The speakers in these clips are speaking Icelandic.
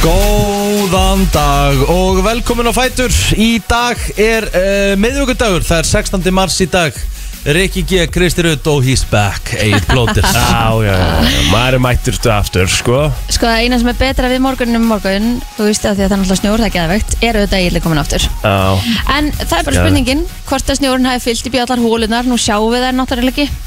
Góðan dag og velkomin á Fætur Í dag er uh, miðvíkudagur, það er 16. mars í dag Rikki G, Kristi Rutt og he's back, Egil Blóttir Já, já, já, já, maður er mættur þetta aftur, sko Sko það eina sem er betra við morgunum morgun Þú veist að því að það er náttúrulega snjór, það er geðvegt Er auðvitað eiginlega komin aftur Já, En það er bara Já. spurningin, hvort að snjórun hafi fyllt í bjallar hólunar Nú sjáum við þær náttúrulega ekki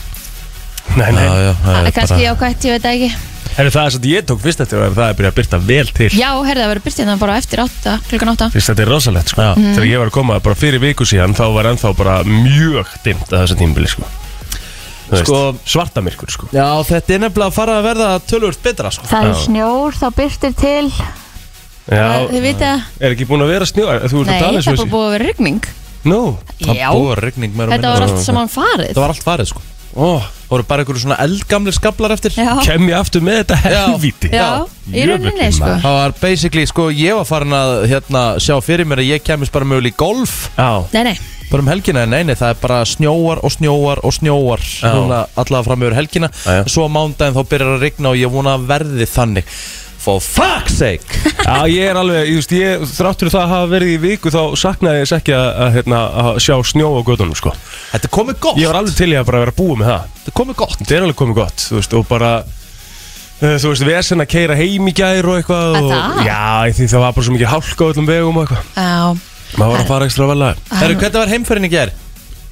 nei, nei já, Það er kannski jákvætt, ég veit það ekki Herru, það er svo að ég tók fyrst eftir og það er byrjað að byrta vel til Já, herði það verið byrtið þannig bara eftir 8, klukkan 8 Fyrst þetta er rosalegt, sko Já. Þegar ég var að koma bara fyrir viku síðan þá var ennþá bara mjög dimmt að þessu tímbili, sko Þú veist, Sko- Svartamirkur, sko Já, þetta er nefnilega að fara að verða tölvöld betra sko. Það er Já. snjór, þá byrtir til Já, Það- Þið vitið að, er ekki búin að vera snjó Þú nei, ert að það er tala eins og bara þessi búið að vera rigning Nú, Já, Það búið rigning meira og þetta minna var sko. allt saman farið Það var allt farið sko ó, Það voru bara einhverju svona eldgamlir skablar eftir Já, kem ég aftur með þetta helvíti já, í Jöfull, rauninni sko maður. Það var basically, sko, ég var farin að hérna, sjá fyrir mér að ég kemist bara mögulega í golf Já, Nei, nei, bara um helgina, en neini, það er bara snjóar og snjóar og snjóar núna allavega fram yfir helgina Já, já. svo á mándaginn þá byrjar að rigna og ég vona að verði þannig for fuck's sake Já, ég er alveg, ég veist, ég, þráttur það að hafa verið í viku þá saknaði ég þess ekki að, að, hérna, að sjá snjó á gödunum, sko. þetta er komið gott, Ég var alveg til í að bara vera búið með það. þetta er komið gott Þetta er alveg komið gott, þú veist, og bara, eh, þú veist, vesen að keira heim í gær og eitthvað. Að og, það? Já, ég því það var bara svo mikið hálka á öllum vegum og eitthvað. já Maður var að fara ekstra vel að. Herru, hvernig var heimferðin í gær?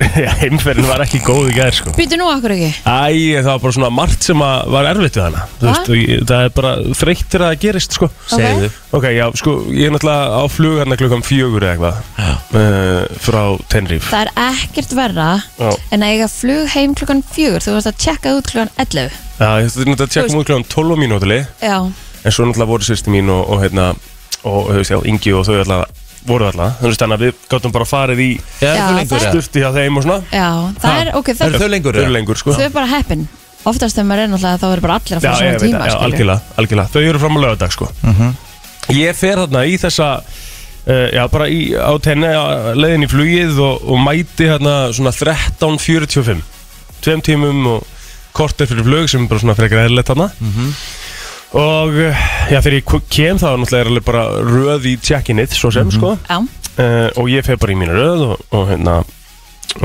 Já, heimferðin var ekki góð í gær, sko. Býtu nú akkur ekki Æ, það var bara svona margt sem að var erfitt við hana. Þú Ha? veist, og ég, það er bara þreyttir að það gerist, sko. Ok. segðu Ok, já, sko, ég er náttúrulega á flug hérna klukkan fjögur eða eitthvað uh, frá Tenríf Það er ekkert verra Já. en að eiga flug heim klukkan fjögur þú varst að tjekka út klukkan 11 Já, ég ætti náttúrulega að tjekka Þú múið klukkan 12 mínútili Já, en svo náttúrulega voru sýsti mín og, og hérna og, þú veist, já, Ingi og þau alltaf voru alltaf, þú veist, þannig að við gáttum bara farið í er Já, þau lengur? það- eða? stufti hjá þeim og svona já, það Ha, er, ok, það eru er, þau lengur? Þau eða? eru lengur, sko þau er bara heppin Oftast þegar maður er náttúrulega þá er bara allir að Já, fara svona ég veit tíma það, já, skilurðu. algjörlega, algjörlega Þau eru fram á lögadag, sko Ég fer þarna í þessa uh, Já, bara í, á tenni leiðin í flugið og, og mæti hérna svona 13.45 Tveim tímum og kortir fyrir flug sem er bara svona frekar eðlilegt þarna Og uh, já, þegar ég ku- kem þá náttúrulega er alveg bara röð í check-innið, svo sem, sko Já, uh, og ég fer bara í mínu röð og, og hérna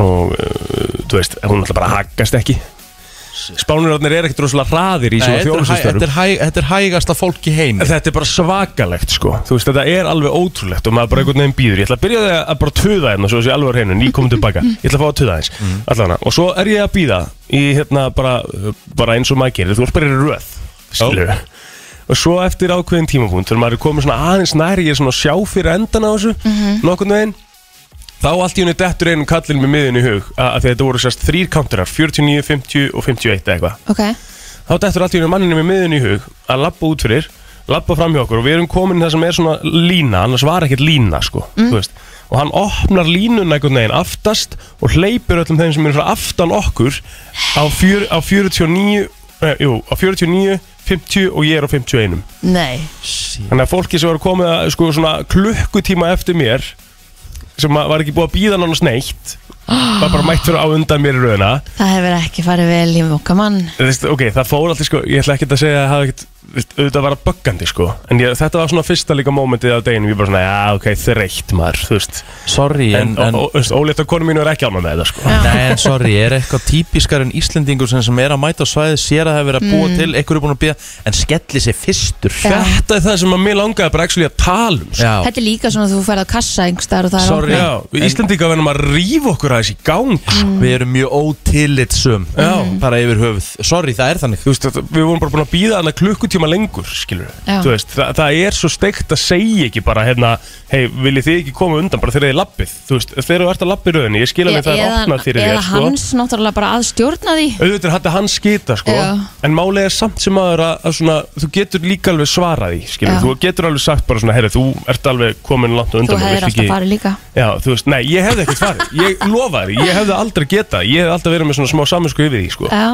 og uh, þú veist, hún ætla bara að haggast ekki Spánurarnir er ekkert rosalega hraðir í Nei, svona þetta er hæ- þjónustustörum þetta er hæ- þetta er hægasta fólk í heimi Þetta er bara svakalegt sko Þú veist, þetta er alveg ótrúlegt og maður bara einhvern veginn býður Ég ætla að byrja á því að bara töða hérna Svo þessi alveg hreinu, nýkomum tilbaka Ég ætla að fá að töða eins mm. Og svo er ég að býða í hérna bara, bara eins og maður gerir Þú ert bara í röð Skilur Og svo eftir ákveðin tímapunkt Þegar maður er komið svona aðeins næri Ég er svona að sjá fyrir endan á þessu mm veginn Þá allt í henni dettur einum kallin með miðin í hug að, að þetta voru sérst þrýr kanturar 49, 50 og 51 eða eitthvað ok þá dettur allt í einu manninu með miðun í hug að labba út fyrir, labba fram hjá okkur og við erum komin í það sem er svona lína annars var ekkert lína sko þú veist. og hann opnar línun einhvern veginn aftast og hleypir öllum þeim sem eru frá aftan okkur á, fjör, á 49 eh, jú, á 49, 50 og ég er á 51 Nei, þannig að fólki sem var komið að, sko, svona klukkutíma eftir mér sem að var ekki búið að býða nánast neitt var bara mætt fyrir á undan mér í rauðina það hefur ekki farið vel í okkar mann Þú veist, ok, það fór alltaf sko, ég ætla ekkert að segja að það hafi ekkert, þú veist, auðvitað var að böggandi sko, en ég, þetta var svona fyrsta líka mómentið á deginum, ég bara svona, já, ok, þreytt maður, þú veist, sorry, en, en, en, en ólétt að konu mínu er ekki ánum með þetta sko. Nei, en sorry, er eitthvað típiskar en Íslendingur sem, sem er að mæta á svæði sér að það er verið að Mm. búa til, eitthvað er búin að bíða en skelli sér fyrstur Já. Þetta er það sem að mér langaði bara ekki að tala um sko. Já. Þetta er líka svona að þú ferð á kassa einhverstaðar og það er Sorry. opnað. Já, við Íslendinga verðum að rífa okkur aðeins í gang Við erum mjög ótillitsum Já. Bara yfir höfuð Sorry, það er þannig Þú veist, þetta- við vorum bara búin að býða hana klukkutíma lengur, skilur Já. Þú veist, það, það er svo steikt að segja ekki bara, hérna, hei, viljið þið ekki koma undan bara þegar þið lappið, þú veist, þegar þú ert að lappið rauðinni, ég skil að það er opnað fyrir eða þér, sko hans náttúrulega bara að stjórna því auðvitað er hægt að hann skita sko, Já. en málið er samt sem aður að, að svona, þú getur líka alveg svarað í skilur, Já. þú getur alveg sagt bara svona herri, þú ert alveg komin langt og Þú undan mér, hefur viltu alltaf farið líka Já, þú veist, nei, ég hefði ekkert farið ég lofa þér, ég hefði aldrei getað ég hefði alltaf verið með svona smá saminsku yfir því sko. Já,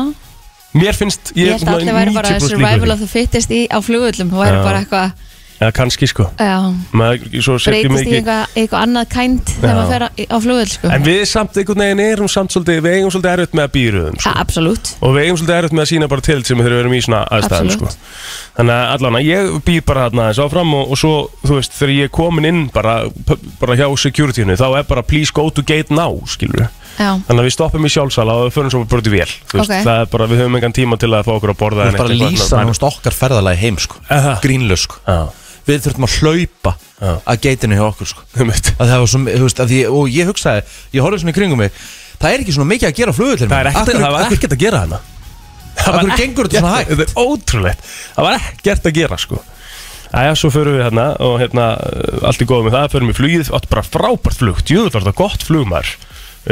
mér finnst, ég ég, held að allir væri bara survival of the fittest í, á flugvöllum Þú væri Já. bara eitthvað eða kannski sko Já, maður, svo setjum breytist í ekki eitthvað, eitthvað annað kænt þegar Já. maður fer á, á flugvel sko. en við samt einhvern veginn erum samt svolítið við eigum svolítið erfitt með að býruðum Ja, sko. Absolutt og við eigum svolítið erfitt með að sína bara til sem þegar við erum í svona aðstæðum sko. Absolutt. þannig að allan að ég býð bara þarna aðeins áfram og, og svo þú veist þegar ég er komin inn bara, bara hjá securityinu þá er bara please go to gate now skilur Já, Þannig að við stoppum í sjálfsala og við förum svo bara til vél Þú veist, Ok. Það er bara, við höfum engan tíma til að fá okkur að borða Þú veist bara að lýsa nánast okkar ferðalagi heim sko Aha. Grínlaus sko Já, Við þurftum að hlaupa Já. að geitinu hjá okkur sko þú veist að það var svona, þú veist, að ég, og ég hugsaði ég horfði svona í kringum mig það er ekki svona mikið að gera hérna. flugullir Það er ekkert, það var ekkert að gera hana Það Akkur gengur þetta svona hægt? Þetta er ótrúlegt Það var ekkert að gera sko Æja, svo förum við hérna og hérna uh, allt í góðum með það, förum við flugið átt bara frábært flug, djúður var þetta gott flug maður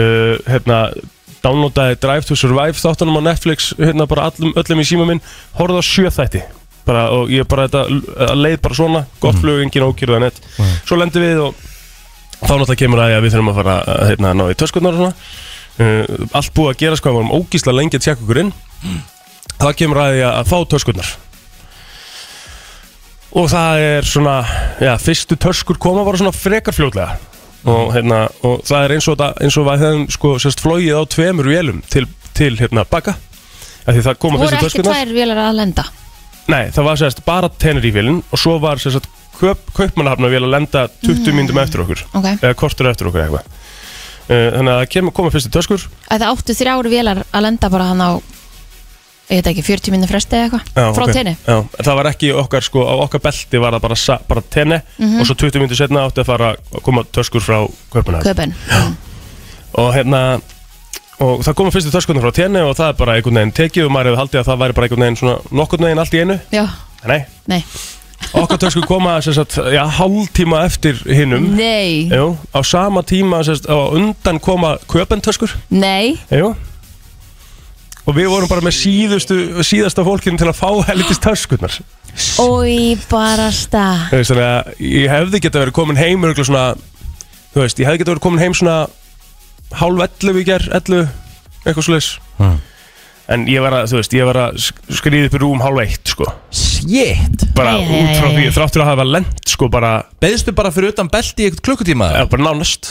uh, hérna downloadaði Drive to Survive þáttunum á Netflix hérna bara allum, öllum í síma minn horfði á sjöþætti bara, og ég bara þetta uh, leið bara svona gott Mhm. flug, engin ókýrða nett svo lendi við og þá náttúrulega kemur að, að við þurfum að fara að, hérna, að ná í töskurnar og svona uh, allt búið að gera sko, við varum ógísla lengi að tjekka okkur inn þá kemur að því að, að fá töskurnar og það er svona já, fyrstu töskur koma bara svona frekar fljótlega og, hérna, og það er eins og, það, eins og við hefum sko, sérst flóið á tveimur vélum til, til hérna, baka af því það koma voru fyrstu ekki töskurnar tvær vélar að lenda Nei, það var sérst bara Tenerífélin og svo var sérst kaup, kaupmannahafnavél að lenda 20 mm. myndum eftir okkur Ok. eða kortur eftir okkur eitthvað uh, Þannig að það kemur, koma fyrstu töskur að Það áttu þrjár vélar að lenda bara hann á ég veit ekki, 40 minnum fresti eða eitthvað Já, frá ok. tenni Já, en það var ekki okkar, sko, á okkar belti var það bara, sa- bara tenni Mhm. og svo 20 myndur setna átti að fara að koma töskur frá kaupmannahafn köpun og hérna og það koma fyrstu töskurnar frá tenni og það er bara einhvern veginn tekið og maður hefur haldið að það væri bara einhvern veginn svona nokkurn veginn allt í einu Já, Nei, nei okkar töskur koma sem sagt, já, hálftíma eftir hinnum Nei, Jú, á sama tíma sérst, á undan koma köpentöskur nei Jú Og við vorum bara með síðustu, síðasta fólkinu til að fá helitist töskurnar Og í barasta Þú veist, Þannig að ég hefði geta verið komin heim örugglega svona, Þú veist, ég hefði geta verið komin heim svona Hálf 11 í ger, 11 Eitthvað svoleiðis Mm. En ég var að, þú veist, ég var að sk- skríða upp í rúm hálf eitt, sko shit Bara Æ, æ, út frá æ, því, æ. þráttur að hafa lent, sko, bara, beðstu bara fyrir utan belti í eitthvað klukkutíma eða bara nánast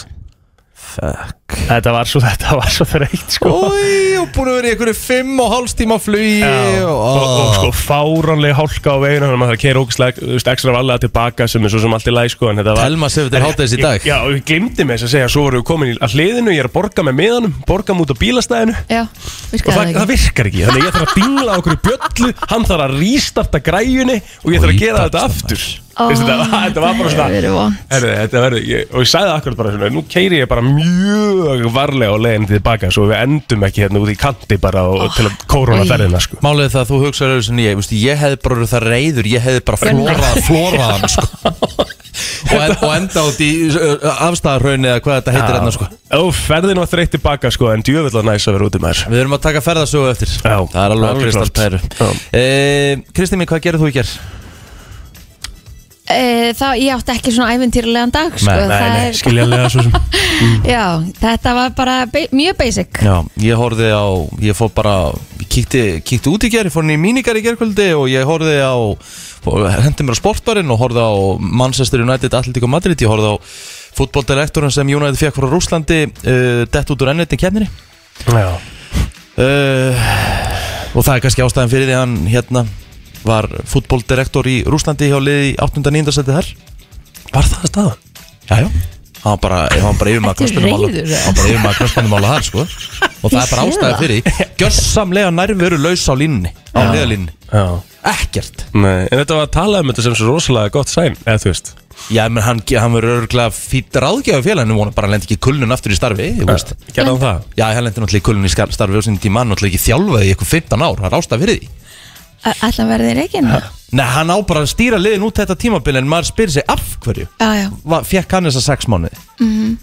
fuck Þetta var svo, þetta var svo þreytt, sko Új, og búin að vera í einhverju fimm og hálfs tíma flugi Já, og, og, og sko fáránlega hálka á veginu þannig að maður þarf að keira ógislega þú veist, ekstra varlega tilbaka sem er svo sem allt í læg sko, en þetta var Telma Sif, þetta er En- hádegis í ég- dag. Já, og ég glimti með þess að segja svo vorum við komin í að hliðinu, ég er að borga með miðanum borga mig út á bílastæðinu Já, og virkaði það, það það ekki virkar ekki þannig að ég þarf að dingla á okkur bjöllu hann þarf að rístarta græjunni og ég þarf að gera þetta aftur Ó, Veistu, þetta, var- þetta var bara hefur svona verið vont. Herri, þetta verður, ég, og ég sagði það akkurat bara svona, nú keiri ég bara mjög varlega á leiðinu tilbaka svo við endum ekki hérna út í kanti bara og, til Ah, að kórona ferðina sko. Málið er það að þú hugsaður öðru sinni ég, veist, ég hefði bara verið það reyður, ég hefði bara flórað flórað hann sko. og, en, og enda út í afstæðarraun eða hvað þetta heitir hérna sko. Ah. Ó, ferðin var þreytt tilbaka sko En djöfell var næs að vera út um þær Við erum að taka ferðasögu eftir Já, Það er alveg alveg Kristall klárt. Pæru Eh, Kristín mín, hvað gerir þú í gerð? Eh, Það, ég átti ekki svona æventýrlegan dag sko. Nei, það er- skiljanlega svo sem Já, þetta var bara be mjög basic Já, ég horfði á, ég fór bara Ég kíkti, kíkti út í gerð, ég fór inn í mínigar í gerðkvöldi og ég horfði á hendi mér á sportbarinn og horfði á Manchester United, Atletico Madrid ég horfði á fútboldirektorinn sem United fekk frá Rúslandi uh, dett út úr ennetni kemninni Já, uh, og það er kannski ástæðan fyrir því að hann hérna var fútboldirektor í Rúslandi hjá liði 8.9. setið þar var það að staða? Jájá Hann var bara, hann var bara yfir maður Ertu knaspunumála reiður, eða? Hann var bara yfir maður knaspunumála þar sko Og það Ég er bara sé ástæði það. fyrir því Gjössamlega nærveru laus á línni Á liðalínni Já Ekkert Nei, en þetta var að tala um þetta sem svo rosalega gott sæn Eða þú veist Já, menn hann, hann verður örgulega fýtt ráðgjafi félaginu Vona bara að lendi ekki í kulnun aftur í starfi Ég veist Gerðan það? Já, hann lendi náttúrulega í kulnun í skar- starfi Og sinni tíma hann náttúrulega ekki þjálfaði í eitthvað 15 ár Það er ástæði fyrir því Ætla að verði reikin Já, Nei, hann á bara að stýra liðin út þetta tímabil En maður spyrir sig af hverju já, Mhm. Va- Fékk hann þessa sex mánuði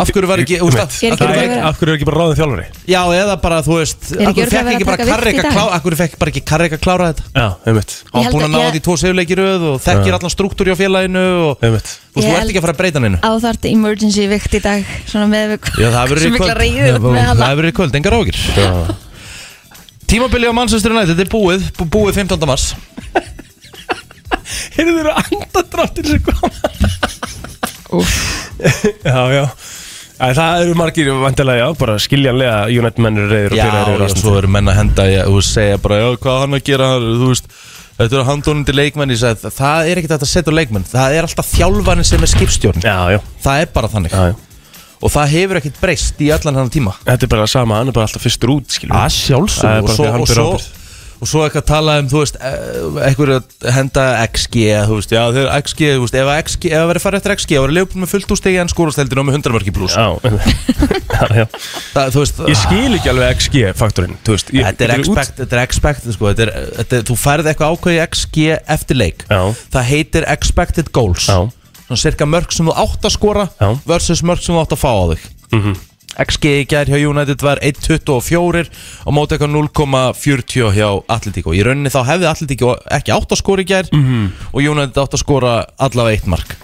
Af hverju var ekki, Ég- úst, ég- af, ég er ekki af hverju Það var er bara ekki, vera- af hverju er ekki bara ráðin þjálfari? Já, eða bara, þú veist Er ekki Akkur fekk örugglega ekki verið að taka virkt bara í Karrika dag? klá, Akkur fekk bara ekki Karrika klára þetta Já, einmitt Hann var held búinn að að ná ég- því tvo seguleikiröð og þekkir Já. allan struktúr hjá félaginu og þú Einmitt veist, þú Ég ert held- ekki að fara að breyta hann einu á þart emergency vikt í dag svona með Já, það verður í mikla kvöld Já, reyður með Það hana það verður í kvöld, engar ákir Tímabili á Manchester United er búið bú- Búið 15. mars Heyrðu þeirra andadráttir sem kom Já, já Æ, Það eru margir vantilega, já, bara skiljanlega United menn eru reyður og Já, fyrir já, reyður svo eru menn að henda í að- og segja bara, já, hvað á hann að gera þú veist, þetta eru handónandi leikmenn ég sagði, það er ekkert hægt að setja á leikmenn það er alltaf þjálfarinn sem er skipstjórn Já, já, það er bara þannig já, já og það hefur ekkert breyst í allan hann tíma Þetta er bara sama, hann er bara alltaf fyrstur út, skilur að Það er sjálfsög og bara því svo, að hann og ber svo, ábyrgð. og svo eitthvað tala um, þú veist, eh, einhverju að henda XG, þú veist, já, þeir XG, þú veist, ef að XG, ef að verið farið eftir XG, þá verið leifbúin með fullt úr stegi en skórasteldinu með 100 mörki pluss. Já, já, já Það, þú veist, ah. Ég skil ekki alveg XG-faktorinn, þú veist ég, Þetta er út- expect, þetta er expect, sko, þetta er, þetta er, þú færð eitthvað ákveði XG eftir leik. Já. Það heitir expected goals. Já. Svona cirka mörg sem þú átt að skora Já. versus mörg sem þú átt að fá á þig. XG í gær hjá United var 1.24 og móti eitthvað 0.40 hjá Atletico. Í rauninni þá hefði Atletico ekki átt að skora í gær og United átt að skora allavega eitt mark.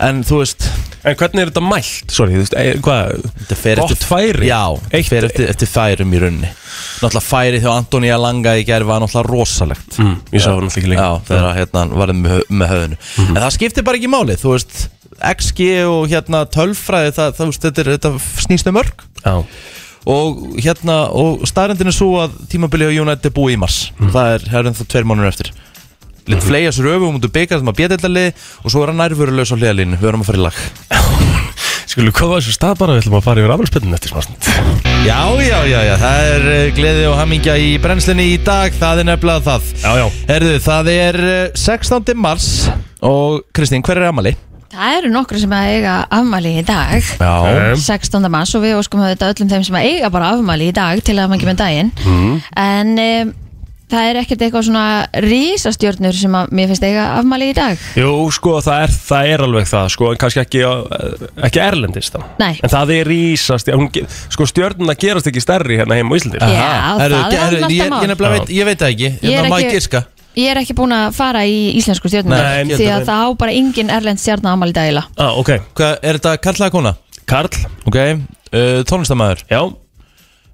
En þú veist, En hvernig er þetta mælt? Sorry, þú veist, e, hvað? Þetta fer Gott eftir- færi? eh, Já, þetta Eitt- fer eftir, eftir færum í rauninni Náttúrulega færið hjá Antoni Alanga í gerð var náttúrulega rosalegt Mm, Ég sá hann alltaf ekki Mhm. Já, lengi þegar að, hérna hann varði með, hö- með höfðinu En það skiptir bara ekki máli, þú veist XG og hérna tölfræði það, það, það, þetta, er- þetta snýst um mörg Já, og hérna, og staðrendin er svo að tímabilið á United er búið í mars Mhm. það er, það er ennþá tveir mánuður eftir Litt mm -hmm. fleja sér öfum út úr byggar sem að bjöðeldalið og svo er hann nærvörulegs á hliðalínu, við erum að fara í lag skulum koma þessu stað bara, við ætlum að fara yfir afmælspillin eftir smástund Já, já, já, já, það er eh, gleði og hamingja í brennslinni í dag, það er nefnilega það. Já, já. Herðu, það er eh, 16. mars og Kristín, hver er amali? Það eru nokkru sem að eiga afmæli í dag Eh. Já. 16. mars og við óskum auðvitað öllum þeim sem að eiga bara afmæli í dag til að maður kemur daginn Mm. Mm. en um, það er ekkert eitthvað svona rísastjörnur sem að mér finnst eiga afmæli í dag Jú, sko, það er, það er alveg það, sko, en kannski ekki, á- ekki erlendist þá Nei. En það er rísast, hún, ge- sko, stjörnuna gerast ekki stærri hérna heima á Íslandi Já, það er annað ég, ég, mál. nefnilega veit, ég veit það ekki, Ég er ég, Hérna má ég ekki- giska. Ég er ekki búin að fara í íslensku Nei, stjörnum en- því að það á bara engin erlend stjörna afmæli í dag eiginlega. ah, ok, Hvað, er þetta karlaða kona? Karl, Ok, uh, tónlistamæður. já,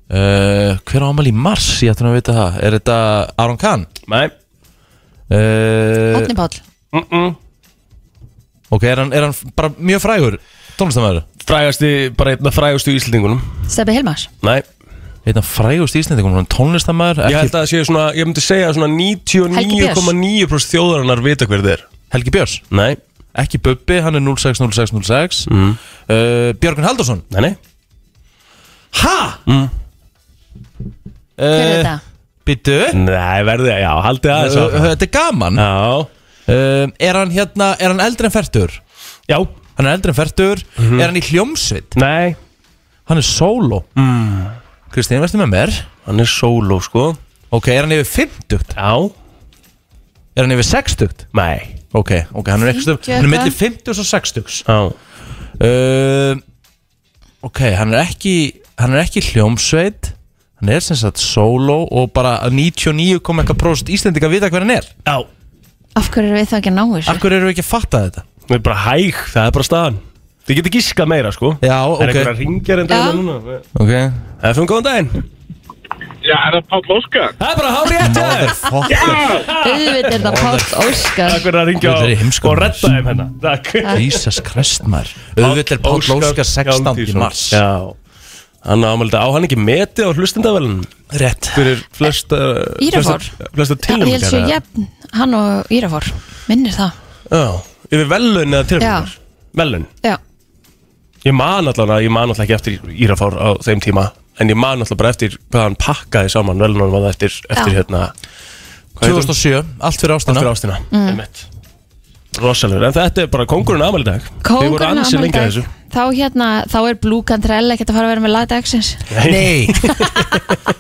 Uh, hver á amali í mars, ég ætti nú að vita það. Er þetta Aron Kahn? nei, Uh, Eh. Átni Páll mm -mm. ok, er hann, er hann bara mjög frægur tónlistamæður? frægasti, bara einna frægastu íslendingunum Steppi Hilmars Nei, Eitthvað frægust íslendingum, hann tónlistamæður? ég held að það sé svona, ég myndi segja svona Helgi Björns. 99,9% þjóðarinnar vita hver þið er Helgi Björns? Nei, ekki Bubbi, hann er 060606 mm. uh, Björgun Haldursson nei, nei, Ha? Mm. Hver er þetta? Býttu nei, verði, já, haldið aðeins Uh, áfram. Þetta er gaman uh, Já, Er hann hérna, er hann eldri en færtur? já, Mhm. Hann er eldri en færtur Er hann í hljómsveit? nei, Hann er solo mm. Kristín, verður með mér? hann er sóló, sko Ok, er hann yfir 50? Já, Er hann yfir 60? nei, Ok, ok, hann er ekki stöf 50 Hann er eitthvað. millir 50 og 60 já uh, Ok, hann er ekki Hann er ekki í hljómsveit Hann er sem sagt solo Og bara 99,1% Íslendinga vita hver hann er Já, Af hverju erum við þá ekki að ná þessu? Akkur eru ekki að fatta þetta það er bara hæg, það er bara staðan Þið getur gískað meira sko Já, Það er ok, einhverja ringjar en Já. daginn núna okay. FM, hérna. góðan daginn Já, er það Páll Óskar? Það er bara hár rétt hjá þér Auðvitað er það Páll Óskar Takk fyrir að ringja Þetta er í heimskum. og redda þeim hérna Takk Jesus Christ maður Auðvitað er Páll Óskar 16. í Hjálmtýsson. mars Já Hann ámælda á hann ekki meti á hlustendavelin Rétt fyrir flesta Írafár. flesta- Flesta Ég held sér tilnæmningar jefn, hann og Írafór Minnir það Já, yfir velun eða tilnæmningar Já. Velun Já, Ég man allan að ég man allan ekki eftir Írafár á þeim tíma En ég man allan bara eftir hvað hann pakkaði saman velunum að eftir, eftir Já. hérna hvað heitir hún? 2007, allt fyrir ástina Aftur ástina mm. Rosalur, en þetta er bara kongurinn amal í dag Þeir voru kóngurinn afmæli ansi í lengi að dag þessu Þá hérna, þá er Blue Cantrell ekkert að fara að vera með lagdagsins Nei Í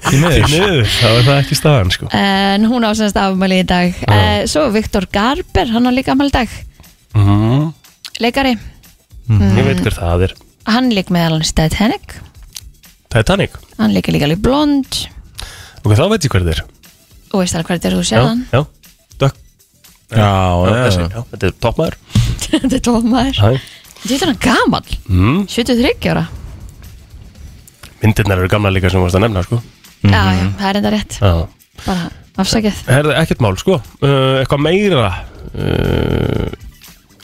Því miður miður, þá er það ekki staðan sko En hún á semst afmæli í dag uh, Svo Viktor Garber, hann á líka afmæli í dag mm. Leikari, Mhm. Mm. Ég veit hver það er hann lík meðal hans í Titanic Titanic, Hann líka líka líka blond ok, þá veit ég hver það er Þú veist alveg hvernig þú séð hann Já, já, dökk Já, Já, já, þessi, já. já, Þetta er toppmaður Þetta er tómaður Hæ. Þetta er hann gaman mm. 73 ára Myndirnar eru gamla líka sem varst að nefna sko Já, já, það er enda rétt Já, Bara afsakið Herðu, ekkert mál, sko uh, Eitthvað meira uh,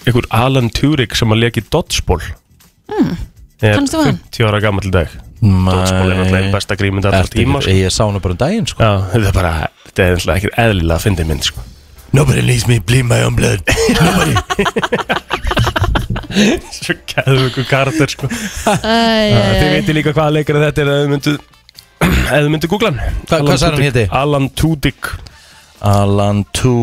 Einhver Alan Turing sem að leki Dodgeball mm, Er Hmm, Kannast þú við hann? 50 ára gammal dag Dodgeball er náttúrulega einn besta grímynd allra Ertu- tíma sko. Ég sá hana bara um daginn sko Já, þetta er bara Þetta er náttúrulega ekkert eðlilega að fyndi mynd, sko Nobody leaves me bleed my own blood Svo gæðu ykkur karakter, sko Æ, Eh, Þið veitir líka hvaða leikari þetta er Ef þið myndu Ef þið myndu googla hann Hva- Alan hvað sagði hann Tudyk. héti? Alan Tudyk Alan Tu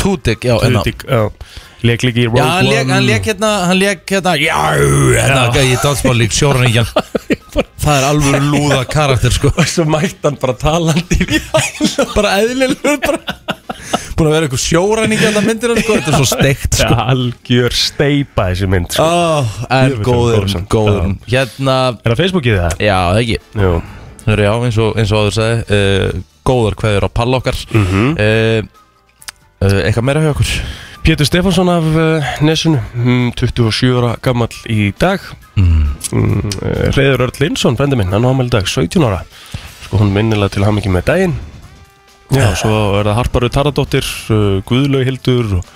Tudyk, já, enná Tudyk, já Leik líka í Rogue Já, hann lék, hann lék hérna, hann lék hérna Já, hérna, Já. gæði í dansbállík sjórningjan Það er alveg lúða karakter, sko Og svo mætti hann bara talandi Bara eðlilegur, bara Búin að vera eitthvað sjórningjan það myndir hann, sko Þetta er svo steikt, Já, sko algjör steipa þessi mynd sko. Ó, en Jöfull, góður, góður samt. góður Hérna, Er það Facebookið það? já, það ekki Jú Það eru já, eins og, eins og áður sagði uh, Góðar hverður á palla okkar mm Mhm. -hmm. Eitthvað meira hjá okkur Pétur Stefánsson af uh, Nesunu mm, 27 ára gammal í dag mm. uh, Reyður Örn Lindsson, frendi minn, hann ámæli dag 17 ára Sko hún minnilega til hamingi með daginn Já, svo er það Harparu Taradóttir, uh, Guðlaug Hildur og,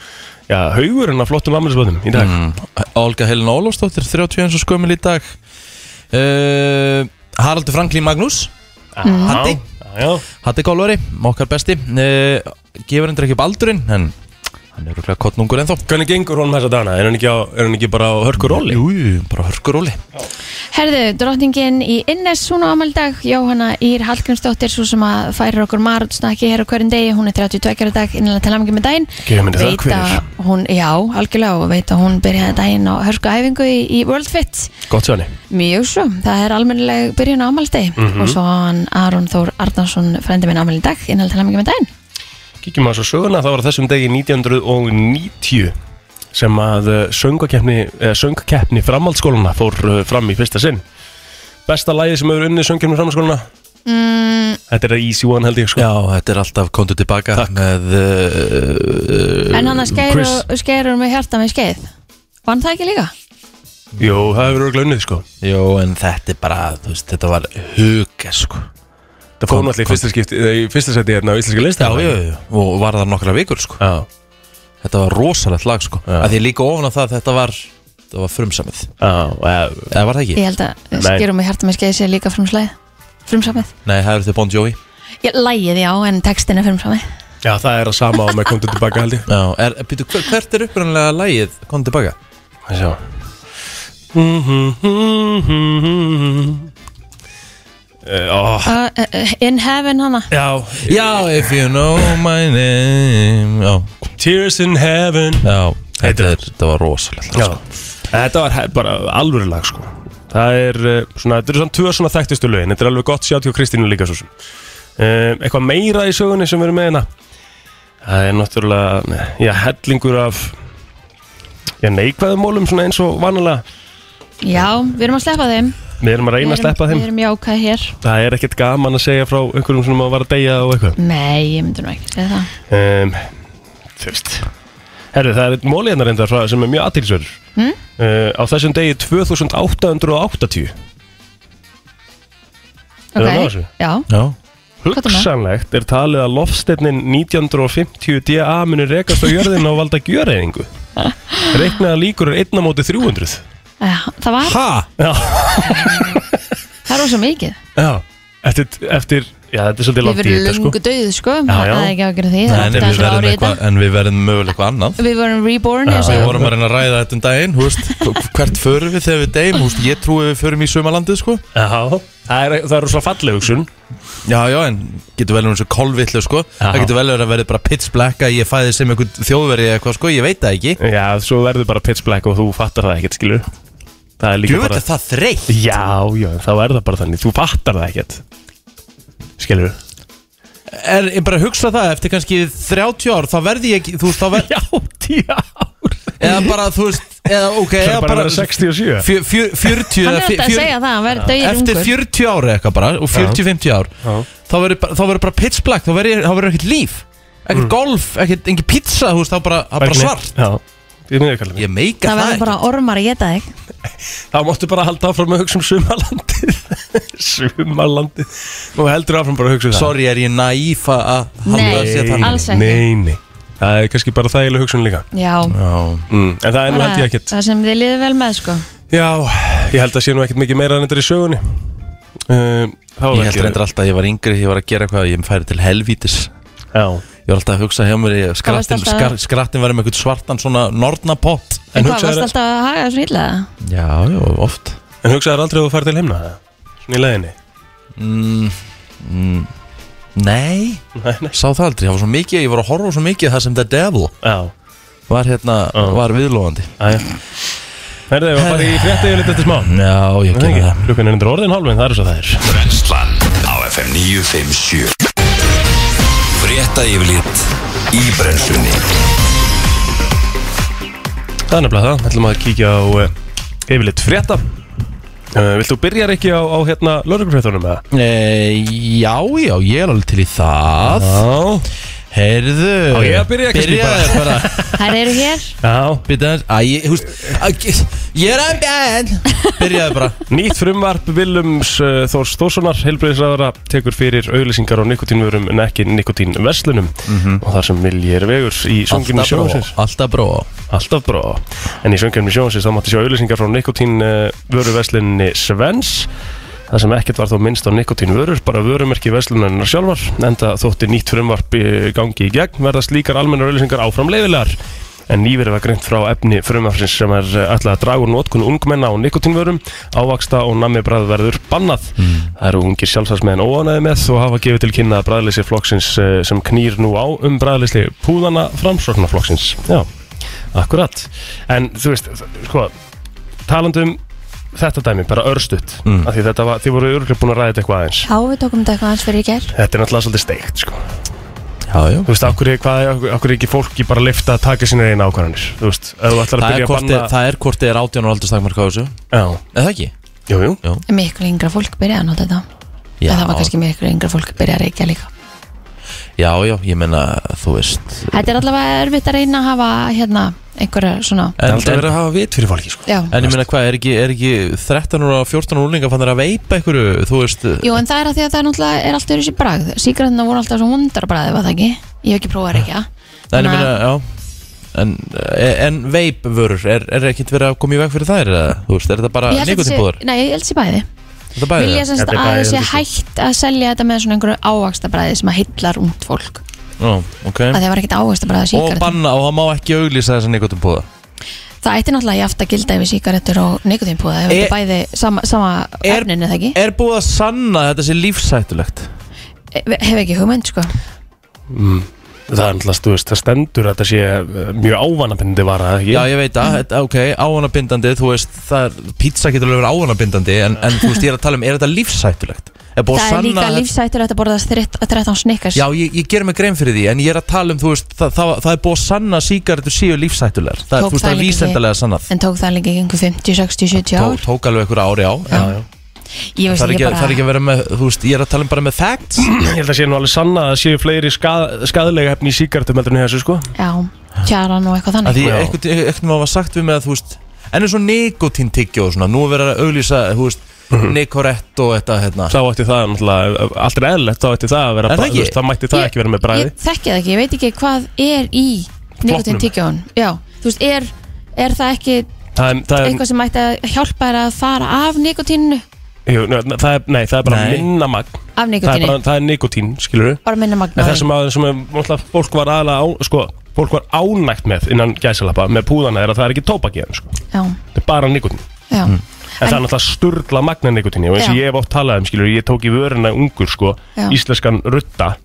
Já, haugurinn af flottum ammælisböðum í dag Mm. Olga Helena Ólafsdóttir, 31 og skömmil í dag uh, Haraldur Franklín Magnús mm. Haddi. Já, Hatti Kólveri, okkar besti uh, gefur hendur ekki upp aldurinn en hann er rúglega kottnungur ennþá Hvernig gengur honum þessa dana? Er hann ekki, á, er hann ekki bara á hörkur róli? Jú, jú, bara hörkuróli Herðu, drottningin í Innes, hún á amaldag, Jóhanna Ír Hallgrímsdóttir, svo sem að færir okkur marutsnakki hér á hverjum degi, hún er 32 ára dag, innanlega til hamingi með daginn. Gefum henni það Veit að Hún, já, algjörlega, og veit að hún byrjaði daginn á hörsku æfingu í, í World Fit. Gott sér hann Mjög svo, það er almennileg byrjun á amaldegi Mhm. og svo á hann Aron Þór Arnarsson, frendi minn amal í dag, innanlega til hamingi með daginn. Kíkjum að svo söguna, það var á þessum degi 1990 sem að eh, söngvakeppni, eða söngkeppni framhaldsskólana fór eh, fram í fyrsta sinn. Besta lagið sem hefur unnið söngkeppni framhaldsskólana? Mm. Þetta er að Easy One held ég sko. Já, þetta er alltaf kontu tilbaka Takk. með uh, En hann að Chris. skeirur með hjarta með skeið, vann það ekki líka? Jú, það hefur örgulega unnið sko. Jó, en þetta er bara, þú veist, þetta var huga, sko Það fór Kom- náttúrulega í fyrsta skipti, eða í fyrsta seti hérna á Íslenska Já, listan. jú, jú, og var það nokkra vikur, sko Já, Þetta var rosalegt lag, sko Já. að Því líka ofan á það, þetta var, þetta var frumsamið já, já, Eða var það ekki? Ég held að skeirur með hjarta með skeið sé líka frumslæð, frumsamið. Nei, það eru þau Bon Jovi Ég lægið, já, en textin er frumsamið. já, það er að sama á með komdu tilbaka held ég. Já, er, býtu, hver, hvert er upprannlega lagið kontu tilbaka? Það sjá. Mm-hmm, Uh, oh. Uh, uh, uh, in heaven hana. Já, Já, if you know my name Já, Tears in Heaven já Þetta, Heitir er, þetta var rosalegt sko. Já, þetta var he- bara alvöru lag sko Það er eh, svona, þetta eru svona tvö svona þekktustu lögin Þetta er alveg gott sjátt hjá Kristínu líka svo sem um, Eitthvað meira í sögunni sem við erum með hérna Það er náttúrulega, eh, já, hellingur af Já, neikvæðum mólum svona eins og vanalega Já, við erum að sleppa þeim. Við erum að Við reyna að erum- sleppa þeim Við erum jákað hér. Það er ekkert gaman að segja frá einhverjum sem að var að deyja og eitthvað Nei, ég myndi nú ekki segja það. um, Þú veist Herru, það er einn móli hérna reyndar frá- sem er mjög aðtilsverður Hmm? mm? Á þessum degi 2880 Erum við að ná þessu? Já, Já, er það? Hugsanlegt er talið að lofsteinnin 1950 DA muni rekast á jörðin og valda gjöreyðingu Reiknaða líkur er einna móti 300 Eh, það var, Ha? Já, það er rosa mikið. já Eftir, eftir já þetta er svolítið Við langt í verðum þetta sko lungu döið, sko. Já, já. Það er ekki að gera því. Nei, Það er en, við alltaf verðum árið í eitthvað, þetta. en við verðum mögulega eitthvað annað Við vorum reborn, ég Við sagði. vorum að reyna að ræða þetta um daginn, þú veist hv- Hvert förum við þegar við deyjum, þú veist Ég trúi við förum í sumalandið, sko Já, það er, það er svo falleg hugsun Já, já, en getur vel um þessu kolvillu, sko Það Já. getur vel verið að verið bara pitch black að ég fæði sem einhver þjóðveri eða eitthvað, sko Ég veit það ekki Já, svo verður bara pitch black og þú fattar það ekkert skilur Það er líka Jú, bara þetta er það þreytt Já, já, en þá er það bara þannig Þú fattar það ekkert Skilur við? Er, ég bara hugsa það, eftir kannski 30 ár þá verði ég, ekki- þú veist, þá verð Já, tíu ár Eða bara, þú veist, eða, ok Það eða er bara að vera 67 fjö- fjö- 40 Hann eða er alltaf að fjö- segja það, hann verður döið eftir ungur. 40 ára eitthvað bara og 40-50 ár Já. þá verður bara- þá verður bara pitch black þá Mm. verður þá verður ekkert líf ekkert golf, ekkert, engin pizza þú veist, þá bara, þá bara svart Já Ég meina ekki alveg Ég meika Það það, verður ekki bara ormar að geta þig Þá máttu bara halda áfram að hugsa um sumalandið Sumalandið Nú heldur áfram bara að hugsa um það Sorry, er ég naíf að- að halda að Nei. sé þannig alls ekki. Nei, nei Það er kannski bara þægileg hugsun líka Já Já mm. En það er nú held ég ekkert Það sem þið liður vel með sko Já, ég held að sé nú ekkert mikið meira en þetta er í sögunni uh, Þá Ég held reyndar alltaf að ég var yngri, ég var að gera eitthvað, ég færi til helvítis Já Ég var alltaf að hugsa hjá mér, ég- Hvað varst skrattin, alltaf- skar, skrattin var með eitthvað svartan svona nornapott En hvað, En varst hugsaðu alltaf að haga þessu hýlla? Já, já, oft en hugsaðu aldrei að þú fær til heimna Svona í leiðinni mm, mm, Nei, Nei, nei sá það aldrei, það var svo mikið, ég var að horfa á svo mikið að það sem The Devil Já, var hérna, Já. var Eh. viðlóðandi aðja Herðu, við varum bara í frétta yfir þetta smá Já, ég Nei, gerði ekki. það Klukkan er undir orðin hálfin, það er svo það er Brenslan á FM 957 Frétta yfirlit í brenslunni Það er nefnilega það, ætlum að kíkja á uh, yfirleitt frétta uh, Vilt þú byrjar ekki á, á hérna lögreglufréttunum eða? e, Já, já, ég er alveg til í það Já Heyrðu Á ég að byrja kannski Byrjaðu bara Þær eru hér Já, Býta þess, að ég, húst Ég er að bæn Byrjaðu bara nýtt frumvarp Viljums uh, Þórs Þórssonar heilbreyðisraðara tekur fyrir auglýsingar á nikotínvörum en ekki nikotínverslunum og þar sem viljir vegur í söngjumni Mhm. Alltaf bró, sjónsins alltaf bró Alltaf bró En í söngjumni sjónsins þá mátti sjá auglýsingar frá nikotínvöruverslinni Svens Það sem ekkert var þó minnst á nikotínvörur, bara vörumerki verslunarinnar sjálfar, enda þótti nýtt frumvarp eh, gangi í gegn, verða slíkar almennar auðlýsingar áfram leifilegar. En nýverið var greint frá efni frumvarpsins sem er alltaf að draga úr notkun ungmenna á nikotínvörum, ávaxta og nammi bræðverður bannað. Það eru ungir sjálfsvæðsmeðan óanæði með og hafa gefið til kynna bræðleysi flokksins eh, sem knýr nú á um bræðleysi púðana framsóknarflokksins. Já, akkurat. En þú veist, sko, talandi um þetta dæmi, bara örstutt Mm. af því þetta var, þið voru örgulega búin að ræða þetta eitthvað aðeins Já, við tókum þetta eitthvað hans fyrir í gær þetta er náttúrulega svolítið steikt sko. Já, já þú veist, okkur er, hvað, okkur, okkur er ekki fólki bara að lifta að taka sína eina ákvarðanir þú veist, ef þú ætlar að Það er byrja að hvort banna er- það er hvort þið er 18 ára aldurstakmark á þessu já, Eða ekki? jú, jú, Miklu yngra fólk byrjaði að nota þetta Já, En það var kannski miklu yngra fólk byrjaði að reykja líka já, já, ég menna, þú veist Þetta er allavega erfitt að reyna að hafa hérna einhverja svona það er En, alltaf verið en, að hafa vit fyrir fólki sko. Já, en ég menna, hvað, er ekki, er ekki 13 ára, 14 ára úlinga fannir að veipa einhverju, þú veist Jú, en það er að því að það er náttúrulega er alltaf þessi bragð Sígræðina voru alltaf svo hundar bragði, var það ekki? Ég hef ekki prófað að reykja En ég Þannig að- meina, já En, e, en veipvörur, er, er ekkert verið að koma í veg fyrir þær eða, þú veist, er þetta bara Ég held að þetta sé- nikotínbúður? Nei, ég held sér bæði Þetta bæði Vilja það? semst Þetta er að bæði, það sé heldur sko. hægt að selja þetta með svona einhverju ávaxtabræði sem að heillar ungt fólk Já, ok að það var ekkert ávaxtabræði Og sígarettum banna, og það má ekki auglýsa þessa nikotínbúða Það ætti náttúrulega jafnt að gilda yfir sígarettur og nikotínpúða ef Er- þetta bæði sama, sama Er- efnin eða ekki Er búið að sanna að þetta sé lífsættulegt? e, Hef ekki hugmynd sko Mm. það er alltaf, þú veist, það stendur að þetta sé eh, mjög ávanabindi vara eða ekki? Já, ég veit Mm. að, þetta- ok, áhannabindandi, þú veist, það er, pizza getur alveg verið áhannabindandi en, en þú veist, ég er að tala um, er þetta lífsættulegt? Er búið að Það er sanna líka að- lífsættur að borða 13 snikkars Já, ég, ég ger mig grein fyrir því, en ég er að tala um, þú veist, það, það, það er búið að sanna að sígarettur séu lífsættulegar Það, er, Tók þú veist, það það er líka ekki- vísendalega sannað En tók það líka í einhver 50, 60, 70 Tó, ár Tók alveg einhver ári á, já, já. Ég veist Það er ekki ekki, það er bara ekki að vera með, þú veist, ég er að tala um bara með facts ég held að sé nú alveg sanna að það séu fleiri skað, skaðlega hefni í síkartum heldur en í þessu sko Já, tjaran og eitthvað að þannig Því Já. einhvern veginn var sagt við með að, þú veist En eins og nikotín tyggja og svona, nú er verið að auglýsa, þú veist, nikorett og þetta, hérna þá ætti það náttúrulega, ef allt er eðlilegt þá ætti það að vera Er það bræð, ekki? þú veist, það mætti það Ég- ekki vera með bræði Ég þekki það ekki, ég veit ekki hvað er í nikotin tyggjóðun Já, þú veist, er, er það ekki það, er- það, er- eitthvað sem mætti að hjálpa þér að fara af nikotinu jú, nei, það, er- nei, það er bara Nei. minna magn af það er, nikotinu, bara, það er nikotín, skilur við bara minna En það magnaði sem, að, sem að, náttúrulega, fólk var aðalega á, sko, fólk var ánægt með innan gæsalappa með púðana er að það er ekki tóbak í hann sko. Já, það er bara nikotín en, já Mm. það er náttúrulega sturgla magna nikotín og eins og Já. ég hef oft talað um skilur ég tók í vörina ungur sko, Já. íslenskan rutta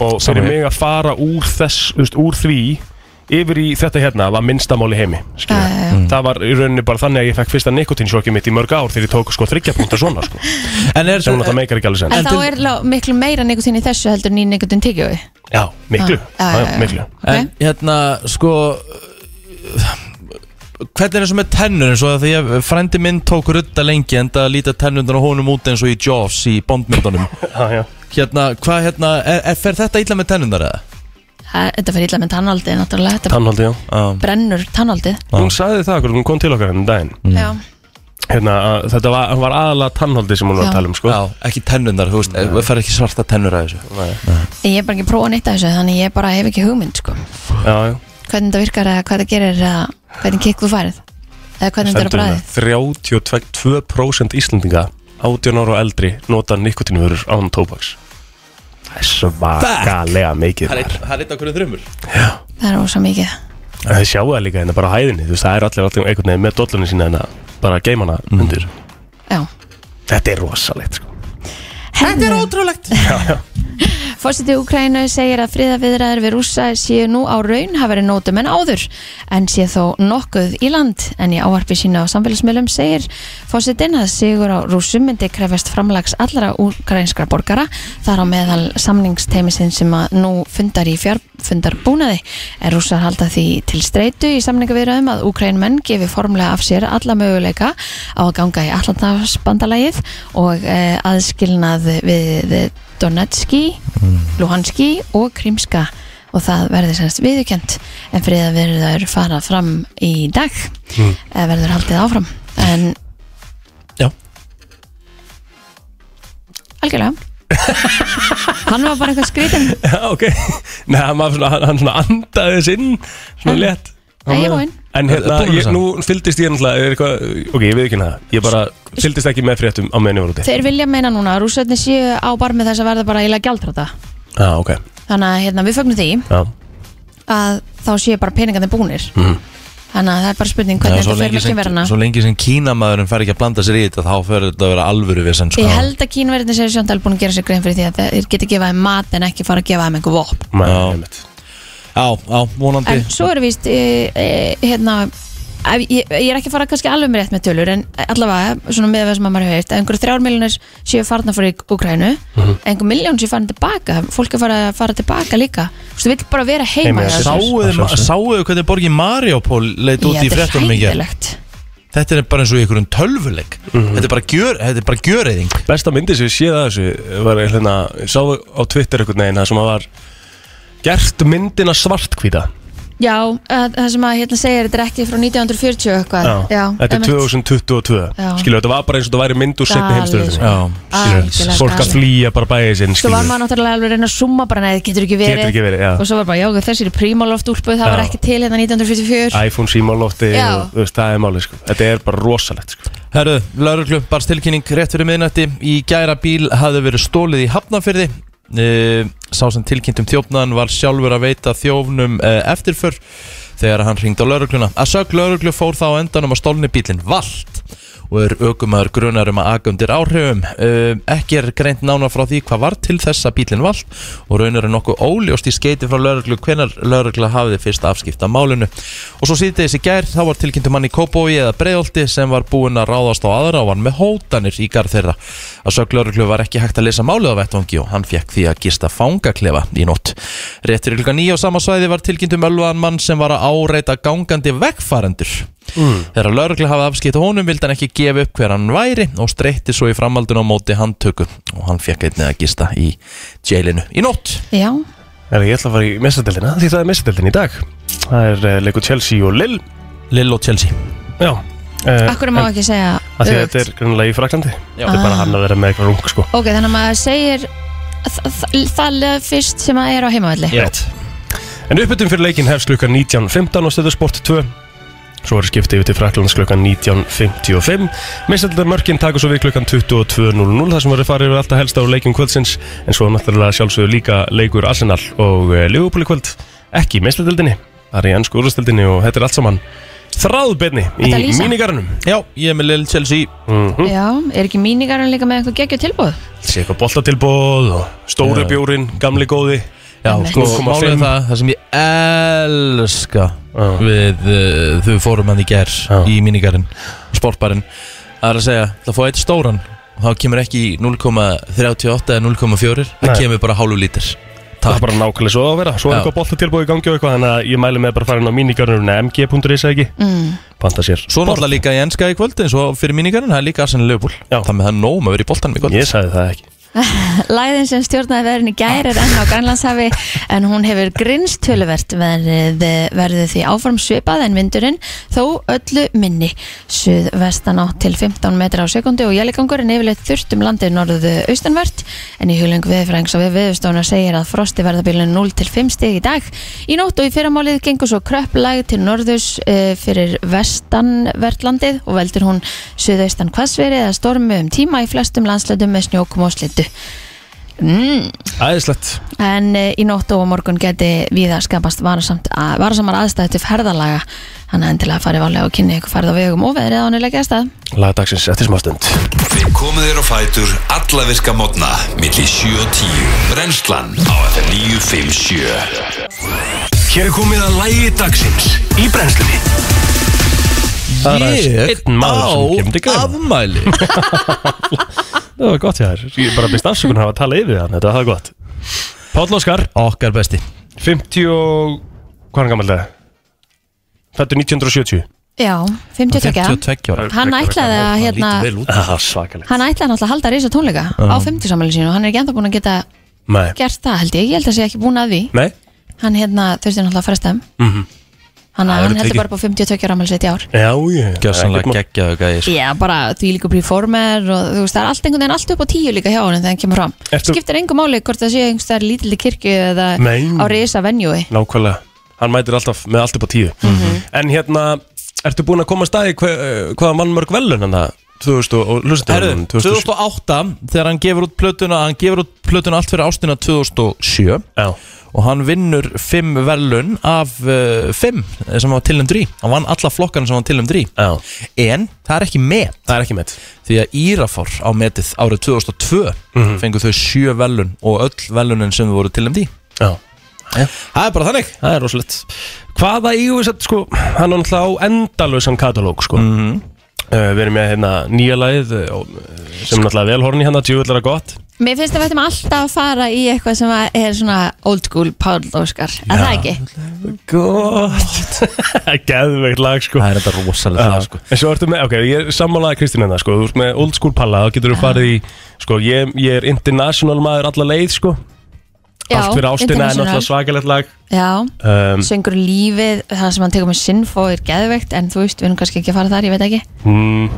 og Sama fyrir hér. mig að fara úr, þess, þú veist, úr því yfir í þetta hérna var minnstamáli heimi skilur Já, já, við. já. Mm. það var í rauninni bara þannig að ég fekk fyrsta nikotínsjókið mitt í mörg ár þegar ég tók sko þryggja punktar svona sko. En er, sem hún að það meikar ekki alveg sen En, En þá til- er lá- miklu meira nikotín í þessu heldur en í nikotín tyggjói já, miklu, Já, já, já, já, já. miklu. En hérna, sko Hvernig er eins og með tennur eins og því að frændi minn tók rudda lengi en það líta tennundan á honum út eins og í Jaws í bondmyndunum Já, já. Hérna, hvað hérna, er, er, fer þetta illa með tennundar eða? það- þetta fyrir illa með tannaldið náttúrulega, þetta Tannhaldi, já Já. brennur tannaldið Hún sagði það hvernig hún kom til okkar henni daginn Mm. já, Hérna, að þetta var, hún var aðalega tannhaldi sem hún var Já. að tala um, sko Já, ekki tennurnar, þú veist, við fer ekki svarta tennur að þessu ég er bara ekki prófa neitt af þessu þannig ég bara hef ekki hugmynd sko. Já, já hvernig þetta virkar eða hvað það gerir eða hvernig kikk þú færið eða hvernig þetta er að Stendur hérna, bræðið 32% Íslendinga 18 ára og eldri nota nikotinvörur án tóbaks Það er svakalega mikið Það er þar einn- það er eitt af hverju þrjumur það er ósa mikið Það er sjáða líka hérna bara á hæðinni þú veist, Það er allir allir einhvern veginn með dollunni sína hérna bara geimana Mm. undir já. Þetta er rosalegt sko þetta er ótrúlegt Fórseti Úkrænu segir að friðaviðræður við rússa séu nú á raun hafa verið nótum en áður en sé þó nokkuð í land en í ávarpi sína á samfélagsmiðlum segir fórsetin að sigur á rússum myndi krefjast framlags allra úkrænskra borgara þar á meðal samningsteimisinn sem að nú fundar í fjarfundarbúnaði en rússar halda því til streitu í samningaviðræðum að úkrænumenn gefi formlega af sér alla möguleika á að ganga í allandafsbandalagið og eh, aðskilnað við eh, Donetski, Luhanski og Krimska og það verður semst viðurkjönt en friða verður fara fram í dag eða verður haldið áfram en Já. algjörlega hann var bara eitthvað skrítin Já, ok Nei, hann, var svona, hann, hann svona andaði þess inn svona létt Nei, ég er búinn. En hérna, Búinn að ég, segja. nú fylgdist ég náttúrulega er eitthvað- Ok, ég veit ekki hérna Ég bara fylgdist ekki með fréttum á meðinu var úti þeir vilja meina núna að rússveitni séu á bar með þess að verða bara eiginlega gjaldrota Já, Ah, ok þannig að hérna, við fögnum því Já, að þá séu bara peningarnir búnir Mm. þannig að það er bara spurning Já, Mhm. hvernig svo þetta fer lengi, með sem, kynverðina svo lengi sem kínamaðurinn fær ekki að blanda sér í þetta þá fyrir þetta að vera alvöru við sem sko Ég held að kínverðinni séu sjóndal búin að gera sér grein fyrir því að þeir geti gefað þeim mat en ekki fara að gefa þeim einhver vopn. maður, Já. einmitt. Já, já, vonandi En svo er víst, e, e, hérna, ef, ég, ég er ekki að fara kannski alveg með rétt með tölur en allavega, svona með það sem að maður hefur heyrt, að einhverju þrjár miljónir séu farna fyrir Ukrænu, mm Mhm. einhver miljón séu farin tilbaka, fólk er farið að fara tilbaka líka. Þú veist, þú vill bara vera heima. Heima hjá hjá sér. sér. Sáuðu Að sjálfsögðu. sáuðu hvernig borgin Mariupol leit út Já, í þetta er fréttunum ekki hræðilegt. Þetta er bara eins og í einhverjum tölvuleik Mhm. Þetta er bara gjör- þetta er bara gjöreyðing Besta myndi sem ég séð að þessu var hérna, ég sá á Twitter einhvern veginn það sem að var gert myndina svartkvíta Já, að, það sem að hérna segir, þetta er ekki frá 1940 og eitthvað. Þetta er einmitt. 2022 Já. Skilju, þetta var bara eins og þetta væri mynd úr setni Galið, heimstöðinni sko. Já, Algjörlega Fólk að galið. flýja bara bæðið Svo sinn var skilju. maður náttúrulega alveg að reyna að summa bara neðið, getur ekki verið Getur ekki verið, já. Og svo var bara, já, þessi er prímáloft úlpuð, það Já. var ekki til hérna 1944 iPhone síma á lofti Já. og, þú veist, það er máli sko. Þetta er bara rosalegt sko. Herru, lauruglu, barst tilkynning rétt fyrir miðnætti Í gæra bíl hafði verið stólið í Hafnafyrði Eh, Sá sem tilkynnt um þjófnaðan var sjálfur að veita þjófnum eh, eftirför Þegar hann ringd á laurugluna Að sög lauruglu fór þá á endanum að stólni bílinn vald Og er aukumæður grunar um að aga undir áhrifum Eh, Ekki er greint nána frá því hvað var til þess að bílinn vald Og raunar er nokkuð óljóst í skeiti frá lauruglu Hvenar laurugla hafiði fyrst afskipta málinu Og svo síðið þessi gær þá var tilkynntum mann í Kópói eða Breiðolti sem var búinn að ráðast á aðra og var með hótanir í garð þeirra. Að sög lauruglu var ekki hægt að lesa málið á vettvangi og hann fekk því að gista fangaklefa í nótt. Réttir ylga nýja á sama svæði var tilkynntum ölluðan mann sem var að áreita gangandi vegfarendur. Mm. Þegar lauruglu hafði afskipt honum vildi hann ekki gefa upp hver hann væri og streytti svo í framhaldun á móti handtöku og hann fekk einnig að gista í jailinu í nótt. Já, Herra, Ég ætla að fara í mestadeldina því það er mestadeldin í dag Það er uh, leikur Chelsea og Lill Lill og Chelsea. Já Uh, akkur má ekki segja öfugt? Því að Ah. þetta er grunnlega í Fraklandi Já. Þetta er bara hann að vera með eitthvað rung sko. Ok, þannig að maður segir þ- þ- það lög fyrst sem að er á heimavalli Rétt. En uppbyttum fyrir leikin hefst klukkan 19.15 og stöðu sport 2 Svo er skiptið yfir til Fraklands klukkan 19.55 Mestaldar mörkin taka svo við klukkan 22.00 Það sem verður farið yfir alltaf helst á leikum kvöldsins En svo náttúrulega sjálfsögur líka leikur Arsenal og eh, Liverpool í kvöld Ekki í mestaldildinni Það er í ennsku úrstildinni og þetta er allt saman Þráðbyrni í Þetta lýsa. mínigarunum Já, ég er með Lill Chelsea. Mhm. Já, er ekki mínigarinn líka með eitthvað geggjöð tilbúð? Sér eitthvað boltatilbóð og stóri Já. bjórin, gamli góði Já, Einmitt. sko, 0,5. málið er það, það sem ég elska Já. við uh, þau fórum hann í ger Já. í mínigarinn, sportbarinn það er að segja, það fá eitt stóran og þá kemur ekki í 0,38 eða 0,4, það Nei. kemur bara hálfu lítir Það er Takk, bara nákvæmlega svo á að vera Svo er Já. eitthvað boltatilbúið í gangi og eitthvað Þannig að ég mæli með bara að fara inn á minigarnurinn mg.is eða ekki Mm. Panta sér svo náttúrulega líka í enska í kvöld eins og fyrir mínigarinn, það er líka Arsenal Leopold Já. þannig að það er nóg um að vera í boltanum í kvöld Ég sagði það ekki Læðin sem stjórnaði verðin í gær er enn á Grænlandshafi en hún hefur grinst töluvert verðið verður því áfram svipað en vindurinn þó öllu minni suðvestan átt til 15 metra á sekundu og jæligangur en yfirleitt þurft um landið norðu austanvert en í hulung viðfrængs og við viðstofuna segir að frosti verða bílun 0 til 5 stig í dag í nótt og í fyrramálið gengur svo kröpplæg til norðus eh, fyrir vestanvertlandið og veldur hún suðaustan hvassveri eða stormi um tíma í flestum landslöndum með snjókum og slitu mm. Æðislegt en eh, í nótt og á morgun geti viða skapast varasamt, að, varasamar aðstæði til ferðalaga þannig að endilega farið varlega og kynni ykkur ferð á vegum og veðrið á nýlega stað Lagdagsins eftir smá stund Við komum þér á fætur alla virka mótna milli 7 og 10 Brennslan á FM 957 Hér er komið að lægi dagsins í brennslunni Það er aðeins Ég einn maður sem kemur til á greina. afmæli Það var gott hjá þér Ég bara byrst afsökun að hafa að tala yfir þann Þetta var það gott Páll Óskar Okkar besti 50 og... Hvað er hann gammal það? Fættu 1970 Já, 52 ára. 52 ára Hann ætlaði að hérna Lítið vel út Það er svakalegt Hann ætlaði náttúrulega að halda reysa tónleika á 50 samhæli sínu og hann er ekki enda búin að geta Nei gert það held ég, ég held að sé ekki búin að því Nei hann hérna þurfti náttúrulega að fresta þeim mm Mhm. -hmm. hann, Það eru hann heldur tekið. bara upp á 52 ára afmæli sitt í ár Já, ég Gjössanlega geggjaðu gæði sko. Já, bara því líka performer og þú veist, það er allt einhvern veginn allt upp á tíu líka hjá hann þegar hann kemur fram Ertu- skiptir engu máli hvort það sé einhvers þar lítilli kirkju eða Nei. á reysa venjúi Nákvæmlega Hann mætir alltaf með allt upp á tíu En hérna Ertu búin að koma að staði hve, eh, hvaða mann mörg velun hann það? 2000 og, og lustum Herðu, 2008 þegar hann gefur út plötuna hann gefur út plötuna allt fyrir ástina 2007 Já og hann vinnur 5 verðlun af 5 sem hann var tilnæmdur í hann vann alla flokkana sem hann var tilnæmdur í Já en það er ekki met Það er ekki með því að Írafár á metið árið 2002 Mhm. fengu þau 7 verðlun og öll verðlunin sem þau voru tilnæmd í Já það er bara þannig Það er rosalegt Hvaða ígúfisett sko Hann er náttúrulega á endalösan katalóg sko mm -hmm. Við erum með hérna nýja lagið eh, og, eh, Sem er náttúrulega velhorni hérna Djúvillara gott Mér finnst að við ættum alltaf að fara í eitthvað sem að er svona old school Páll Óskar, er það ekki? Gott Geðveikt lag sko það er þetta rosalega Já, það sko En svo ertu með, ok, ég er sammálaði Kristín hérna, sko, þú ert með old school palla þá getur þú farið í, sko, ég, ég er international maður alla leið, sko allt fyrir ástina en alltaf international. svakalegt lag Já, um, söngur lífið, það sem hann tekur með sinnfó er geðveikt en þú veist, við erum kannski ekki að fara þar, ég veit ekki mm,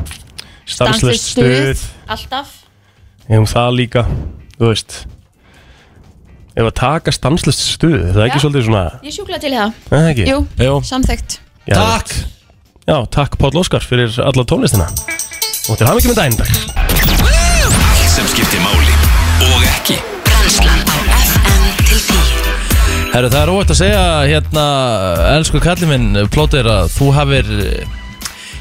Stanslust Stanslaust stuð alltaf Ég um það líka, þú veist Ef að taka stanslust stuð, það er ekki Já. svolítið svona Ég sjúkla til í það, Nei, það ekki? jú, Jú. samþygt Já, takk Já, takk Páll Óskar fyrir alla tónlistina Og til hafa ekki með daginn dag Allt sem skiptir máli og ekki Brennslan á FM til 10 Herru, það er óvægt að segja hérna, elsku kalli minn, plótir að þú hafir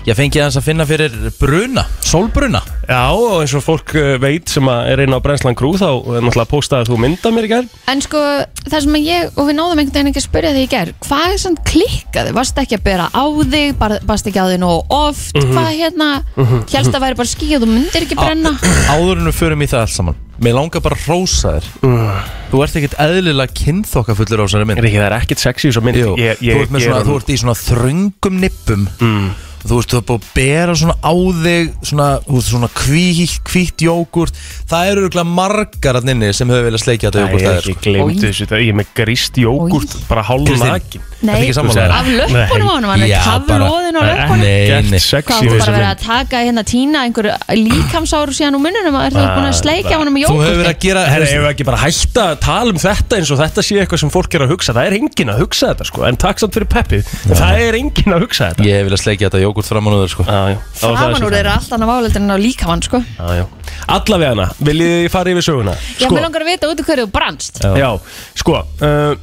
ég fengið hans að finna fyrir bruna, sólbruna Já, og eins og fólk eh, veit sem að er einn á Brennslan Crew þá er náttúrulega postaði þú mynda mér í gær En sko, það sem að ég, og við náðum einhvern veginn ekki að spyrja þig í gerð, hvað er sann klikkaði? Varst ekki að bera á þig, bara- varst ekki á þig nógu oft, Mhm. hvað hérna, mm hélst að væri bara skí og þú myndir ekki brenna? Ah, áður en við förum í það allt saman Mér langar bara að rósa þér Þú ert ekkert eðlilega kynþokkafullur á þessari Mhm. mynd Er ekki, það er ekkert sexy í svo mynd Jú, ég, þú, ég, ert með ég, svona, þú er- ert í svona þröngum nippum mm. Þú ert þú ert búið að bera svona á þig Svona, þú veist, svona hvítt hvít jógurt Það eru örugglega margar hann inni sem hefur viljað sleikja þetta Æ, jógurt sko. ég er ekki glemt Oj. þessu þetta Ég er með grist jógurt, bara hálf Kristín. nakin er Nei, ekki sammála. af löppunum á honum, hann er Já, bara- kaflóðin á löppunum. Nei, nei Ekkert sexy Hvað í þú bara þessu verið að mynd taka hérna tína einhverju líkamsáru síðan úr mununum og er það búin að sleikja honum með Þú hefur verið jógurti? að gera Herra, ef við ekki bara hætta að tala um þetta eins og þetta sé eitthvað sem fólk er að hugsa Það er engin að hugsa þetta sko, en takk samt fyrir peppið Það er engin að hugsa þetta Ég hef viljað sleikja þetta jógurt framan úr þér sko Já, já, það var það sem Framan úr það- þeirra allt annað váleldur en á líkamann, sko. Já, já. Allavega hana, viljið þið fara yfir söguna? Sko, Já, mér langar að vita út í hverju þú brannst. Já, sko uh,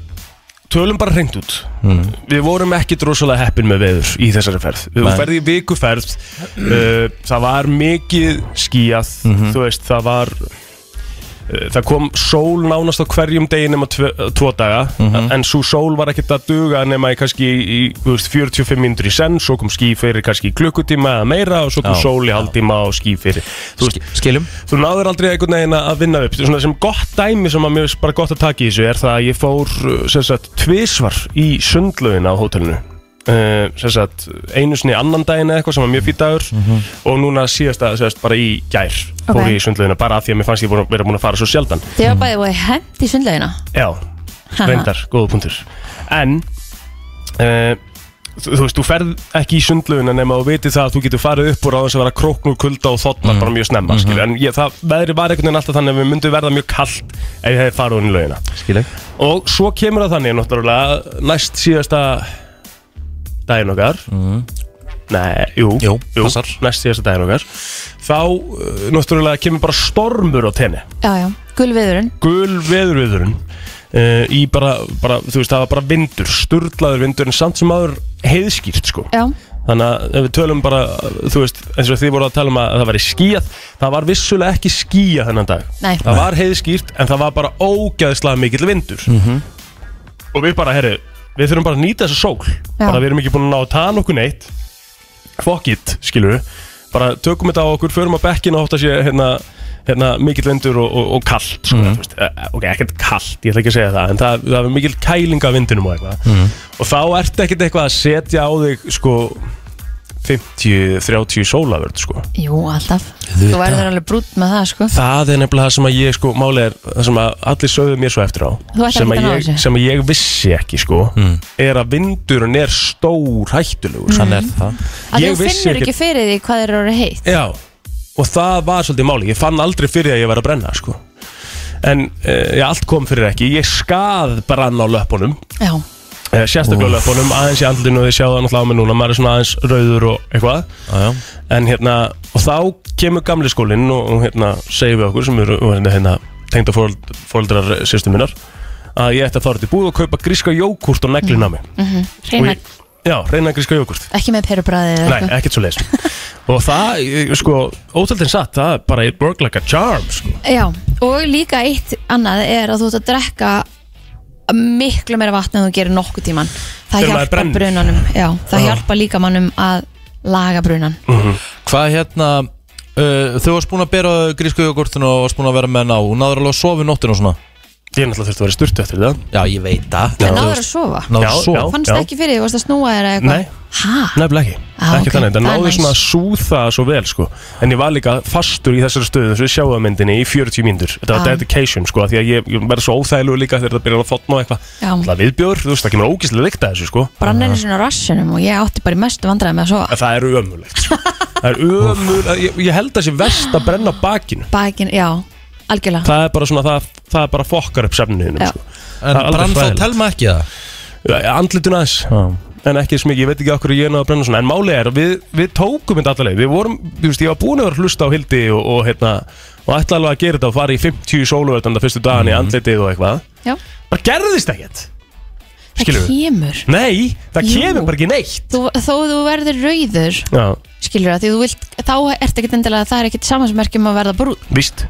Tölum bara hreint út Við vorum ekkit rosalega heppin með veður í þessari ferð Við Nei. ferði í vikuferð uh, Það var mikið skíjað Þú veist, það var uh, Það kom sól nánast á hverjum degi nema tve, eh, tvo daga En svo sól var ekkit að duga nema í kannski í, þú veist, 45 minnur í senn Svo kom skí fyrir kannski í klukkutíma eða meira Og svo kom Já, sól í haldtíma og skí fyrir Þú veist, Skiljum þú náður aldrei einhvern veginn að vinna upp svona sem gott dæmi sem að mér finnst eh, bara gott að taka í þessu er það að ég fór uh, sem sagt tvisvar í sundlaugin á hótelinu uh, sem sagt, einu sinni annan daginn eða eitthvað sem var mjög fýtt dagur og núna síðasta, sem sagt, bara í gær Ok. fór ég í sundlaugina bara af því að mér fannst ég búin, vera búin að fara svo sjaldan Þið var bæðið og hend í sundlaugina Já, Ha. reyndar, góða punktur En uh, þú, þú veist, þú ferð ekki í sundlaugina nema þú veitir það að þú getur farið upp úr á þess að vera króknur kulda og þotnar bara mjög snemma Mhm. mm En ég, það veðri var einhvern veginn alltaf þannig að við myndum verða mjög kallt ef ég hefði farið hún í laugina Skileg Og svo kemur það þannig náttúrulega næst síðasta daginn okkar Nei, jú, Mm. Jú, passar. næst síðasta daginn okkar Þá uh, náttúrulega kemur bara stormur á tenni Já, já, gulviðurinn gul veðurviðurinn uh, í bara, bara, þú veist, það var bara vindur sturlaður vindur en samt sem aður heiðskýrt, sko Já, þannig að ef við tölum bara, þú veist eins og þið voru að tala um að það væri skíjað það var vissulega ekki skíjað þennan dag Nei. það var heiðskýrt en það var bara ógæðslega mikill vindur -hmm. og við bara, herru við þurfum bara að nýta þessa sól Já. bara við erum ekki búin að ná að taða nokkuð neitt fuck it, skilur við bara tökum þetta á okkur, förum á bekkin og ótt að sé hérna, hérna mikill vindur og, og, og kallt sko, mm. veist, eh, ok, ekkert kallt, ég ætla ekki að segja það en það, það er mikill kæling af vindunum og eitthvað Mhm. Mhm. og þá ertu ekkert eitthvað að setja á þig sko 50-30 sólavörð sko. jú, alltaf Þú verður alveg brútt með það, sko það er nefnilega það sem að ég sko máli er það sem að allir sögðu mér svo eftir á Þú ætlar sem ekki að að, ná ég, þessu. sem að ég vissi ekki sko er að vindurinn er stór hættulegur Mm. Hann er það Að Ég þú vissi finnur ekkert- ekki fyrir því hvað þeir eru heitt Já, og það var svolítið máli Ég fann aldrei fyrir því að ég var að brenna sko. En uh, já, allt kom fyrir ekki Ég skað brann á löpunum Já, uh, Sérstaklega á löpunum, aðeins í andlinu Þið sjáðu hann alltaf á mig núna, maður er svona aðeins rauður og eitthvað Já, já En hérna, og þá kemur gamli skólinn og, og hérna, segir við okkur sem eru og hérna, hérna tengda fóreldrar sýstu minnar að ég ætti að fara til búð og kaupa gríska jókúrt og neglin á mig Og reyna ég- Já, reyna gríska jókúrt Mhm. ekki með perubræðið eða Nei, eitthvað ekkert svo leis Og það, ég- sko, ótaldin satt Það er bara it work like a charm sko. Já, og líka eitt annað er að þú ert að drekka miklu meira vatn en þú gerir nokkuð tíman Það Þegar maður hjálpar brennur. brunanum Já, það Já. hjálpar líka mannum að laga brunan Hvað hérna uh, Þau varst búin að bera grísku jogurtinu og varst búin að vera með ná og náður alveg að sofa í nóttinu og svona Ég náttúrulega þurfti að vera í sturtu eftir það Já, ég veit það En náður að sofa Náður Já, að sofa já. Fannst það ekki fyrir því, varst að snúa þér eða Nei. eitthvað? Hæ? Nefnilega ekki, Ah, ekki ok. þannig, það Það er náði nice. svona að súða svo vel sko En ég var líka fastur í þessari stöðu þess að við sjáum myndinni í 40 mínútur Þetta var Ah. dedication sko, af því að ég, ég verði svo óþægilegu líka þegar það byrjar að fotna og eitthvað Já. Það viðbjör, þú veist, það kemur ógíslega líkt að þessu sko Brann einu sinni á rassinum og ég átti bara í mestu vandræði með að sofa En það er ömulegt sko Það er ömulegt, ég, ég held að það sé verst að brenna á bakinu Bakin, já, algjörlega Það er bara svona, það, það er bara fokkar upp sefninuðinum Já. sko En Það er alveg brann þá hræðilegt. telma ekki það andlitun aðeins en ekki eins mikið, ég veit ekki okkur ég er náða að brenna svona en málið er, að við, við tókum þetta allaveg við vorum, þú veist, ég var búin að vera að hlusta á Hildi og, og hérna, og ætla alveg að gera þetta og fara í 50 sóluverðan það fyrstu dagan Mhm. í andlitið og eitthvað Já. bara gerðist ekkert Það skilur við, kemur nei, það Jú. kemur bara ekki neitt þú, Þó þú verður rauður já, skilur það, því þú vilt, þá ert ekkert endilega það er ekkert samansmerkjum að verða brún víst,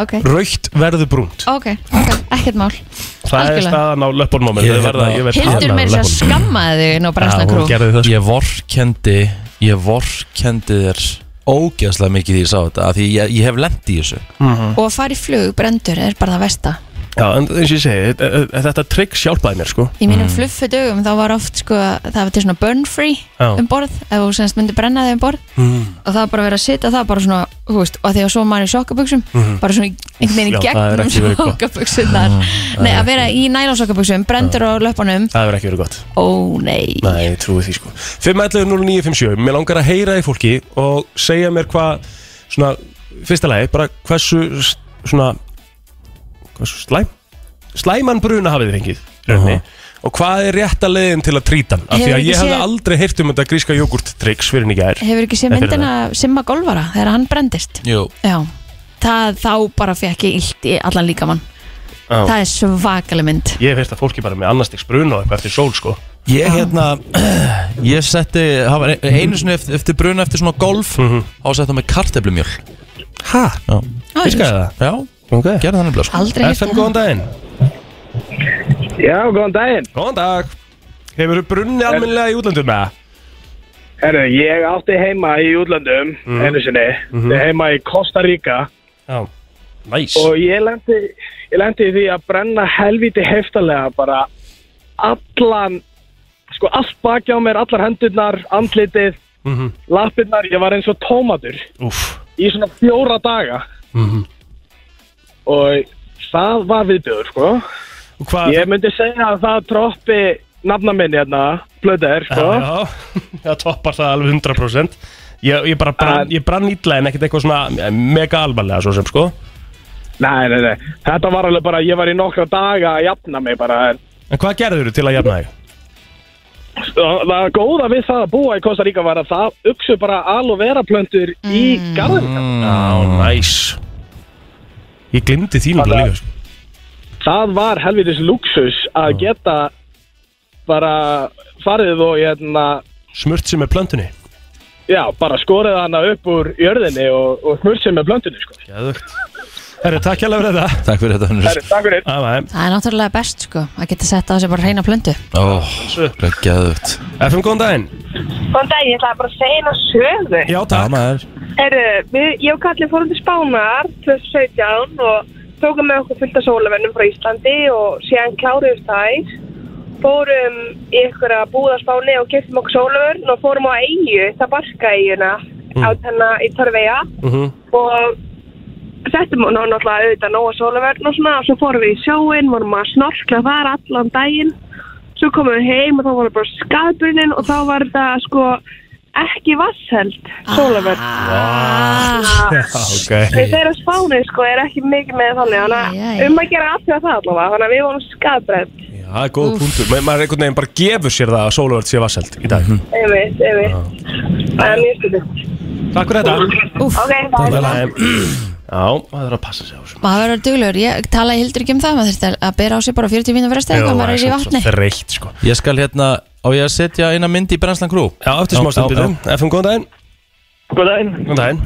Ok, raukt verður brúnt ok, ok, ekkert mál það er algjörlega. staðan á löppunum á mér Ég Þau hérna- verða- ég verð Hildur talað mér um sér að löppunum. skammaði þig inn á Já, Bræsna hún Krú gerði það, sko. Ég vorkendi Ég vorkendi þér ógeðslega mikið því ég sá þetta af Því ég, ég hef lent í þessu og að fara í flug brendur er bara það versta Já, en eins og ég segi, þetta- þetta trygg sjálpaði mér sko í mínum mm. fluffu dögum þá var oft sko það var til svona burn free Já. um borð ef þú semst myndi brenna þig um borð mm. og það var bara verið að sitja það bara svona þú veist, og því að svo maður í sokkabuxum bara svona í- einhvern veginn Mhm. Já, í það er ekki verið gegnum gott. Mm, sokkabuxunar nei að vera í nælonsokkabuxum brendur á löpunum það verður ekki verið gott ó nei Nei, ég trúi því sko 511-0957, mér langar að heyra í fólki og segja mér hvað svona, fyrsta lagi, bara hversu s- svona hversu slæm slæman bruna hafið þið fengið uh og hvað er rétta leiðin til að trýta hann af því Hefur að ekki ég hafði séð- aldrei heyrt um þetta gríska jógurttryggs fyrir en í gær hefur ekki séð Nei, fyrir myndina af Simma Golvara þegar hann brendist Jú já það, þá bara fekk ég illt í allan líkamann Já. það er svakaleg mynd Ég hef heyrt að fólki bara með annarstiks bruna og eitthvað eftir sól sko Ég hérna Ég setti það var ein- Einu sinni eftir, eftir bruna eftir svona golf Mhm. Á að setja með karteflumjöl Hæ? Já, Á, Fiskaði það? já Ok gerði það nefnilega sko. aldrei heyrt FM, um góðan daginn Já, góðan daginn. Góðan dag Hefur brunni almennilega í útlöndum með það? Herru, ég átti heima í útlandum, Mhm. einu sinni, heima í Costa Rica Já Næs og ég lendi, ég lendi í því að brenna helviti heftalega bara allan sko allt baki á mér, allar hendurnar, andlitið, mm -hmm. lappirnar, ég var eins og tómatur Úf, í svona fjóra daga Mhm. og það var viðbjöður, sko. og hvað Ég myndi segja að það troppi nafna minni hérna, blöðar, Já, sko. já, það toppar það alveg 100% Ég, ég bara brann, En- ég brann ítla en ekkert eitthvað svona mega alvarlega svo sem sko Nei, nei, nei, þetta var alveg bara, ég var í nokkra daga að jafna mig bara, en En hvað gerður þú til að jafna þig? það Sko, það góða við það að búa í Costa Rica var að það uksu bara aloe vera plöntur í Mm. garðinu. Já, næs Ég glimti þínu Þannig bara að- líka sko. það var helvitis luxus að geta bara farið og hérna, Smurt sem er plöntunni já, bara skorið hana upp úr jörðinni og, og smursin með blöndinu, sko. Geðvögt Herri, takk hérlega fyrir þetta Takk fyrir þetta, Hannur Herri, takk fyrir. Á, nei. Það er náttúrulega best sko að geta sett á þessu bara hreina plöndu Ó, geggjaðugt FM, góðan daginn Góðan dag, ég ætlaði bara að segja eina sögu. Já, Já, takk maður Heru, við, ég og Kalli fórum til Spánar 2017 og tókum með okkur fullt af sólavennum frá Íslandi og síðan kláruðum þær. Fórum í ykkur að búða á Spáni og keftum okkur sólavenn og fórum á Eyju, það barka Eyjuna, á þennan í Torveja mm og settum hún náttúrulega auðvitað nóga sólaverðn og svona og svo fórum við í sjóin, vorum að snorkla þar allan daginn svo komum við heim og þá voru bara skadbrunnin og þá var þetta sko ekki vassheld sólaverðn Ah. Ok Þeir á spáni sko er ekki mikið með þannig þannig Æ, æ, æ. að um að gera aðtöða það allavega þannig að við vorum skadbrend Já, góð punktur Ma, Maður einhvern veginn bara gefur sér það að sóluverð sé vasselt í dag Mhm. einmitt, einmitt en ég stuði Takk fyrir þetta Úf, Ok, Takk bye fyrir þetta Já, maður er að passa sig á þessu maður verður duglegur Ég tala í hildur ekki um það, maður þurfti að- að bera á sig bara 40 mínum fyrir að Já, stega það maður er í samt vatni svo Þreytt sko Ég skal hérna, á ég að setja eina mynd í Brenslan Crew Já, eftir smá stund Já, byrju FM, góðan daginn Góð daginn. Góðan daginn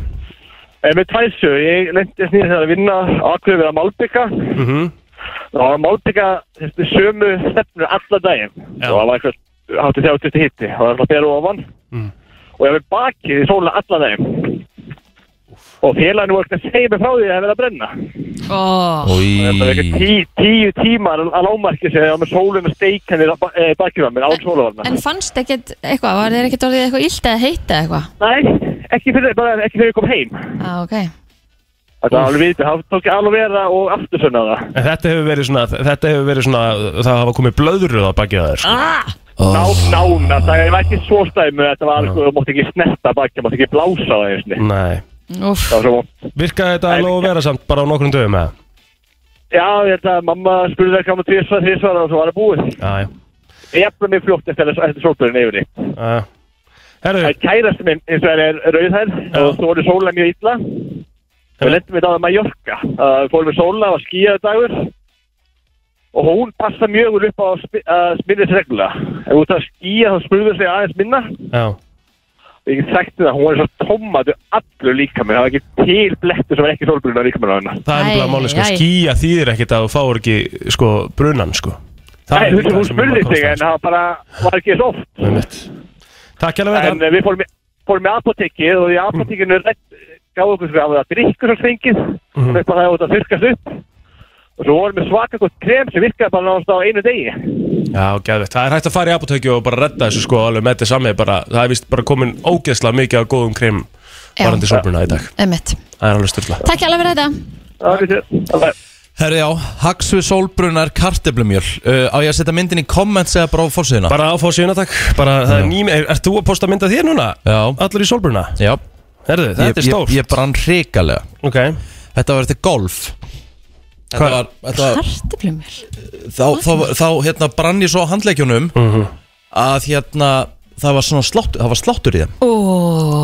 Ég með tvæsu, ég lendi snýðið þegar að vinna aðkveðu við að Malbygga mm -hmm. og Malbygga þessi sömu stefnur alla daginn Já. og það var eitthvað hátti þjá til hitti og það var alltaf fyrir ofan Mm. og ég með bakið í sóluna alla daginn og félaginu voru ekki að segja mig frá því að það hefði verið að brenna Ó, það var eitthvað Í tí, tíu tímar að lámarki sig að með sólun og steikan við bakið á mér án sólavarna En fannst ekkert eitthvað, var þeir ekkert orðið eitthvað illt eða heitt eða eitthvað? Nei, ekki fyrir, bara ekki fyrir ég kom heim Ah, ok. Þetta var alveg vitið, það tók ég alveg vera og aftur svona það En þetta hefur verið svona Þetta hefur verið svona Það hafa komið blöðruð á bakið þær sko. Ná, nána, það var ekki svo stæmi Þetta var alveg, þú mátt ekki snerta bakið, mátt ekki blása það einu sinni. Nei Úf, Það var svo vont. Virkaði þetta alveg að vera samt bara á nokkrum dögum eða? Já, ég held að mamma spurði það kama tvisvar, þrisvar og svo var það búið Já, já Ég jafna mig fljótt eftir þessu sólbjörn yfir því Já. Herru En kærast minn eins og hann er rauðhær og þú voru sóla mjög illa Við lendum við það að Mallorca Það fórum við sóla, það var skíðaður dagur og hún passa mjög vel upp á að spi- að spinna sér reglulega Ef þú ert að skíja þá spurður sig aðeins minna Já Ég get sagt þér það, hún var eins og tómatu allur líka með, það var ekki til blettur sem var ekki sólbrunna líka með hennar. Það er Æ, nefnilega máli sko æ. Skýja þýðir ekkit að þú fáir ekki sko brunan sko Nei, er þú veist, hún líka sem maður spurði sig kostar, en það bara var ekki eins oft. sko. Einmitt. Takk hérlega fyrir En þetta eh, við fórum í, fórum í apotekið og í apotekinu mm. gáði okkur sko að það drikkur sem fengið, Mhm. mm. upp að það átt að þurrkast upp. Og svo vorum við svaka gott krem sem virkaði bara náttúrulega á einu degi. Já, gæðvegt Það er hægt að fara í apotekju og bara redda þessu sko alveg með þetta sami bara, Það er vist bara komin ógeðslega mikið af góðum krim Já. varandi sólbruna í dag einmitt. Það er alveg styrla Takk alveg fyrir þetta. Það er þetta. Herri já, haks við sólbrunnar karteblumjöl uh, Á ég að setja myndin í comments eða bara á fórsíðuna Bara áfá síðan takk Bara það er ným er, Ert þú að posta mynda þér núna? Já, Allir í sólbruna? já Herðu, þetta Ég- er stórt Ég, ég brann hrikalega Ok Þetta var eftir golf Þetta Hvað? var, þetta var Kartiblumur. þá, þá, þá hérna brann ég svo á handleikjunum Mhm. Að hérna Það var svona sláttur, það var sláttur í þeim Ó,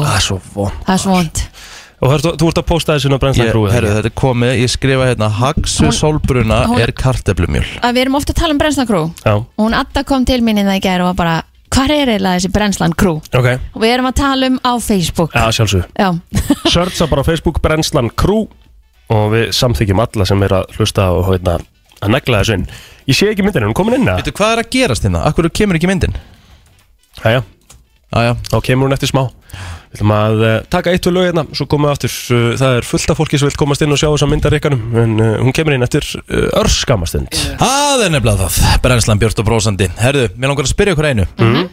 Það er svo von það er svo vond. Og herðu, þú ert að posta þessu á ég, brennslan grúið herri, Þetta er komið, ég skrifa hérna Haksu Hún- sólbruna hún- er karteblumjöl Að við erum ofta að tala um brennslan krú. Já Og hún Adda kom til mín innan í gær og var bara, hvar er eiginlega þessi brennslan krú? Ok Og við erum að tala um á Facebook. Já, sjálfsög Já. Sörtsa bara á Facebook brennslan grú Og við samþykjum alla sem er að hlusta og hérna að negla þessu inn Ég sé ekki myndinu, hún er komin inn að Veitu, hvað er að gerast hérna? Akkur kemur ekki myndin? Jæja, Æja, þá kemur hún eftir smá Við ætlum að eh, taka eitt og lög hérna, svo komum við aftur. Eh, Það er fullt af fólki sem vil komast inn og sjá þess að mynda rikkanum, en eh, hún kemur inn eftir eh, örskamastund. Það er nefnilega það, brennslan Björn og brósandi Herðu, mér langar að spyrja ykkur einu Mhm.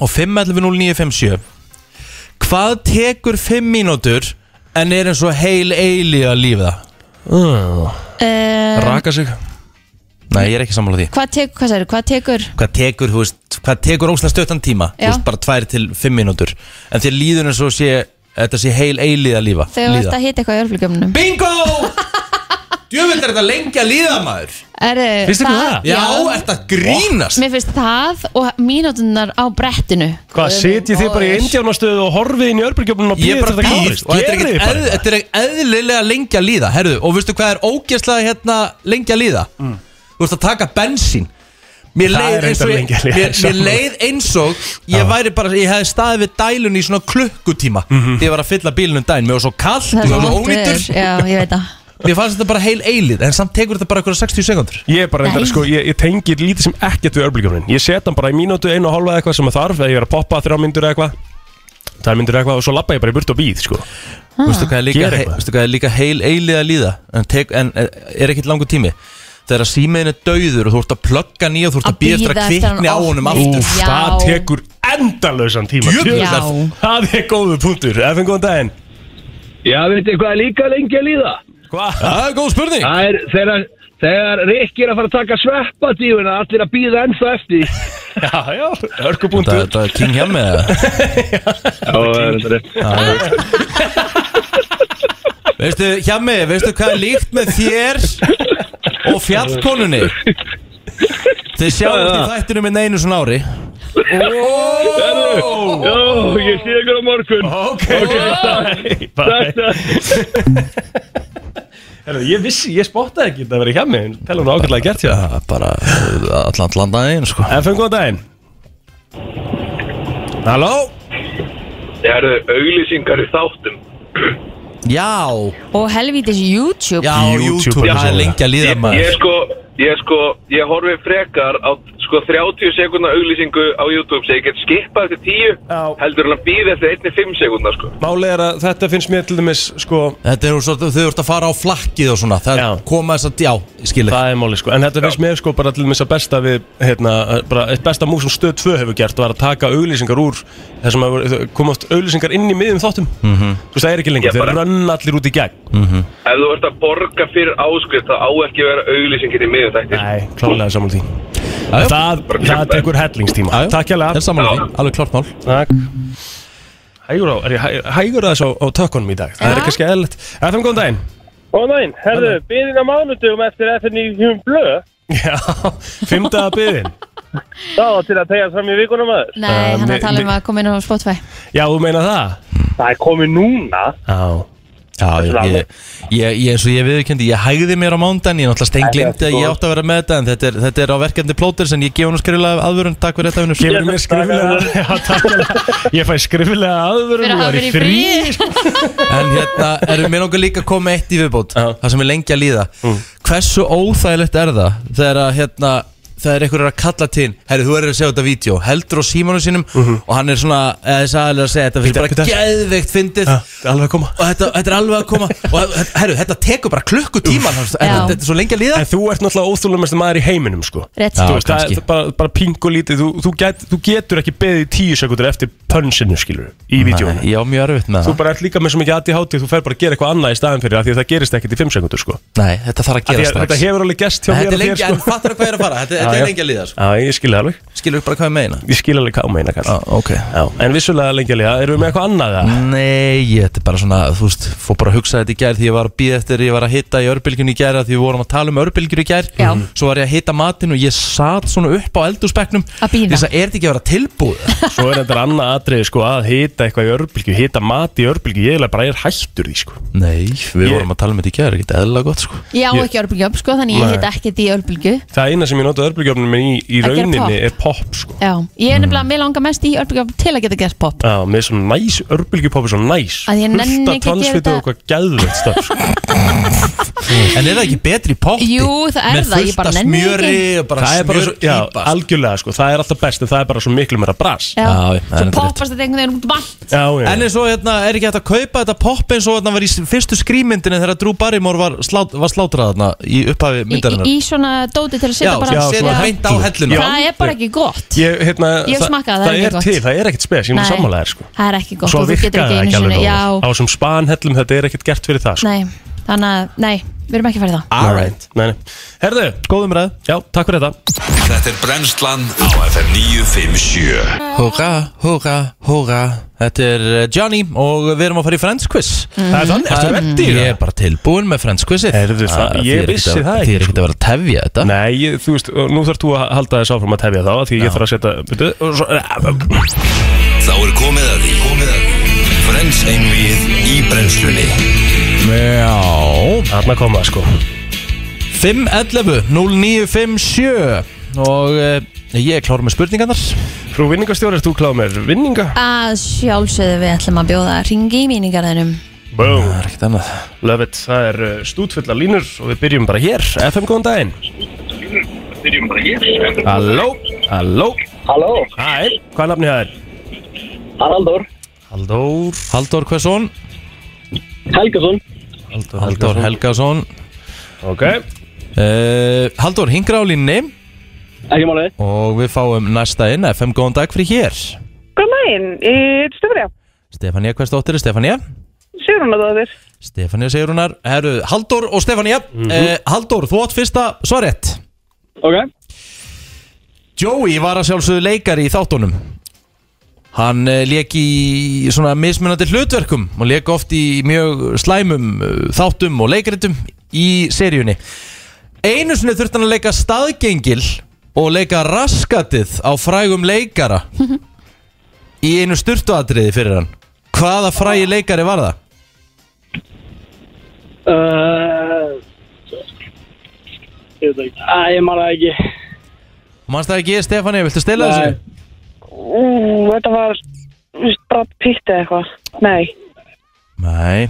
Og 5.11.09.57 Hvað tekur 5 mínútur En er eins og heil eili að lífa Uh, uh, raka sig. Nei, ég er ekki sammála því Hvað tekur, hvað sér, hvað tekur Hvað tekur, þú veist, hvað tekur óslega stöttan tíma Þú Já. veist, bara 2 til 5 mínútur En þér líður eins og sé Þetta sé heil eili að lífa þegar þú líða. ert að hita eitthvað í örflugjöfnum Bingo! Djöfum þetta lengja líða maður Finnst ykkur það? Já, ert að grínast Mér finnst það og mínútunar á brettinu Hvað, setjið þið bara í indjánastöðu og horfið inn í örbyrgjöfnum og Ég er býðið bara þetta býð gerist? og þetta er ekkert eð- bara. þetta er ekkert eðlilega lengi að líða Herðu, og veistu hvað er ógeðslega hérna lengi að líða? Þú veist að taka bensín Mér Mm. Það leið, er eins og, reyndar ég, lengi að líða, mér, mér sammála. leið eins og ég væri bara, ég hefði staðið við dælun í svona klukkutíma Mhm. Þegar ég var að fylla bílunum dæn, mér var svo kallt, Það er ég var svo svo vont ónýtur veður. Já, ég veit það Mér fannst þetta bara heil eilið, en samt tekur þetta bara eitthvað 60 sekundur Ég er bara reyndar, Nei. sko, ég, ég tengir lítið sem ekkert við örbylgjófnin Ég set hann bara í mínútu, einu og hálfa eða eitthvað sem að þarf Eða ég er að poppa þrjá myndur eða eitthvað Þrjá myndur eða eitthvað og svo lappa ég bara í burt og býð, sko Ah. Veistu hvað er líka, Gera hei, eitthvað. veistu hvað er líka heil eilið að líða en, tek, en eh, er ekkit langur tími Þegar að símiðin er dauður og þú ert að plugga nýja og þú ert að Að býða eftir að bíða eftir kvikni á hann honum opni. aftur Úf, Já. það tekur endalösan tíma Djöfull Djöfull, Já. það- Það er góðu punktur, efinn góðan daginn Já, veitir hvað er líka lengi að líða? Hvað? Það er góð spurning Það er þegar, þegar Rikki er að fara að taka sveppadífuna allir að býða ennþá eftir því. Já, já, Þetta örkupunktur þetta er King Hjami eða? Já, Veistu, Hjami, veistu hvað er líkt með þér og fjallkonunni? Þið sjáum í þættinum minn einu svona ári ég sé ykkur á morgun. Ok, ok, bye, bye. Herra, Ég vissi, ég spottaði ekki þetta að vera hjá mig en Telur hún ákveðlega gert hjá Það er bara eh, allan landaðin sko FM, góðan daginn Halló? Það eru auglýsingar í þáttum Já, Og helvítis YouTube já, YouTube, YouTube, það er lengi að líða Ég, ég maður sko, ég sko, ég horfi frekar á sko 30 sekundna auglýsingu á YouTube sem ég get skipað eftir 10 Já. heldur en að býða eftir 1-5 sekundna sko. Málið er að þetta finnst mér til dæmis sko Þetta er svo, þau ert að fara á flakkið og svona Það Já. koma þess að, já, ég skil ekki Það er málið sko En þetta finnst mér sko bara til dæmis að besta við hérna, bara eitt besta múl sem Stöð 2 hefur gert var að taka auglýsingar úr þessum að voru- koma oft auglýsingar inn í miðum þáttum Mhm. Þú veist það er ekki lengur, Ég bara- þeir rönn allir út í gegn Mm. Ef þú ert að borga fyrir áskrift þá á ekki að vera auglýsingir í sko. miðum þættir. Nei, klálega saman því já. Það, það tekur hellingstíma Já, já. Takk Það hérlega er samanlega því, alveg klart mál Takk Hægur á, er ég hæ- hægur aðeins á, á tökkunum í dag Það er Já. ekki skæðilegt FM, góðan daginn Góðan daginn, herðu, býðin á mánudum eftir FN95 blöð. Já, fymta byðin Það var til að tegja fram í vikunum aður. Nei, Eh, Eh, Uh, hann er mi- að tala um mi- að koma inn á Spotify Já, þú meina það? Það er komið núna. Já Já, ég, alveg. ég, ég, ég, eins og ég viðurkendi, ég hægði mér á mándan, ég náttúrulega steinglimt að Sko- ég átti að vera með þetta en þetta er, þetta er á verkefni plóters en ég gef hún skriflega aðvörun, takk fyrir þetta sko. vinnur Gefur mér skriflega Já, takk hérlega. Ég fæ skriflega Fyrir að aðvörun ég hafa var verið í frí En hérna, erum mér nokkuð líka að koma með eitt í viðbót, það sem er lengi að líða Mm. Hversu óþægilegt er það þegar að hérna, þegar einhver er að kalla til þín, herri þú er að segja þetta vídeo, heldur á símanu sínum og hann er svona, eða þess aðalega að segja þetta Mhm. Bíddu, fyrir bara bíddu. geðveikt fyndið Já, það er alveg að koma og þetta, þetta er alveg að koma og þetta- herru, þetta tekur bara klukkutíma Já. þetta er svo lengi að líða En þú ert náttúrulega óþúlumestu maður í heiminum sko Rétt Já. Þú veist, það kannski. er bara, bara pingu lítið þú, þú, get, þú getur ekki beðið í tíu sekundur eftir pönsinu skilur í vídjónu Nei, Já, mjög erfitt með Þú það bara ert líka með svo mikið aðti hátið Þú fer bara að gera eitthvað annað í staðan fyrir af Því að það gerist ekkit í fimm sekundur sko Nei, þetta þarf að Af því gera að Þetta strax hefur alveg gest hjá mér Þetta er og þér lengi, en sko fattar hvað ég er að fara Þetta, þetta Já, já. er lengi að líða sko. Já, ég skilja alveg Skilur bara hvað ég meina Ég skilja alveg hvað þú meina kall ah, Ok Já, en vissulega lengi að liða Erum við með eitthvað annað það? Nei, ég, þetta er bara svona, þú veist, fór bara að hugsa þetta í gær Því ég var að býða eftir, ég var að hitta í örbylgjun í gær af Því við vorum að tala um örbylgjur í gær Já. Svo var ég að hitta matinn og ég satt svona upp á eldúspeknum Að bíða. Þess að er þetta ekki að vera tilbúið Svo er þetta annað atriði sko Að hita eitthvað í örbylgju Hita mat í örbylgju Ég er bara ég er hættur því sko Nei, við vorum að tala um þetta í gær, ekki eðla gott sko Ég á Ég- ekki örbulgjöf, sko, þannig ég Nei. heit ekkert í örbulgju Það eina sem ég nota örbylgjöfnum í, í Að gera rauninni er pop sko Já, ég Mm. er nefnilega, mér langar mest í örbulgjöf til að geta gert pop Já, með svona næs, örbylgjupopi svona næs Að ég nenni Fullt af ekki að gera transfitu og þetta. eitthvað geðveikt stöf sko. En er það ekki betri í potti? Jú, það er Með það, ég fullt bara af nenni því smjöri ekki. og bara Það er bara svo, já, smjörpípa, sko. algjörlega sko Það er alltaf best en það er bara svo miklu meira bras Já, já, Svo en þetta er poppast þetta einhvern veginn út um allt Já, já, En eins og hérna, er ekki hægt að kaupa þetta popp eins og hérna var í s- fyrstu skrýmyndinni þegar Drew Barrymore var, slát, var slátrað hérna í upphafi í, myndarinnar í, í svona dóti til að setja bara já, setja svona hreint á hellu. helluna Já. Það er bara ekki gott Ég, hérna, Ég það- smakkaði, það það er er ekki til, gott. það er ekkert spes, ég mun Nei. sammála þér sko Það er ekki gott Svo og þú getur ekki virkaði einu það ekki sinni alveg nógu vel. Á Já, þessum spanhellum þetta er ekkert gert fyrir það sko. nei, þannig að, nei, við erum ekki færið það Alright Nei, nei Herðu, Góðum ræð já, takk fyrir þetta Þetta er Brennslan á FM 957 Húra, húra, húra Þetta er eh, Johnny og við erum að fara í Friends quiz Mm. Það er þannig, ertu reddi í Ég er það? bara tilbúin með Friends quizið Heyrðu, það- ég þýðir vissi ekkert að- það ekki, sko. Þið er ekkert að vera að tefja þetta Nei, ég, þú veist, og nú þarf þú að halda þess áfram að tefja þá af Því ég þarf að setja byrju, og svo- Þá er komið að því Komið að því Brenns einvið í brennslunni Já Þarna koma það, sko 511 0957 og eh, ég er klár með spurningarnar Frú vinningastjóri, ert þú kláð með vinninga? Að sjálfsögðu við ætlum að bjóða ringi í míningarðinum Boom Það er ekkert annað Love it, það er uh, stútfulla línur og við byrjum bara hér FM, góðan daginn Halló, halló Halló, Hæ, hvað er nafnið það er? Haraldur Halldór Halldór Hversson Helgason Halldór, Halldór Helgason Ok, uh, Halldór hingra á línni Ekki málið og við fáum næsta inn FM góðan dag fyrir hér Góð næn, ég stofur ég. Stefania, hvers dóttir er Stefania? Sigur hún að það þér? Stefania Sigrunar, herru, Halldór og Stefania mm Halldór, þú átt fyrsta svarett Ok Joey var að sjálfsögðu leikari í þáttunum Hann uh, leik í svona mismunandi hlutverkum og leik oft í mjög slæmum uh, þáttum og leikritum í seríunni Einu sinni þurfti hann að leika staðgengil og leika raskatið á frægum leikara í einu styrtuatriði fyrir hann Hvaða frægi leikari var það? Uh, Ég veit það ekki Æ, ég málið ekki Manst það ekki, Stefani, viltu stela þessu? Ú, þetta var Brad Pitt eða eitthvað. Nei, Nei,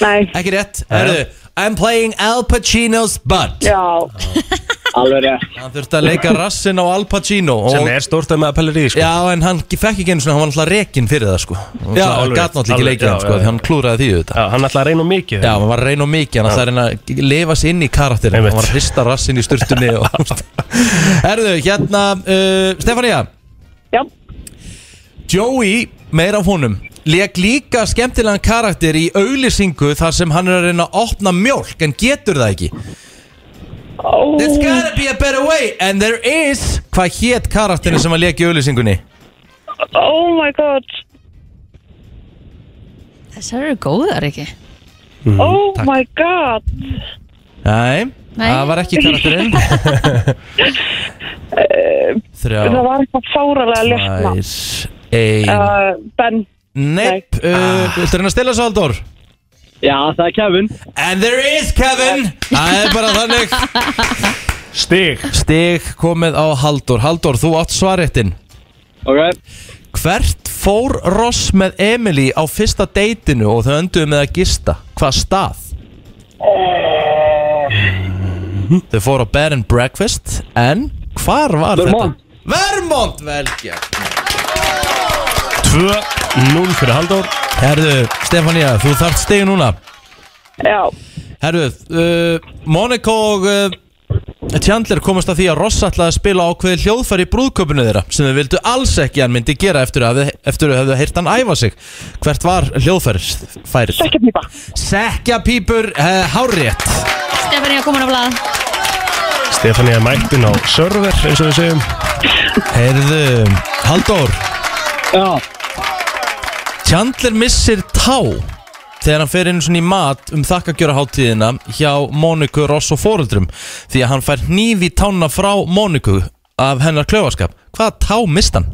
nei, ekki rétt Herru, I'm playing Al Pacino's butt já, Alveg rétt Hann þurfti að leika rassin á Al Pacino og, sem er stórt að með að pellir í sko Já, en hann fekk ekki einu svona, hann var alltaf rekin fyrir það sko Já, alveg hann gat rétt, náttúrulega ekki alveg, leikið hann já, sko, já, því hann klúraði því auðvitað Já, hann ætlaði að reyna of mikið Já, hann var reyn og mikið, hann ætlaði að reyna að lifa sig inn í karakterin Einmitt. Hann var að hrista rassin í sturtunni og Herðu, hérna, uh, Stefania já, Joey, meira af honum Lék líka skemmtilegan karakter í auglýsingu þar sem hann er að reyna að opna mjólk en getur það ekki There's gotta be a better way and there is Hvað hét karakterin sem hann lék í auglýsingunni? oh my god, Þessar eru góðar ekki oh Mm, my god, Mm. Nei, Nei. það var ekki karakterinn Þrjá það var eitthvað fáralega léttna. Tvær Ein Uh, ben, Nepp uh, Viltu reyna að stela svo Haldur? Já, það er Kevin And there is Kevin Það er bara þannig Stig Stig komið á Haldur Haldur, þú átt svarettin Ok Hvert fór Ross með Emily á fyrsta deytinu og þau önduðu með að gista? Hvað stað? Eh. Þau fóru á Bed and Breakfast en hvar var Vermont. þetta? Vermont velja 2-0 fyrir Halldór Herðu, Stefania, þú þarft stig núna já, Herðu, uh, Monika og uh, Chandler komast að því að Ross ætlaði að spila ákveði hljóðfæri í brúðköpunni þeirra sem þau vildu alls ekki að hann myndi gera eftir að þau- eftir að þau hefðu heyrt hann æfa sig Hvert var hljóðfærið? Færið? ekki pípa. Sekkjapípur uh, hárétt Stefania komin á blað Stefán er mættin á server eins og við segjum Heyrðu, Halldór Já Chandler missir tá þegar hann fer inn svona í mat um þakkakjöra hátíðina hjá Móniku, Ross og fóruldrum því að hann fær hníf í tána frá Móniku af hennar klöfaskap Hvaða tá mist hann?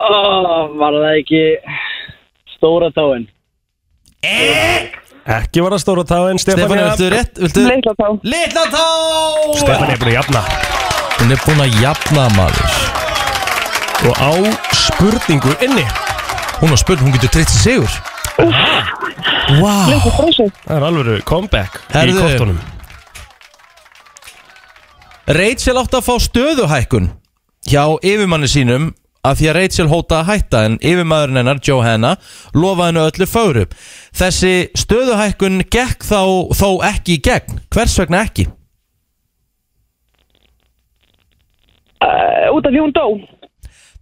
oh, Var það ekki Stóra táin Ekki var að stóra táin, Stefán Stefán, viltu er rétt? Viltu... Leikla þá. Litla tá! Stefán er búin að jafna Hún er búin að jafna maður Og á spurningu inni Hún var spurning, hún getur treytt sig sigur Vá, wow. Það er alveg comeback Herðu. í kortunum Rachel átti að fá stöðuhækkun hjá yfirmanni sínum að því að Rachel hóta að hætta en yfirmaðurinn hennar, Johanna, lofaði hennu öllu fögru. Þessi stöðuhækkun gekk þá, þó ekki í gegn. Hvers vegna ekki? Eh, Uh, út af því hún dó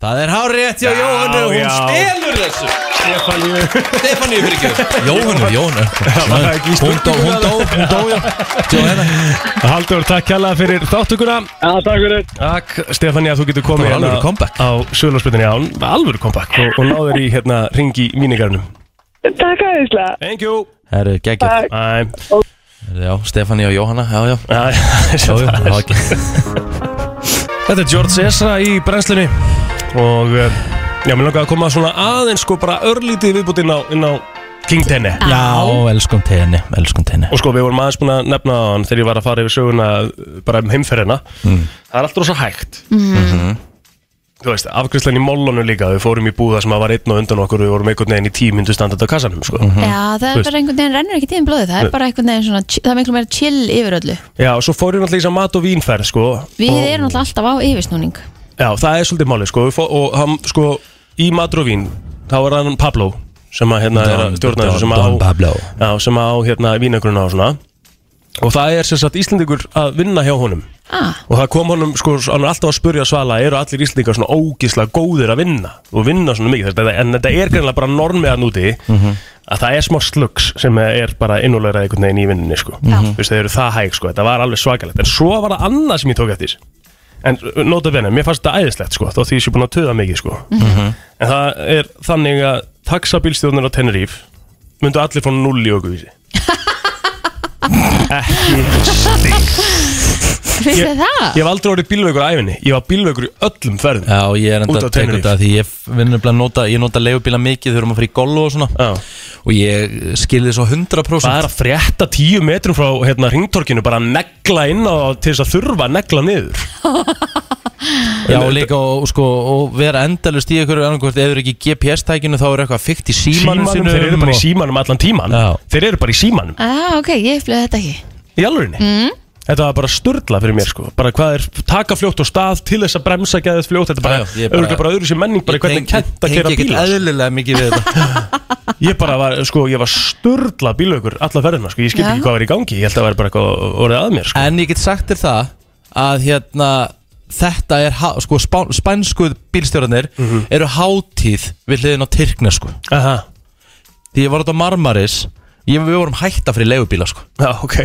Það er hárétt hjá Já, Jóhannu, hún já. stelur þessu Stefáníu Stefaníu fyrir ekki Jóhannu, Jóhannu var það ekki í Hún dó, hún dó, hún dó, hérna. já Johanna Haldur, takk kjalla fyrir þáttuguna Já, takk fyrir. Takk, Stefáníu, þú getur komið hérna Þetta var alvöru comeback. á sögurlóðsbyrðinni á alvöru comeback og, og náður í hérna ring í mínigarnum Takk aðeinslega Thank you Herru, geggjart Æ, Já, Stefaníu og Jóhanna, já, já æ, Já, já, það var ekki Þetta er George Ezra í brennslunni og eh, já, mér langaði að koma svona aðeins sko bara örlítið viðbútt inn á, inn á King Tenni Já, elskum tenni, elskum tenni Og sko við vorum aðeins búin að nefna á hann þegar ég var að fara yfir söguna uh, bara um heimferðina Það er allt rosa hægt Þú veist, afgriðslan í mollonu líka Við fórum í búða sem að var einn og undan okkur Við vorum einhvern veginn í tímyndu standart á kassanum sko. Já, það Þú er veist. bara einhvern veginn, rennur ekki tíðin blóðið, það er bara einhvern veginn svona, það er miklu meira chill yfir öllu. Já, og svo fórum við alltaf í þess að mat og vínferð sko. Við og, erum náttúrulega alltaf á yfirsnúning. Já, það er svolítið málið sko. Við fó- Og hann, sko, í matur og vín Þá var hann Pablo sem að hérna er að stjórna þessu sem að á- Pablo Já, sem á hérna vínagrunna og svona Og það er sem sagt Íslendingur að vinna hjá honum Ah, Og það kom honum, sko, hann er alltaf að spurja Svala Eru allir Íslendingar svona ógislega góðir að vinna Og vinna svona mikið þetta, En þetta er greinlega bara normið að núti Að það er smá slugs sem er bara innúlega einhvern veginn í vinninni, sko Já. Þú veist, þeir eru það hæg, sko, þetta var alveg svakalegt En svo var það annað sem ég tók eftir En nota venni, mér fannst þetta æðislegt, sko Þó því ég sé búin að töða mikið, sko Mm. En það er þannig að taxabílstjórnir á Tenerife Myndu allir fá null í okkurvísi finnst þið það? Ég hef aldrei orðið bílveikur á æfinni Ég var bílveikur í öllum ferðum Já, ég er enda Út á að teka Tenerife. þetta því ég vinnur bara að nota, ég nota leigubíla mikið þegar maður fyrir í golf og svona Já. og ég skilði svo 100% Það er að frétta tíu metrum frá hérna ringtorkinu bara að negla inn á til þess að þurfa að negla niður Já, og líka og, sko, og vera endalust í ykkur annarkvort, ef þú eru ekki í GPS-tækinu þá eru eitthvað fikt í símanum símanum, sínum þeir eru bara í og- símanum allan tíman Já. þeir eru bara í símanum Ah, ok, ég upplöði þetta ekki. Mm? í alvörinni Þetta var bara störla fyrir mér sko Bara hvað er taka fljótt á stað til þess að bremsa geðið fljótt Þetta er bara, Já, já, ég bara- örgulega bara öðru sér menning bara Ég hvernig tengi- kent að tengi kera ekkert bíla sko. eðlilega mikið við þetta Ég bara var, sko, ég var störla bílaugur alla ferðina, sko, ég skil Já. ekki hvað var í gangi Ég held að það var bara eitthvað orðið að mér, sko En ég get sagt þér það að hérna þetta er, há- sko, spá- spænsku bílstjórarnir eru hátíð við hliðin á Tyrkna, sko Mhm. Aha, Því ég var út á Marmaris ég, Við vorum hætta fyrir leigubíla, sko já, ok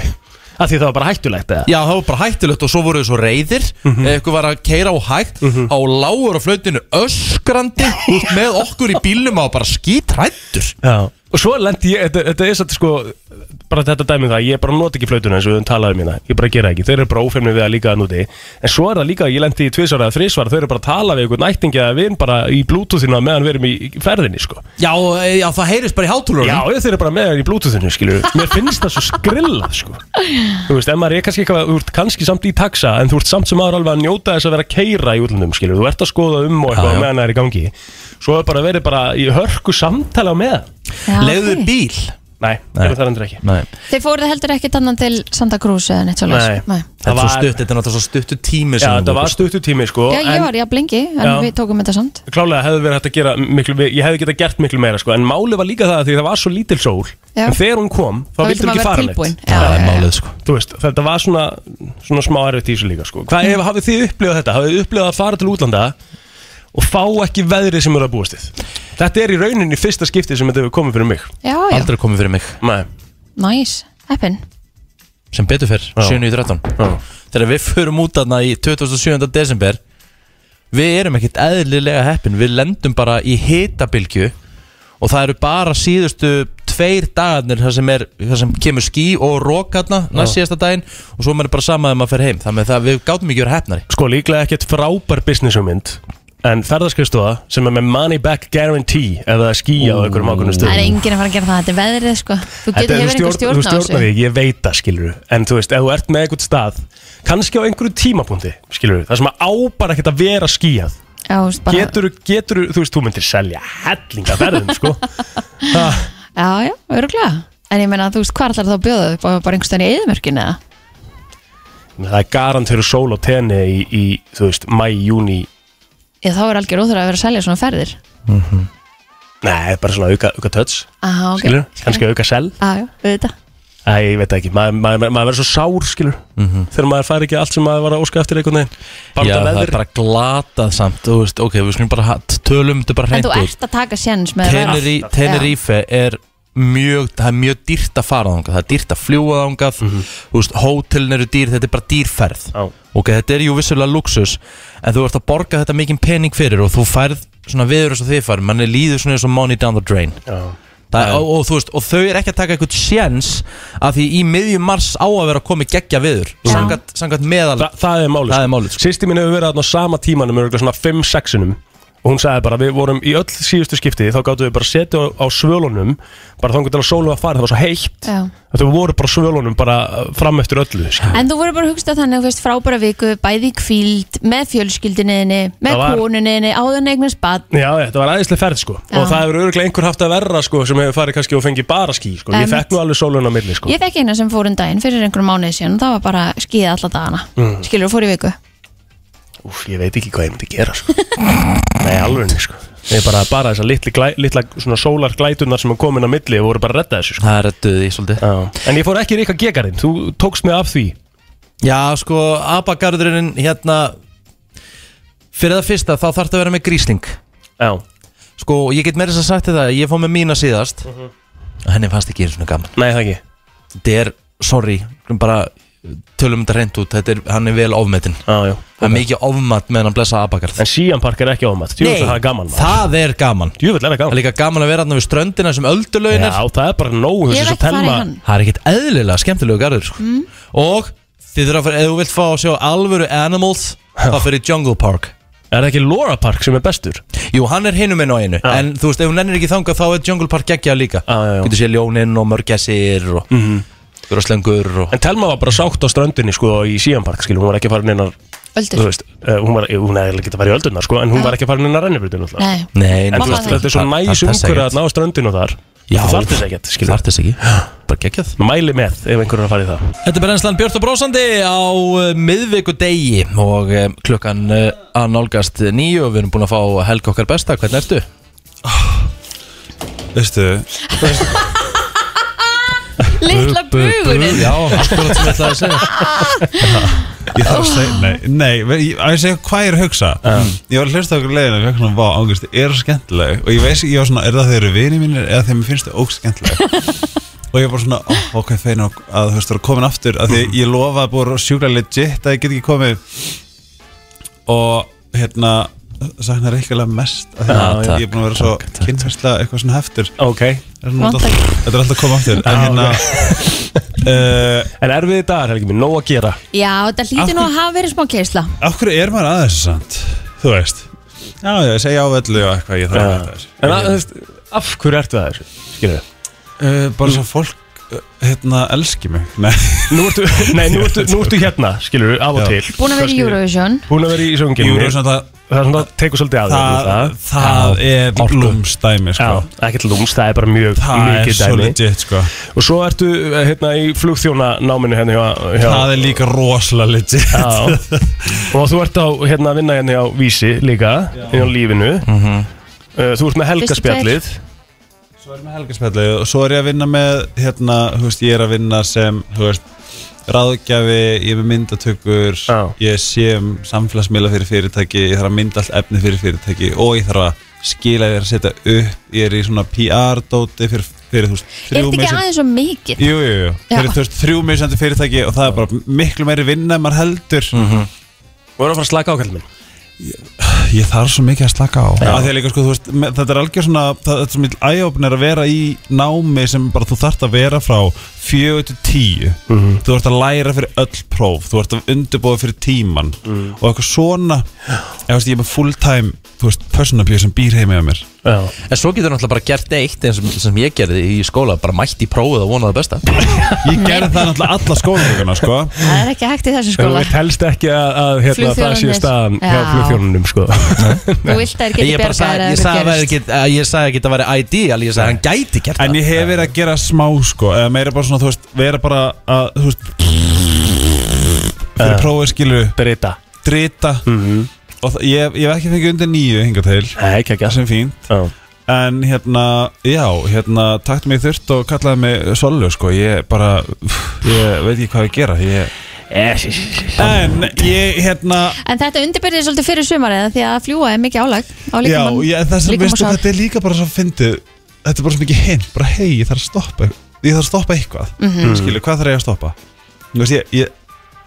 Af því það var bara hættulegt, eða? Já, það var bara hættilegt og svo voru þau svo reyðir mm Eitthvað var að keira á hægt Á lágur á flautinu öskrandi út Með okkur í bílnum á bara skítrættur Já. Og svo lendi ég, þetta, þetta er satt sko bara þetta dæmið það, ég bara noti ekki flautuna eins og við höfum talað um hérna, ég bara gera ekki, þeir eru bara ófemni við að líka það núti, en svo er það líka að ég lendi í tvisvara eða þrisvara, þeir eru bara að tala við einhvern ættingi að við erum bara í bluetoothinu á meðan við erum í í ferðinni sko. Já, e, já, það heyrist bara í hátulunum Já, ég þeir eru bara meðan í bluetoothinu skilur, mér finnst það svo skrillað sko. Þú veist, en maður er kannski eitthvað, þú ert kannski samt í taxa, en þú ert samt sem aður alveg að njóta þess að vera að keira í útlundum skilur, þú ert að skoða um og Já, eitthvað já. á meðan það er í gangi, svo er bara verið bara í hörku samtala á meðan. Já, Leigðu ok. þér bíl Nei, Nei. eru það endur ekki Nei. Þið fóruð heldur ekki tannan til Santa Cruz eða neitt svo Nei. Nei. Þetta Það var... var- stutt, þetta er náttúrulega svo stuttu tími Já, þetta var stuttu tími sko Já, ég en var jafn lengi, en Já. við tókum þetta samt. Klálega hefði verið hægt að gera miklu Ég hefði getað gert miklu meira sko En málið var líka það að því það var svo lítil sól Já. En þegar hún kom, þá Þá vildi vildi hún maður vera ekki fara tilbúin. neitt Já, Já, það er já, já. málið sko Þú veist, þetta var svona, svona smá erfitt í þessu líka sko Mm. Hvað ef hafið þið upplifað þetta? Hafið þið upplifað að fara til útlanda Og fá ekki veðrið sem eru að búast við Þetta er í rauninni fyrsta skipti sem þetta hefur komið fyrir mig Já, já, Aldrei komið fyrir mig Nei, næs, heppin. sem betur fyrr, 7. í 13 Þegar við förum út aðna í 27. desember Við erum ekkert eðlilega heppin Við lendum bara í hitabilgju Og það eru bara síðustu tveir dagarnir þar sem, er, þar sem kemur ský og rókarna næst síðasta daginn og svo er maður bara sama þegar maður fer heim þannig að það, við gátum ekki verið hefnari sko líklega ekkert frábær businessumynd En ferðarskristofa sem er með money back guarantee Ef það er skýja á einhverjum Það ákveðnum er stöðum enginn að fara að gera það, þetta er veðrið, sko. Þú Þetta getur er- hefur einhver Þú stjórn á stjórnar þessu. því, ég veit það skilur En þú veist, ef þú ert með einhvern stað kannski á einhverju tímapunkti, skilur Það sem að á bara ekkert að vera skíjað Já, þú veist, bara- Getur, getur, þú veist, þú myndir selja hellinga verðum, sko ah, Já, já, öruglega En ég meina, þú veist, hvað ætlar það að bjóða upp á bara einhvers veginn í eðumörkinu eða? Það er garantir sól og tenni í, í, þú veist, mæ, júni eða þá er algjör óþur að vera að selja svona ferðir Nei, bara svona auka, auka touch Aha, ok. Skilur, kannski auka sell Aja, auðvitað Æ, ég veit það ekki, maður ma ma maður verður svo sár skilur Þegar maður fær ekki allt sem maður var að óska eftir einhvern veginn Bara Mhm. út Já, af það er veðri. bara glatað samt Þú veist, ok, við skulum bara ha- tölum þetta bara En hreint þú út ert að taka séns með að vera- Teneri- Tenerife er mjög, það er mjög dýrt að fara þangað það er dýrt að fljúa þangað mm veist, hótelin eru dýr, þetta er bara dýrferð Mhm. Já. ok, þetta er jú vissulega luxus en þú ert að borga þetta mikinn pening fyrir og þú færð svona viður eins og þið færð manni líður svona eins og money down the drain Já. Það, og, og, þú veist, og þau er ekki að taka eitthvað sjens að því í miðjum mars á að vera að koma geggja viður samkvæmt samkvæmt meðal Þa, það er málið Það er málið, sko. Sýsti mín hefur verið þarna á sama tímanum örugglega svona 5-6unum og hún sagði bara við vorum í öll síðustu skipti þá gáttu við bara setja á, á svölunum bara þá einhvern veginn að sólu að fara það var svo heitt Já. að þau voru bara á svölunum bara uh, fram eftir öllu skilur. En þú voru bara að hugsa þannig, þú veist, frábæra viku, bæði í kvíld, með fjölskyldinniðinni, með Það var- konuninni, áðan eignast bad. Já, þetta var aðeinslega ferð sko Já. og það hefur örglega einhver haft að verra sko sem hefur farið kannski og fengið bara ský sko. ég Einmitt. fekk nú alveg sólun á milli sko Ég fekk eina sem fór um daginn fyrir einhverjum mánuði síðan og það var bara skýða alla dagana. Mm. Skilur, fór í viku. Úf, Mm. ég veit ekki hvað ég myndi gera sko. Nei, alveg sko Nei, bara, bara þessar litli, glæ, litla svona sólar glætunar sem er komin á milli og voru bara að redda þessu sko. það er að döði svolítið En ég fór ekki í Rikka Gegarinn, þú tókst mig af því Já, sko, abagarðurinn hérna fyrir það fyrsta þá þarf það að vera með grísling Já, Sko, og ég get meira þess að sagt þetta ég fóð með mína síðast og henni fannst ekki einu svona gaman Mhm. nei það ekki Þetta er, sorry, bara tölum þetta reynd út, þetta er, hann er vel ofmetinn Já, já Það er mikið ofmat með hann blessa abagarð En Sian Park er ekki ofmatt, djúvill það er gaman það er gaman Djúvill er það Það er gaman líka gaman að vera hann við ströndina sem öldulögin Já, er það er bara nógu Ég hef ekki farið í hann. Það er ekkit eðlilega skemmtilegu garður sko. Og þið þurfa að fara, ef þú vilt fá að sjá alvöru animals þá fyrir Jungle Park Er það ekki Laura Park sem er bestur? Jú, hann er hinum einu á einu Já. En þú veist, ef hún nennir ekki þangað þá er Jungle Park geggjað líka Já, já, já. Getur séð ljónin og mörgessir og mm -hmm. og... En Telma var bara sátt á ströndinni sko í Sian Park skilur, hún var ekki farin innar Þú Öldur. veist, uh, hún var, eh, hún hefði ekki að fara í öldunar sko En hún var ekki að fara innar rennibrutinu alltaf Nei. Nei, En Má þú veist, það þetta er svo Það- næs það- það segir umhverju að ná ströndinu þar Já. Það þarf þess ekkert, skilur Þart þess ekki, bara geggjað Mæli með ef einhverjum er að fara í það Þetta er Brennslan Björn og Brósandi á uh, miðvikudegi og um, klukkan uh, að nálgast nýju og við erum búin að fá helg okkar besta, hvernig ertu? Ah, Veistu, Lilla bugurinn. Já, akkurat sem ég ætlaði að segja ég þarf að segja Nei, nei ve- ég, að ég segja hvað ég er að hugsa Mm. Ég var að hlusta okkur leiðina og ég var svona, vá, ángust, er skemmtileg Og ég veist, ég var svona, er það þeir eru vini mínir eða þeim finnst þau óskemmtileg Og ég var svona, ó, ok, feina að þú veist, þú eru komin aftur Af því ég lofa að búið sjúkla legit að ég get ekki komið Og hérna, saknar eitthvað mest af því Já, að takk, Ég er búin að vera svo takk, takk, kynfærsla eitthvað svona heftur Ok, Það er svona Vant alltaf- Þetta er alltaf að koma aftur En hérna uh, en erfiði dagar helgi mér, nóg að gera Já, þetta hlýtur nú að hafa verið smá keisla. Af hverju er maður aðeins samt? Þú veist Já, já, ég segja á vellu og eitthvað Ég þarf að hætta þessu En að, þú veist, af hverju ertu það þessu? Skilur uh, Bara svo fólk uh, Hérna, elski mig Nei Nú ertu, nei, nú ertu, nú ertu hérna, skilur af og Já. til Búin að vera í Eurovision. Búin að vera í sönginu Jú, svona það Það er svona, tekur svolítið að þér við Það, það er orku. blúmstæmi, sko Já, ekkert lúms, það er bara mjög Það er mikið svo dæmi legit, sko Og svo ertu eh, hérna í flugþjónanáminu hérna hjá, hjá Það er líka rosalega legit Já, og þú ert á hérna að vinna hérna hjá Vísi líka Hérna á lífinu Eh, Þú ert með helgaspjallið Mhm. Svo er ég með helgarspjallu og svo er ég að vinna með hérna, þú veist, ég er að vinna sem þú veist, ráðgjafi ég er með myndatökur, Já. ég sé um samfélagsmiðla fyrir fyrirtæki ég þarf að mynda allt efni fyrir fyrirtæki og ég þarf að skila þér að setja upp ég er í svona PR-dóti fyrir, fyrir þú veist, Er þrjú þetta ekki misjandi- aðeins svo mikið? Jú, jú, jú, Já. fyrir þú veist, þrjú misjandi fyrirtæki og það er bara miklu meiri vinna en maður heldur Og erum að fara að slaka ákvæðum minn Ég þarf svo mikið að slaka á Af því að líka, sko, þú veist, með, Þetta er algjör svona það, Þetta er mjög æjópnir að vera í námi sem bara þú þarft að vera frá 4 til 10 Þú ert að læra fyrir öll próf Þú ert að undirbúa fyrir tíman Og eitthvað svona Ég, veist, ég er með full time Þú veist, person abuse sem býr heimi á mér Já, En svo getur náttúrulega bara gert eitt eins og sem ég gerði í skóla, bara mætt í prófið og vonað það besta Ég gerði það náttúrulega alla skólinguna sko. Það er ekki hægt í þessu Þú skóla. veit helst ekki að, að hérna, það sé Flugþjónarnir. staðan hjá Já. flugþjónunum sko. Þú vilt að það er Ég getið bara bjargaðir að það sagði, ég sagði, að gerist. væri ekki- að ég sagði ekki að það væri ideal, ég sagði að hann gæti gert En það ég hef verið að gera smá sko, Eða meira bara svona, þú veist, vera bara að Eh. Þú veist Fyrir prófið skilu Brita drita og það- ég, ég hef ekki fengið undir nýju hinga til Mhm. Nei, ekki ekki sem fínt Já. en hérna, já, hérna takt mig þurft og kallaði mig Sollu sko, ég bara pff, ég veit ekki hvað ég gera ég... Eh, en ég hérna En þetta undirbyrðið svolítið fyrir sumarið því að fljúa er mikið álag á já, líkamann ég, það sem líkamann veistu, sál. þetta er líka bara svo fyndið þetta er bara svo mikið hinn, bara hei, ég þarf að stoppa ég þarf að stoppa eitthvað, mm Mhm. skilu, hvað þarf ég að stoppa þú veist, ég, ég,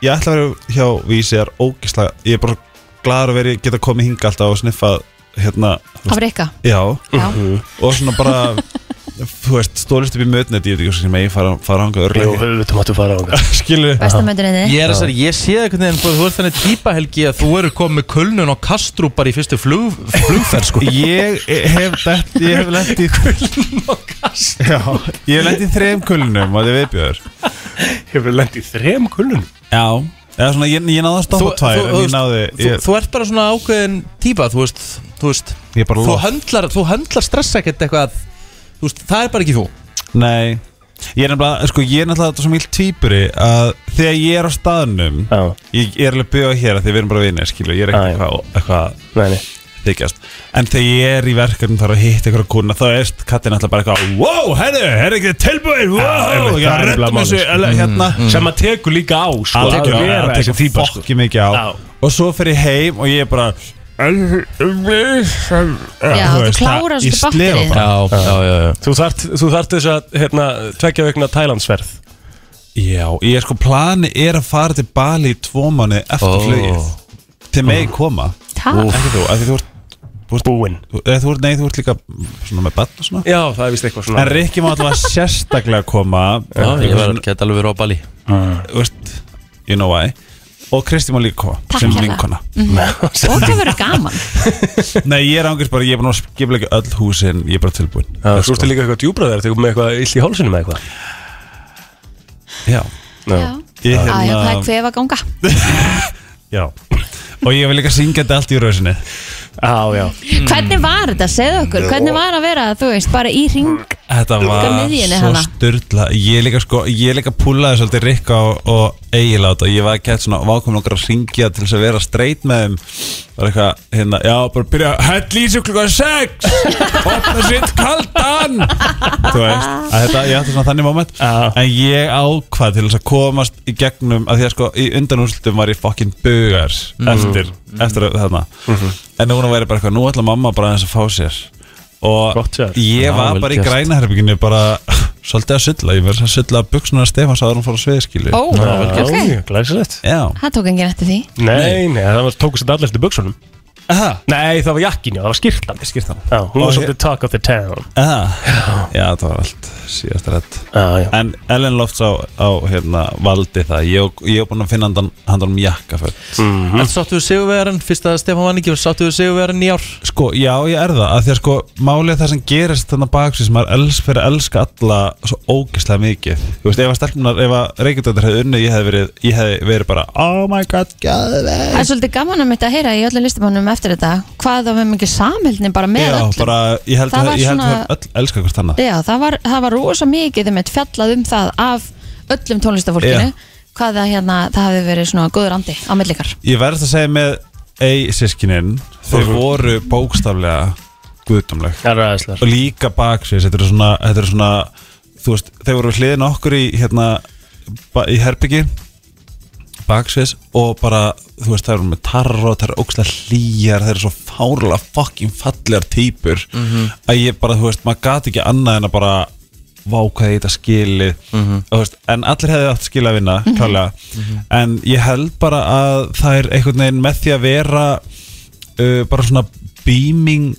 ég ætla að vera hjá vísir, ógislega ég er bara gladur að vera, geta komið hinga alltaf og sniffað, hérna þú Af reyka Já, Já. og svona bara þú veist, stólist upp í mötnet ég veit ekki sem ég fara, fara hanga Jú, örlega höfðu, þú máttu fara á það skilu, Besta möndunniði Ég er að segja, ég sé einhvern veginn, þú- þú ert þannig típa helgi að þú eru komið með kulnun og kastrúpar í fyrstu flug, flugferð sko ég hef lett ég hef lett í já, ég hef lett í þrejum kulnum og það er viðbjöður Hefur lendið þrem kulnum já, eða svona, ég, ég náði að Þú- stoppa tvær þú- en þú ég veist, náði, þú, ég, þú ert bara svona ákveðin típa, þú veist, þú veist ég bara þú lóð höndlar, þú höndlar stress ekkert eitthvað þú veist, það er bara ekki þú nei, ég er nefnilega, sko, ég er náttúrulega svo mjög týpuri að þegar ég er á staðnum Já, ég er alveg byggða hér að því við erum bara vinir, skilu, ég er ekki Já, já. eitthvað, eitthvað nei, nei þykjast En þegar ég er í verkefnum þarf að hitta ykkur að kuna Þá er kattin alltaf bara eitthvað Wow, herru, herru ekki tilbúin Wow, einmitt, já, það er nefnilega rettum málið, þessu sko. Eller hérna Mm, Sem að tekur líka á, sko Að að vera vera þessi þessu típa, sko. fokki mikið á Já. Og svo fer ég heim og ég er bara um Já, þú klárar svolítið batterið. já, já, já, já. Þú þart, þú þart þess að, hérna, tvekja vegna Tælandsverð Já, ég er sko, plani er að fara til Bali í tvo mánu eftir Ó. flugið Til megi koma Það Ekki þú, af því þú ert Búinn þú- eða þú ert, Nei, þú ert líka svona með batn og svona Já, það er vist eitthvað svona En Rikki má alltaf sérstaklega koma já, ég var gett alveg verið á Bali Ah, Þú veist, you know why og Kristi má líka koma Takk sem fyrir vinkona Og það verður gaman nei ég er ángurs bara, ég er búin að skiplega öll húsin ég er bara tilbúin Já, Þú ertu líka eitthvað djúbraðar, þegar með eitthvað illt í hálsunum eða eitthvað já, Já, ég, Æ, já, það er hérna, hvefa ganga já. og ég vil líka syngja þetta allt í rausinni Já, já Hvernig var þetta, segðu okkur Hvernig var að vera, þú veist, bara í ring þetta Líka var miðjunni svo hana. styrla ég líka sko, ég líka púlaði svolítið Rikka og, og Egil á þetta og ég var ekki hægt svona vákomin okkur að syngja til þess að vera streit með þeim var eitthvað, hérna, já, bara byrja að hella í sig klukkan 6 opna sitt kaldan þú veist, að þetta, ég ætti svona þannig moment Já. en ég ákvað til þess að komast í gegnum, að því að sko í undanúrslutum var ég fokkin bugar eftir, eftir þarna en núna væri bara eitthvað, nú ætla mamma bara aðeins að fá sér og Gott sér. ég Já, var vel bara í gert. grænaherbygginu bara svolítið að sulla, ég verði að sulla buksuna Stefans áður en hún fór á sviðskilu Ó, ok Glæsilegt Já, Það tók enginn eftir því Nei, nei, það var, tókust þetta allir eftir buksunum aha, Nei, það var jakkin, já, það var skýrtan skýrt hann Já, hún Og var ég- svolítið talk of the town aha. Já, það var allt síðast rætt Já, já En Ellen Lofts á, á hérna, valdi það Ég og- ég hef búin að finna handan, handan um jakka fyrir Mhm. Mhm. en sáttu við sigurvegarinn, fyrst að Stefán var ekki sáttu við sigurvegarinn í ár Sko, já, ég er það, að því að sko málið er það sem gerist þannig baksins maður els, fyrir að elska alla svo ógeðslega mikið Þú veist, ef að stelpunar, ef að Reykjadóttir hefði unnið, ég hefði verið, ég hefði verið bara Oh my god, gæðveg Það er svolítið gaman að mitt að heyra í öllum listamannum eftir þetta Hvað það var mikið samhildni bara með Já, öllum bara, ég held Það að var ég held að svona- þau öll elska hvort annað Já, það var, það var rosa mikið um eitt fjallað um það af öllum tónlistafólkinu Já. hvað það hérna, það hefði verið svona góður andi á millikar. Ég verðist að segja með ei sískinin, þau voru bókstaflega guðdómleg Það er aðeinslega og líka baksins þetta eru svona, þetta eru svona þú veist, þeir voru hliðin á okkur í hérna, ba- í herbyggi baksins og bara þú veist, það eru með tarra, það eru ógstlega hlýjar, það eru svo fárlega fucking fallegar týpur að ég bara, þú veist, maður gati ekki annað en að bara vákaði þetta skilið og, þú veist, en allir hefði átt skilið að vinna klálega, en ég held bara að það er einhvern veginn með því að vera uh, bara svona beaming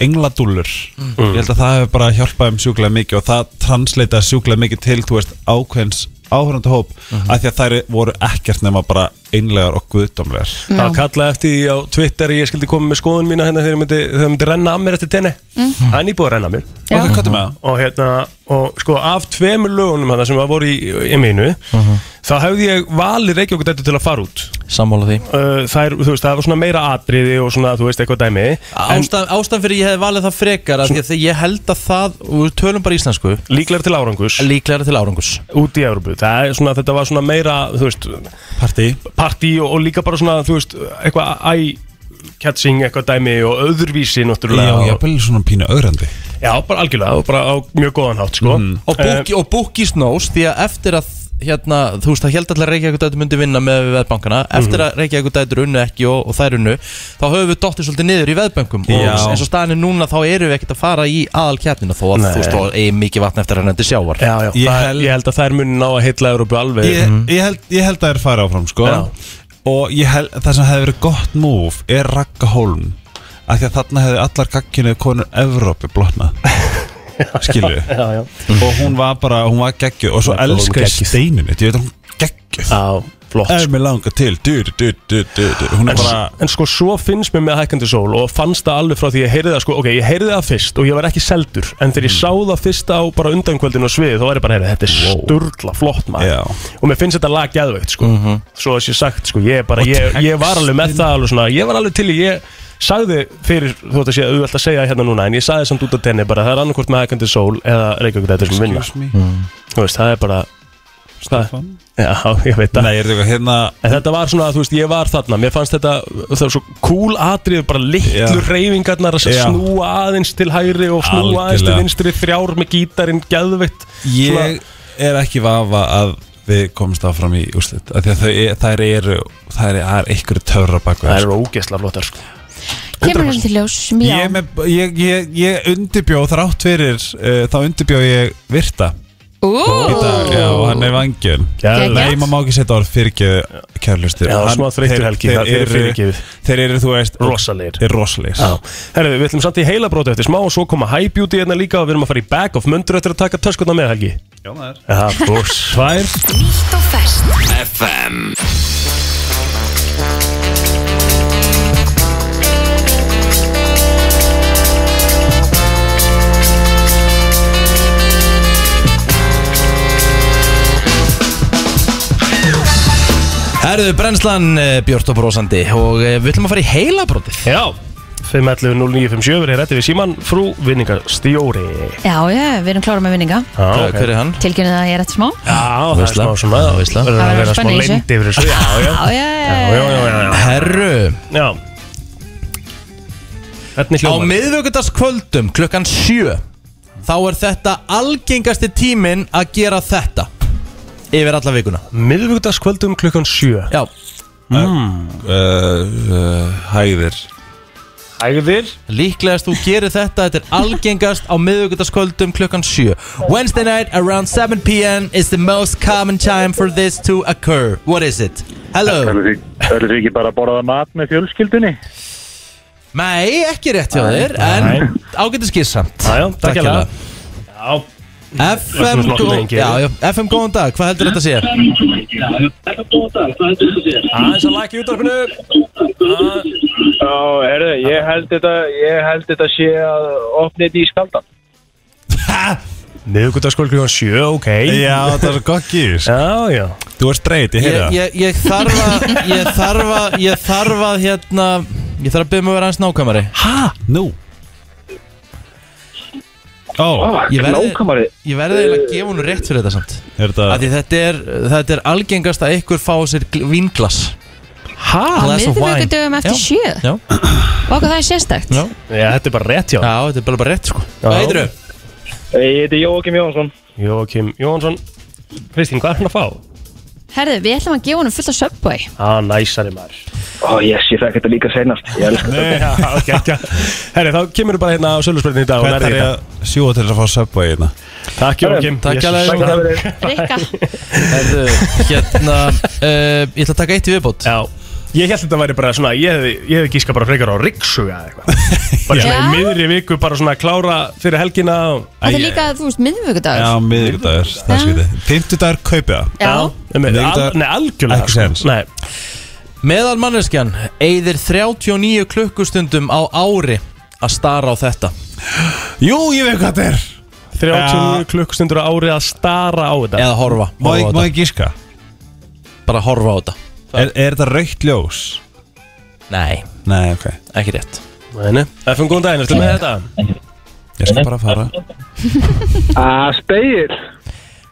engladúllur ég held að það hefur bara hjálpað um sjúklega mikið og það transleita sjúklega mikið til þú veist ákveðins áhörnandi hóp af því að þær voru ekkert nema bara einlegar og guðdómlegar Það kallaði eftir því á Twitter að ég skildi koma með skoðun mína hérna þegar ég myndi, þegar ég myndi renna að mér eftir tenni Það er nýbúið að renna að mér Já. ok, hvað er með það? og hérna og sko af tveimur lögunum hana sem að voru í, í minu þá hefði ég valið Reykjavík þetta til að fara út sammála því uh, það, er, veist, það var svona meira atriði og svona þú veist eitthvað dæmi en Ástæðan, ástæðan fyrir ég hefði valið það frekar af því að ég held að það, og við tölum bara íslensku líklega til árangus líklega til árangus út í Európu það er svona þetta var svona meira þú veist Partí partí og, og líka bara svona þú veist eitthvað æ catching eitthvað dæmi og öðruvísi náttúrulega Já, og- ég er bara svona pínu ögrandi já, bara algjörlega og bara á mjög góðan hátt sko. mm. Og Bookie- og Bookies knows því að eftir að hérna, þú veist, það held allir að Reykjavík dætur myndi vinna með veðbankana, Mhm. eftir að Reykjavík dætur unnu ekki og, og þær unnu þá höfum við dottir svolítið niður í veðbankum Já. og eins og staðinu núna þá erum við ekkert að fara í aðalkjæfnina þó að Nei. þú veist, þá eigi mikið vatn eftir að hendi sjávar já, já, Ég ég, það, held- held... ég held að þær muni ná að heilla Európu alveg ég, ég, held, ég held að það er fara áfram sko. Já. og ég held, það sem hefði verið gott múf er Ragga Holm af því að þarna hefði allar gagginu konur Evrópi blotnað skilu já, já, og hún var bara, hún var geggju og svo Ragga Holm elska ég geggjuð. steinunni, ég veit að hún geggju já, flott ef mér langar til, du, du, du, du, du, du. hún En, er bara en sko, svo finnst mér með hækandi sól og fannst það alveg frá því ég heyrði það sko, ok, ég heyrði það fyrst og ég var ekki seldur en þegar ég Mm. sá það fyrst á bara undankvöldin og sviði þá var ég bara, heyrði, þetta er wow. sturla flott maður Já. og mér finnst þetta lag geðveikt sko, svo að sé sagt sko, ég, er bara, ég, ég var alveg með það alveg svona, ég var alveg til í, ég sagði fyrir, þú veist að sé auðvelt að segja hérna núna en ég sagði samt út af tenni bara, það er annarkvort með hækandi sól eða reykjöku þetta sem vinna excuse me, þú veist, það er bara, Stefan já, ég veit það nei, er þetta eitthvað hérna En þetta var svona, þú veist, ég var þarna Mér fannst þetta, það var svo cool atrið Bara litlu Já. reyfingarnar að Já. snúa aðeins til hægri Og snúa aðeins til Algjörlega. vinstri Þrjár með gítarinn, geðveitt Svona- ég er ekki vafa að við komumst áfram í úslit af því að þau, e- þær eru það er, það er einhverju törra baku Það er ógeðslega flottar sko. Kemur hún til ljós, já, Ég, er með, ég, ég, ég undirbjó þrátt fyrir uh, þá undirbjó ég virta ú, í dag já, og hann er vangjön Geðveikt. Nei, maður má ekki setja orð fyrirgeðu kærlustir Já, smá þreyttur helgi, það er fyrirgefið. Þeir eru, þú veist, Rosalegir. er rosalegir Já. Herðu, við ætlum samt í heila bróti eftir smá Og svo koma high beauty hérna líka Og við erum að fara í back of mundur eftir að taka töskutna með helgi Já, maður Já, bús Svær Nýtt og ferskt Herðu brennslan eh, Björt og brósandi og eh, við ætlum að fara í heilabrótið Já 5.11.09.57 Við erum rétti við síman Frú vinningar stjóri já, já, við erum klára með vinninga Já, okay. Hver er hann? Tilgjörnið að ég er eftir smá Já, það er Veisla. smá svona Já, veisla. Það verður að verður vera smá spenna í þessu. leynd yfir þessu Já, já, Já, já, já, já, já, já. Herru, Já Hvernig á hljómar? miðvöggudagskvöldum klukkan 7 þá er þetta algengasti tíminn að gera þetta yfir alla vikuna Miðvíkudagskvöldum klukkan 7 Já, Eh, uh, uh, Hæðir Ægðir líklegast þú gerir þetta þetta er algengast á miðvöggudagskvöldum klukkan 7 Wednesday night around 7 p.m. is the most common time for this to occur What is it? Hello Öllu því ekki bara að borða mat með fjölskyldunni Nei, ekki rétt hjá þér Nei. en ágættu skissamt Jájá, takk Takk hjá hérlega. Já, FM, svona gó- lengi. já, já, FM góðan dag, hvað heldur þetta að sé? aðeins að laki útvarpinu Já, herðu, ég held þetta ég held þetta sé að opna þetta í skaldan Miðvíkudagskvöld klukkan 7, ok Já, það er svo gott gís Já, já Þú er streit, ég ég, heyrði það ég, ég þarf að ég þarf að ég þarf að hérna ég þarf að byrja mig að vera hans nákvæmari Ha, nú Ó, ég verði- Nákvæmari ég verði eiginlega að gefa hún rétt fyrir þetta samt er af þetta því þetta er þetta er algengast að ykkur fá sér gl- vínglas Á glass of wine. miðvikudögum eftir Já. sjö já, Vaka það er sérstakt Já. Já, þetta er bara rétt hjá já, þetta er bara, bara rétt sko hvað Já. heitir þau? Ég heiti Jókim Jónsson Jókim Jónsson Kristín, hvað er hann að fá? Herðu, við ætlum að gefa honum fullt af Subway Á, næsari maður Ó, yes, ég fekk þetta líka senast Ég elska þetta Já, ok, ekki Herri, þá kemur bara hérna á sölusbyrðinu í dag og Hvert nærði er ég þetta að sjúa til þess að fá söpvæði hérna Takk Jókim Takk Jesus. hérlega, Jókim. Rikka, Herðu, hérna uh, ég ætla að taka eitt í viðbót Já Ég held þetta væri bara svona, ég hefði, ég hefði gíska bara frekar á rikssuga eða eitthvað Bara svona í Já. miðri viku, bara svona klára fyrir helgina og... þetta er Æ, líka, þú veist, miðvikudagur Já, miðvikudagur, það er skviti Fymtudagur kaupið það Já, Nei, með- Miðvikudagur- al- Nei, algjörlega Ekki sko. séns. Nei, meðal manneskjan eigðir 39 klukkustundum á ári að stara á þetta Jú, ég veit hvað þetta er 30 Já. klukkustundur á ári að stara á þetta eða horfa, Má ég, má horfa á þetta. ég gíska? bara horfa á þetta Er, er þetta raukt ljós? nei, Nei, ok ekki rétt Nei, Það er fyrir góðan daginn, ertu með þetta? Ég skal bara fara Á, spegir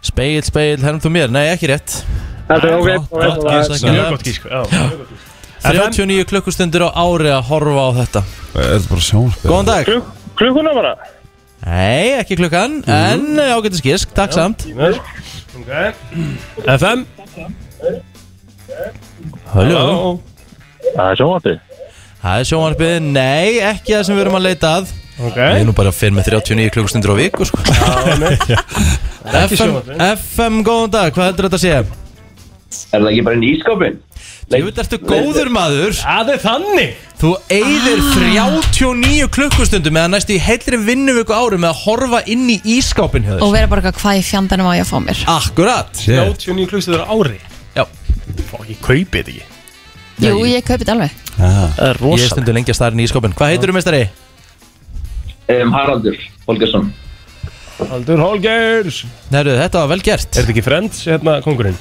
Speil, speil, herrum þú mér? Nei, ekki rétt Þetta er ok gott, gott, Gísk, gísk. ekki Mjög rétt. gott gísk já. 39 klukkustundur á ári að horfa á Eh, þetta Er þetta bara sjónspil? Góðan dag Kluk, klukkuna bara Nei, ekki klukkan, en ágættis gisk, takk samt FM Halló Það er sjónvarpi Það er sjónvarpið, nei, ekki það sem við erum að leita að Ok Ég er nú bara að fyrir með 39 klukkustundur á viku sko. FM, FM, góðan dag, hvað heldur þetta að segja? Er það ekki bara inn í ískapin? Þú veit, ertu góður maður Það er þannig Þú eigðir Ah. 39 klukkustundum eða næstu í heilri vinnuviku ári með að horfa inn í ískápin hjá Og þér vera bara eitthvað hvað í fjandanum á ég að fá mér Akkurat Shit. 89 klukkstöður ári Já. Fokk, ég kaupi þetta ekki Jú, ég kaupi þetta alveg Það er Ah, Ég stundu lengi að staðin í ískápin Hvað heitir þú meistari? Um, Haraldur Holgersson Aldur Holgers Er Nærðu, þetta var vel gert þetta ekki Friends, hérna, kongurinn?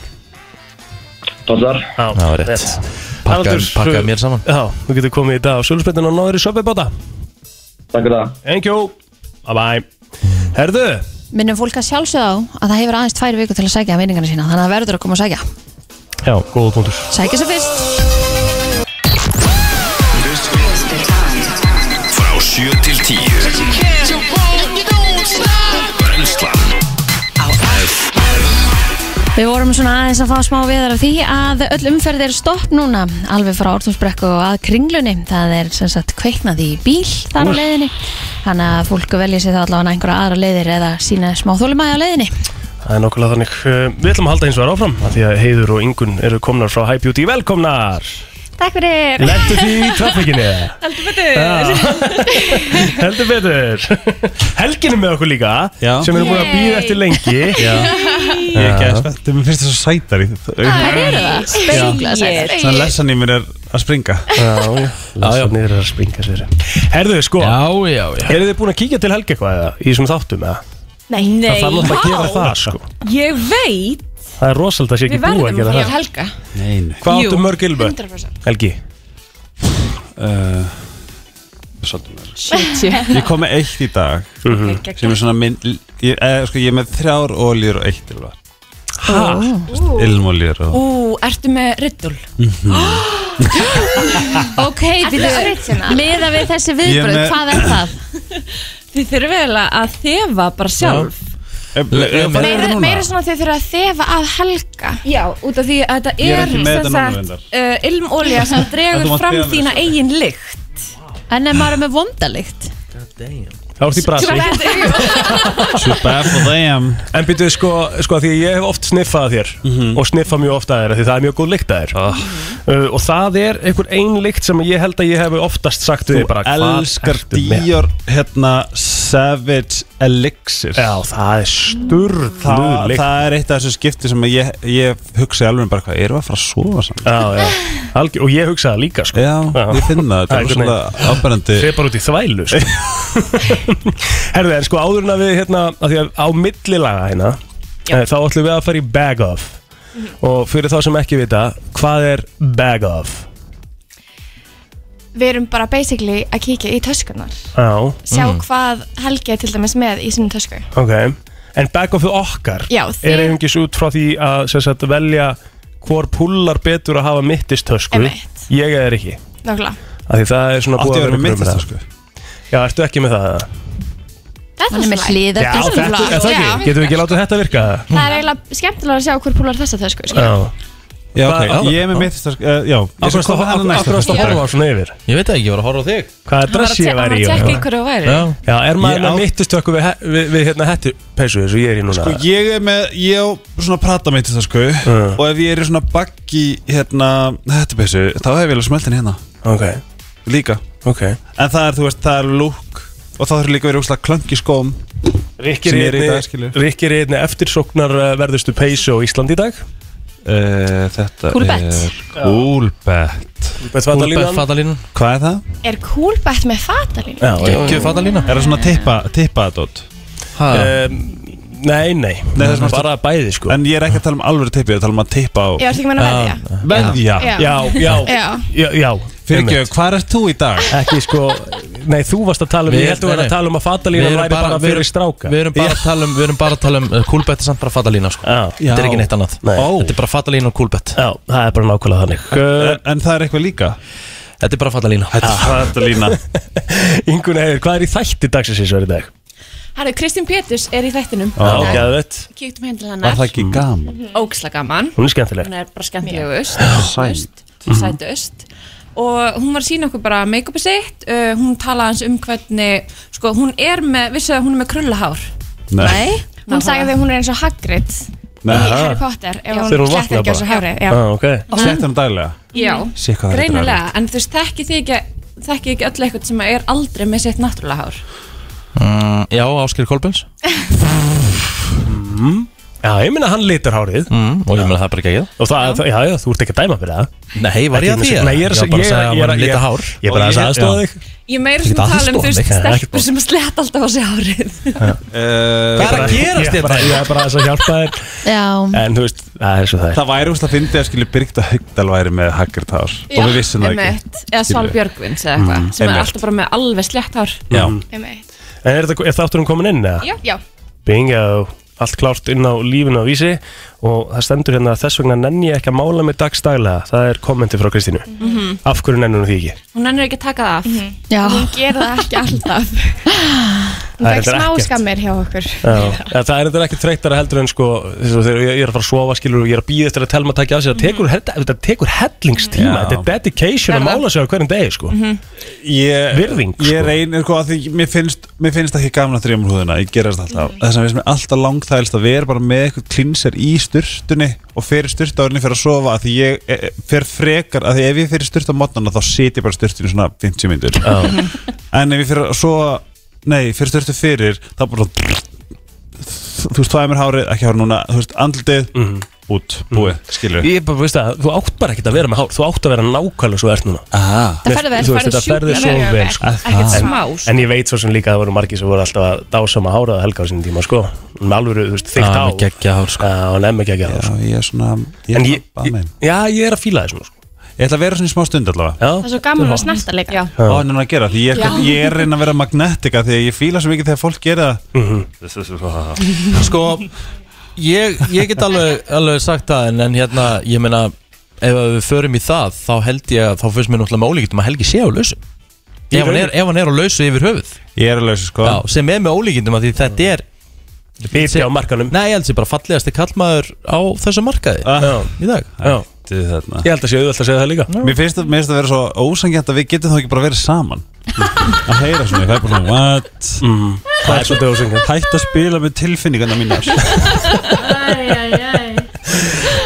Tónsar Já, Það var rétt Pakkaði Haraldur, pakkaði svo- mér saman Já, þú getur komið í dag á Sölusbrettin og náður í Söfveibáta Takk fyrir það Thank you Bye bye Herðu Minnum fólk að sjálfsögða á að það hefur aðeins tvær viku til að sækja meiningarna sína Þannig að það verður að koma að sækja Já, góða punktur Sækja sem fyrst Frá 7 til 10 Brenslan á F Við vorum svona aðeins að fá smá viðar af því að öll umferð er stopp núna alveg frá Ártúnsbrekku og að kringlunni það er sem sagt kveiknað í bíl þar á leiðinni þannig að fólk velja sér það allavega einhverja aðra leiðir eða sína smá þólumæði á leiðinni Það er nokkulega þannig Uh, Við ætlum að halda eins og áfram af Því að Heiður og Ingun eru komnar frá High Beauty Velkomnar Takk fyrir! Lendu því í trafíkinni Heldur betur Heldur betur Helgin er með okkur líka Já. Sem við erum búin að býða eftir lengi Já. Ég er ekki að spenntu, mér finnst það svo sætar í það Það eru það, spengla sætt Þannig lessan í mér er að springa Já, já Niður er að springa sér Herðu, sko já. já, já Eru þið búin að kíkja til Helgi eitthvað eða? Í þessum þáttum eða? Nei, nei Það þarf alltaf að gera það sko Ég veit, Það er rosalega að sé ekki við búið að verðum gera að það fá helga Nei, nei Hvað Jú, áttu mörg ilmöð? 100% Helgi uh, Svolítið mér Ég kom með eitt í dag Mhm. sem er svona minn ég, eh, sko, ég er með þrjár ólýr og eitt ilvar Ilmólýr og Mhm. Ú, ertu með riddul? Ok, býtu, miða við þessi viðbröð, Ég með- hvað er það? Þið þurfum vel að þefa bara sjálf Eh, Meira, meira svona þau þurfa að þefa að helga Já, út af því að þetta Ég er er ekki með sem þetta núna sagt, reyndar. uh, ilmolja sem Þetta dregur mátt fram þefa með þína þessu. eigin lykt En ef maður er með vondalikt Þá ert í brasi Too bad for them En byrjuðu sko, sko því að ég hef oft sniffað að þér Mhm. og sniffað mjög ofta að þér af því það er mjög góð lykt að þér Ah. uh, og það er einhver ein lykt sem ég held að ég hef oftast sagt Þú við þig bara hvað elskar ertu með? Dior hérna Savage Elixir Já, það er sturglu Þa, lykt það er eitt af þessu skipti sem ég, ég hugsaði alveg bara hvað, erum við að fara að sofa saman? Já, já, Algjör, og ég hugsaði það líka sko Já, ég finn það, þetta Það er er svona ábærandi Þeir bara út í þvælu sko. Herðu, en sko áður en að við hérna, að því að á millilaga hérna eh, þá ætlum við að fara í bag of Mhm. og fyrir þá sem ekki vita hvað er bag of? Við erum bara basically að kíkja í töskunar Já, Sjá Mm. hvað Helgi er til dæmis með í sinni tösku Mhm. ok En bag of okkar Já, er þið- einungis út frá því að sem sagt, velja hvor pullar betur að hafa mittistösku Einmitt. Ég er ekki Nákvæmlega að því það er svona Átti að vera umræða. mitt þetta sko Já, ertu ekki með það? eða? Þetta Hann er með hlýðar Já, þetta, er það ekki, getum við ekki látið þetta virka? Það er eiginlega skemmtilega að sjá hver púlar þessa tösku sko. Já, Já, ok, Hvað- ég er með mitt þetta sko, eh, já Ég akkur skal koma hennar næst að þetta horfa svona yfir Ég veit það ekki, ég var að horfa á þig Hvaða dress ég væri Hann var í að tjekka í og- hverju þú væri Já, Já, er maður Ég með á- mittistökku við, he- við, við hérna hættu peysu eins og ég er í núna Sko, ég er með, ég á svona prata mitt þetta sko Og ef ég er í svona baggi, hérna, þetta beisu Þá hef ég vel að smelta henni hérna, Ok, líka ok En það er, þú veist, það er lúk Og það þarf líka að vera úrslega klöngi skóm Rikki Sem ég er í er dag, skilur. einni- Rikki er einni eftirsóknar uh, verðustu peysu á Íslandi í dag uh, Eh, Þetta Kúlbett. er Kúlbett Úlbeth Úlbett Fatalínan Hvað er það? Er kúlbætt með fatalínu? Já, já Gjöf Fatalína Er það svona tippa, tippa dot? um, Nei, nei, það er svona- bara bæði sko En ég er ekki að tala um alvöru tippi, ég er að tala um að tippa á Ég var ekki meina með því Veðja Já. Já, já, Já. já, já, Fyrirgjöf, hvað ert þú í dag? Ekki sko, nei þú varst að tala um, ég held að þú verið að tala um að fatalína væri bara, fyrir stráka Við erum bara að tala um, við erum bara að tala um uh, Kúlbett er samt bara fatalína sko Þetta er ekki neitt annað Nei. Ó. Þetta er bara fatalína og kúlbett Já, það er bara nákvæmlega þannig En, en það er eitthvað líka Þetta er bara fatalína Þetta er fatalína Ingun Heiður, hvað er í þætti dagsins eins og er í dag? Herru, Kristín Péturs er í þættinum Já, geðvett Kíktum heim til hennar Mm. Mhm. Óksla gaman Hún er skemmtileg. Hún er bara skemmtilegust Sæt Sætust Og hún var að sína okkur bara make-upið sitt uh, Hún talaði hans um hvernig Sko, hún er með, vissu að hún er með krullahár Nei Hún sagði að hún er eins og Hagrid Nei. í Harry Potter ef Þegar hún hún slett ekki vaknar á þessu bara. hári Já, Ah, ok Sett hann hérna daglega Já, Sé hvað það er greinilega En þú veist, þekki þið ekki Þekki ekki öll eitthvað sem er aldrei með sitt náttúrulega hár Mm, Já, Ásker Kolbens Mm. Já, ég minna hann litur hárið mm, Og ég minna það er bara ekki ekki Og það, já, já, þú ert ekki að dæma fyrir það Nei, var ég að því? Nei, ég er Ég var ég- bara að segja að ég er- hann ég- litar hár. Ég er bara Og að ég- aðstofa já. þig Ég er meira Ekkert svona að tala um, þú veist, aðstoða mig, það er stelpur sem slett alltaf á sig hárið Hvað er að gerast þetta? hérna? Ég er bara að hjálpa þér Já En þú veist, það er svo það er Það væri úrst að fyndi að skilja Birgta Haugdal væri með Haggard Hár Já, Og við vissum það ekki einmitt. Eða Sval Skilurðu. Björgvins eða eitthvað Mm, Sem er einmitt. alltaf bara með alveg slett hár Já. Einmitt. En er, þetta, er þátturinn komin inn eða? Já, já Bingo, allt klárt inn á lífinu á vísi og það stendur hérna að þess vegna nenni ég ekki að mála mig dagstaglega það er kommenti frá Kristínu Mhm. Af hverju nennur hún því ekki? Hún ennur ekki að taka það af Já Mhm. Hún gerir það ekki alltaf Hún Það er fekk þetta smá ekkert. skammir hjá okkur Já, en það er þetta ekki þreytara heldur en sko þess að þegar ég er að fara að sofa skilur og ég er að býða eftir að telma að taka af sér það tekur, hell- þetta tekur hellingstíma Já. þetta er dedication að mála sér á hverjum degi sko ég, Virðing, sko. Ég reynir sko að því mér finnst, mér finnst ekki gaman að þrjum húðina Ég gerast alltaf Þess að finnst mér alltaf langþælst að vera bara með eitthvað klinser í sturtunni Og fyrir sturt árinni fyrir að sofa af Því ég eh, fer frekar af Því ef ég fyrir sturt á mótnana þá sit ég bara sturtunni svona 50 myndur Já. En ef ég fyrir að sofa Nei, fyrir sturtu fyrir Þá bara Þú veist, það er mér hárið, ekki hárið núna Þú veist, andlitið, út, búið, mm. skilur Mhm. Ég er bara, veist það, þú átt bara ekkert að vera með hár Þú átt að vera nákvæmlega svo ert núna ah. Það ferðu vel, ferðu Þetta sjúklega ferði svo vel, vel sko. ekkert- ekkert En- smá, sko. En ég veit svo sem líka að það voru margir sem voru alltaf að dásama háraða helga á sinni tíma sko Með alvöru, þú veist, þykkt Já, á með geggjað hár, sko Já, nefn ekki ekki hár sko Ég er svona, ég En er ég- svona, ég, Já, ég er að fíla þessum sko Ég ætla að vera svona í smá stund allavega Já, Það er svo gaman að snerta líka Já. Já, hann er að gera því ég, Já. er- ég er að reyna að vera magnetika því að ég fíla svo mikið þegar fólk gera Mhm. það Sko, ég, ég get alveg, alveg sagt það en, en hérna, ég meina Ef að við förum í það, þá held ég að Þá finnst mér náttúrulega með ólíkindum að Helgi sé á lausu Í Ef hann er, rauninni. ef hann er á lausu yfir höfuð Ég er að lausa sko Já, sem er með ólíkindum að því Mm. þetta er Biti á markanum Nei, ég held sér bara fallegasti kallmaður á þessu markaði Já. Í dag Já, Þetta er þarna. ég held að sé auðvelt að segja það líka Mér finnst það mér finnst það að vera svo ósangjant að við getum þá ekki bara verið saman Að heyra svona, ég fæ bara svona What? Mhm. Það er svolítið ósengjant Hætt að spila með tilfinningarna mínar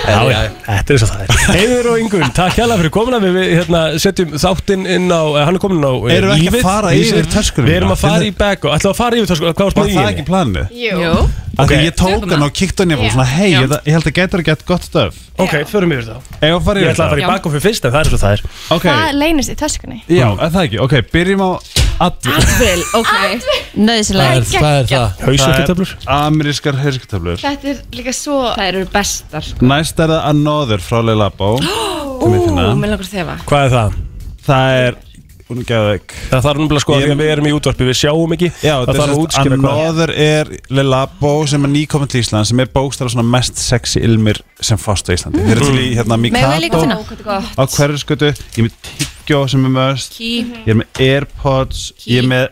Já, já, þetta er svo það er Heiður og Ingun, takk hella fyrir komuna Við, við hérna, setjum þáttinn inn á eh, Hann er komin inn á eh, Erum við ekki að lífið, fara vísir. yfir töskuna Við erum mína? að fara í back og ætlum að fara yfir töskuna Hvað varst Var með í það henni? ekki planið? Jú Af því ég tók tökum hann það. og kíkt hann ég var svona Hei, Já. ég ætla- ég held að getur að geta gott stöf Ok, förum yfir Sko, það Ég var Ég ætla að fara í Já. back fyrir fyrst en það er svo það er Ok, Það leynist í töskunni já, er það ekki, ok, byrjum á Advil Vil, ok Nöðislega er það, er það. Hauðsökkutöflur Amerískar hausktöflur Þetta er líka svo Það eru bestar Næst er það Another frá Leila Bó Hérna. Ú, mér langar að þefa Hvað er það? Það er Hún er gæðveik Það þarf nefnilega sko að því að við erum í útvarpi Við sjáum ekki Já, Það þarf að útskýra hvað Another er Leila Bó sem er nýkomin til Ísland sem er bókstæla svona mest sexy ilmir sem fást á Íslandi Þeir eru til Mm. í hérna Megum við líka Mikado finna? á hverjuskötu Ég er með Tyggjo sem er möst Ký Ég er með Airpods Ég er með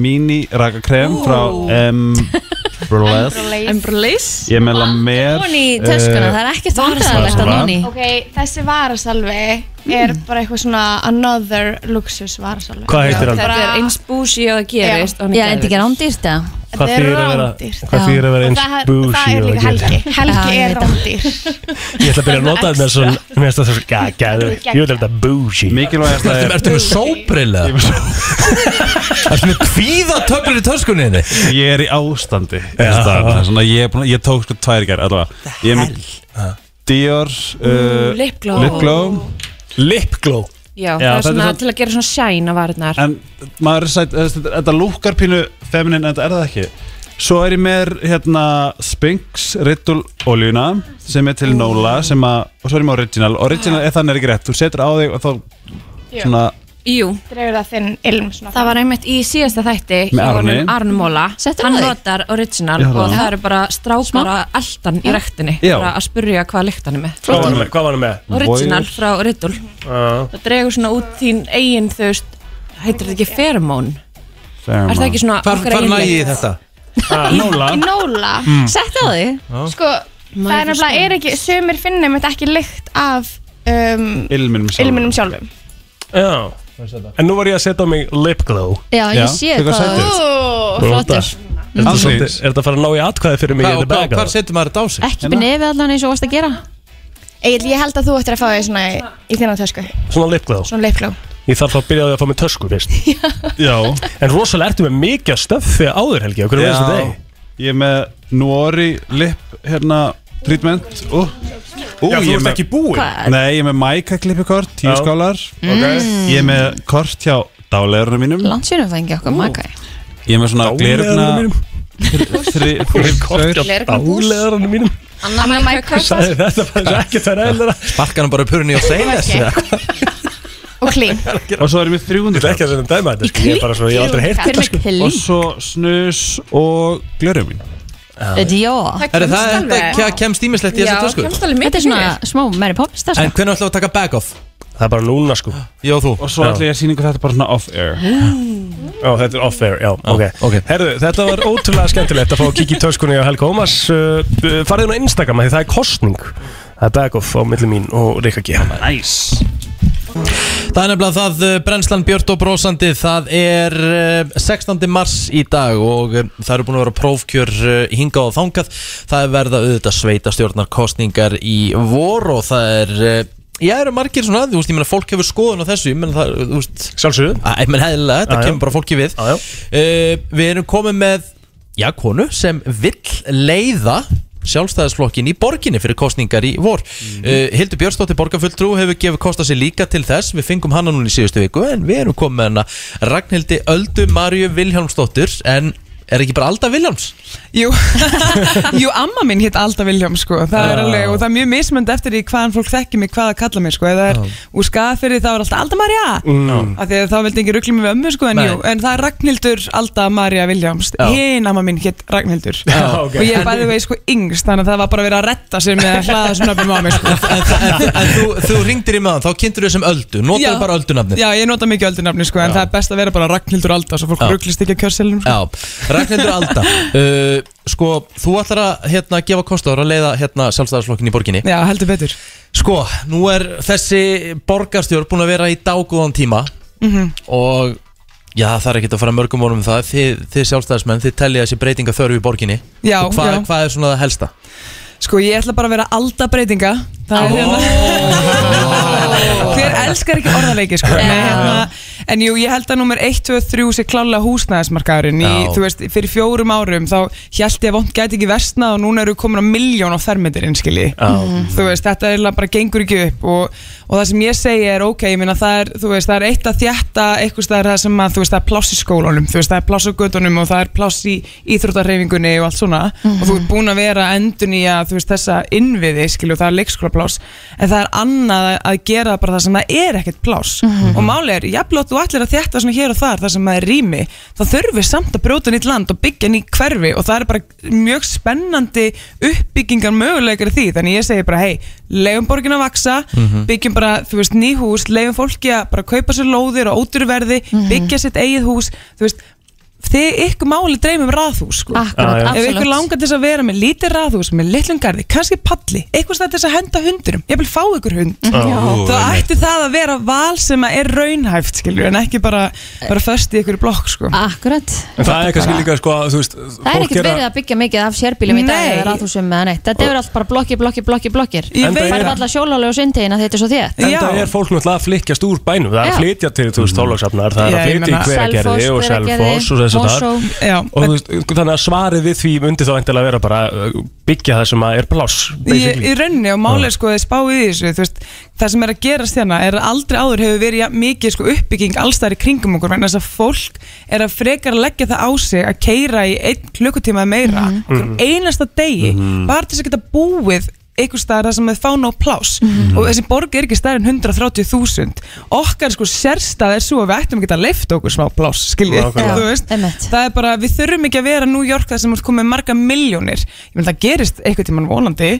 Mini rakakrem frá M Bruleth Embrace Ég er með La Mer Hún í töskuna, það er ekkert vandræðalegt að Varasalva. núni eh, Ok, þessi varasalvi er bara eitthvað svona another luxus varasalvi Hvað heitir hann? Þetta er eins búsi og það gerist og hann Já, en þetta geðveik. ekki rándýrt eða? Hvað þýðir að vera rándýrt. Hvað þýðir að vera Og eins það, búsi það er og líka geta? Helgi Já, Helgi ég er veit það. rándýr Ég ætla að byrja að nota þetta svo Mér finnst það svo Já, gæðu Ég vil að þetta búsi Mikilvægast það er Ertu með sóbrilla? Ertu með kvíðatöflur í töskuninni? Ég er í ástandi þessa dagana. Svona, ég, er búinn að- ég tók sko tvær í gær allavega. Ég er með Dior uh, lip glow. lip glow. Lipglow Já, það er þetta er svona svona- til að gera svona shine á varðnar En maður er sætt þú veist, Þetta þetta lúkkar pínu feminin En þetta er það ekki Svo er ég með hérna, Sphinx Riddle oljuna sem er til Nóla sem að, og svo er ég með Original Original er þannig er ekki rétt, þú setur á þig og þá Jú. svona Jú Dregur það þinn ilm svona Það var einmitt í síðasta þætti Með hjá Aroni. honum Arnmóla Hann notar original Ég horfði á og hann. það eru bara strákar að eldan í rektinni Já. bara að spurja hvað lyktan er með Hvað var hann með? Hvað var hann með? Original frá Riddle Uh, Það dregur svona út þín eigin þú veist heitir þetta ekki feromón Er það ekki svona Hvar, okkar hvar eigin nægi lykt? þetta? Ah, Í nóla Mm. Sett á því Sko, það er nefnilega er ekki Sumir finnum þetta ekki lykt af um, Ilminum sjálfum. Ilminum sjálfum já En nú var ég að setja á mig lip glow Já, ég Já, sé tekur það. sætið. Ó, Róta. flottur. Er þetta Mm. svolítið- er þetta að fara að ná í atkvæði fyrir mig Hvað- í The hvað- Bag Hour? hvar setur maður þetta á sig? Hérna? Ekki byrja nefið allan eins og varst að gera Egil, ég held að þú ættir að fá því svona í, í þína tösku Svona lip glow Svona leifkló Ég þarf þá að byrja á því að fá mig tösku fyrst Já En rosalega ertu með mikið af stöffi áður Helgi Hvernig veist þetta þig? Ég er með Nuori lip hérna treatment Ú, ú, Já, ég þú er ert með- ekki búin. Hvað? Nei, ég er með Mæka klippikort, tíu Já. skálar Mm. Ok. Ég er með kort hjá dálæðurinn mínum Landsjörnum fengi okkur maka Ég er með svona glerugna mínum. Kort Dálegarinn mínum Anna Mæka Sagði þetta bara ekki það reyðlega Sparka hann bara upp hurni og segja Ok. þessu Og klín Og svo erum við 300 Þetta er ekki að þetta dæma þetta sko. Ég er bara svona, ég hef aldrei heyrt þetta sko. Og svo snus og glörum mín Dior Herri, það er- þetta kemst ímislegt í þessa tösku Þetta er svona smá Mary Poppins tösku En hvernig ætlum við að taka back off? Það er bara núna sko Já, þú Og svo ætla ég að sýningu þetta bara svona off-air Já, þetta er off-air, já, ok, Herðu, þetta var ótrúlega skemmtilegt að fá að kíkja í töskunni á Helga Ómas uh, uh, Farið hún á Instagram, af því það er kostning Það er dag-off á milli mín og Rikka G Nice Það er nefnilega það eh, brennslan Björn og Brósandi Það er eh, 16. mars í dag og eh, það eru búin að vera prófkjör eh, hingað og þangað Það er verða auðvitað sveitastjórnar kostningar í vor og það er eh, Já, eru margir svona, þú veist, ég meina fólk hefur skoðun á þessu, ég meina það, þú veist Sjálfsögðu Ég meina heðilega, þetta Já, já. kemur bara fólki við Eh, já. Við erum komið með, já, konu sem vill leiða sjálfstæðisflokkin í borginni fyrir kostningar í vor mm Hildur Björnsdóttir borgarfulltrú hefur gefið kosta sér líka til þess við fengum hana núna í síðustu viku en við erum komið með hana Ragnhildi Öldu Marju Vilhjálmsdóttir en er ekki bara Alda Vilhjálms? Jú, Jú, amma minn hétt Alda Viljám sko. það er Já. alveg, og það er mjög mismönd eftir því hvaðan fólk þekkir mig, hvað að kalla mig sko. eða það er úr skafirði þá er alltaf Alda Marja Mm. af því að þá vildi engin ruggli mig við ömmu sko, en, Nei. jú, en það er Ragnhildur Alda Marja Viljáms, Já. hinn amma minn hétt Ragnhildur Já, ok. og ég er bæði vegi sko yngst þannig að það var bara verið að retta sér með að hlaða svona byrjum á mig sko. En þú, þú ringdir í maðan, þá kynntur þessum Öldu, notaðu Já. bara Öldunafnið Já, ég nota mikið öldunafni sko, en það er best að vera bara Ragnhildur Alda svo fólk Já. rugglist ekki að kjörselum sko. Já, Ragnhildur Alda uh, Sko, þú ætlar að hérna, gefa kostur að leiða hérna, sjálfstæðarslokkin í borginni Já, heldur betur Sko, nú er þessi borgarstjórn búin að vera í dágóðan tíma Mhm. og já, það er ekkert að fara mörgum orðum um það þið, þið sjálfstæðarsmenn, þið tellið þessi breytinga þörfu í borginni Já, Og hvað, já. hvað er svona það helsta? Sko, ég ætla bara að vera alda breytinga Það er hérna Hver elskar ekki orðarleiki, sko Nei, hérna, En jú, ég held að nummer 1, 2, 3 sé klálega húsnæðismarkaðurinn í, Já. Þú veist, fyrir fjórum árum þá held ég að vond gæti ekki versnað og núna eru komin á miljón á fermetirinn, skilji Já. Þú veist, þetta er bara gengur ekki upp og, og það sem ég segi er, ok, ég meina það er, þú veist, það er eitt að þjætta eitthvað staðar það sem að, þú veist, það er pláss í skólanum þú veist, það er pláss á gödunum og það er pláss í íþróttarhefingunni og allt svona og þú ert búin að vera að endun í að, þú veist, þessa innviði, skilju, það er leikskólapláss en það er annað að gera bara það sem það er ekkert pláss Mhm. og máli er, jafnlótt þú ætlir að þjætta svona hér og þar þar sem það er rými, þá þurfi samt að brjóta nýtt land og byggja nýtt hverfi og það er bara mjög spennandi uppbyggingar möguleikar í því, þannig ég segi bara, hei, leiðum borgin að vaksa Mhm. byggjum bara, þú veist, ný hús, leiðum fólki að bara kaupa sér lóðir og óturverði Mhm. mm byggja sitt eigið hús, þú veist þið ykkur máli dreymum ráðhús sko. Akkurat, Já, já. ef ykkur absolutt. langar til þess að vera með lítið ráðhús, með litlum garði, kannski palli eitthvað stað til þess að henda hundurum, ég vil fá ykkur hund Já. Já. þá ætti það að vera val sem að er raunhæft skilur, en ekki bara, bara först í ykkur blokk sko. Akkurat En það er kannski líka sko, þú veist Það er ekkert verið að byggja mikið af sérbílum í dag Nei. eða ráðhúsum eða neitt. Þetta er allt bara blokkir, blokkir, blokkir, blokkir. Ég veit Það er það. alltaf sjólálega og syndegin að þetta er svo þétt. En það er fólk náttúrulega að flykkjast úr bænum Það Já. er að flytja til, þú veist, þólaugsafnar Það er Já, ég að flytja í meina- hveragerði Selfoss, og selfoss og Hveragerði, þess að það Mosó. Já. Og þú veist, þannig að svarið við því myndi þá endilega vera bara uh, byggja það sem að er pláss í, í basically. rauninni og málið sko þið spáið í þessu þú veist, það sem er að gerast hérna er að aldrei áður hefur verið jafn mikið sko, uppbygging allstæðar í kringum okkur vegna þess að fólk er að frekar að leggja það á sig að keira í einn klukkutíma eða meira mm Mhm. einasta degi bara til þess að geta búið einhvers staðar þar sem þau fá nóg pláss Mhm. og þessi borg er ekki stærri en 130.000 okkar sko sérstað er svo að við ættum ekki að leifta okkur smá pláss skilji, Nákvæmlega. þú veist það er bara, við þurfum ekki að vera New York þar sem er komið marga miljónir ég menn það gerist einhvern tímann vonandi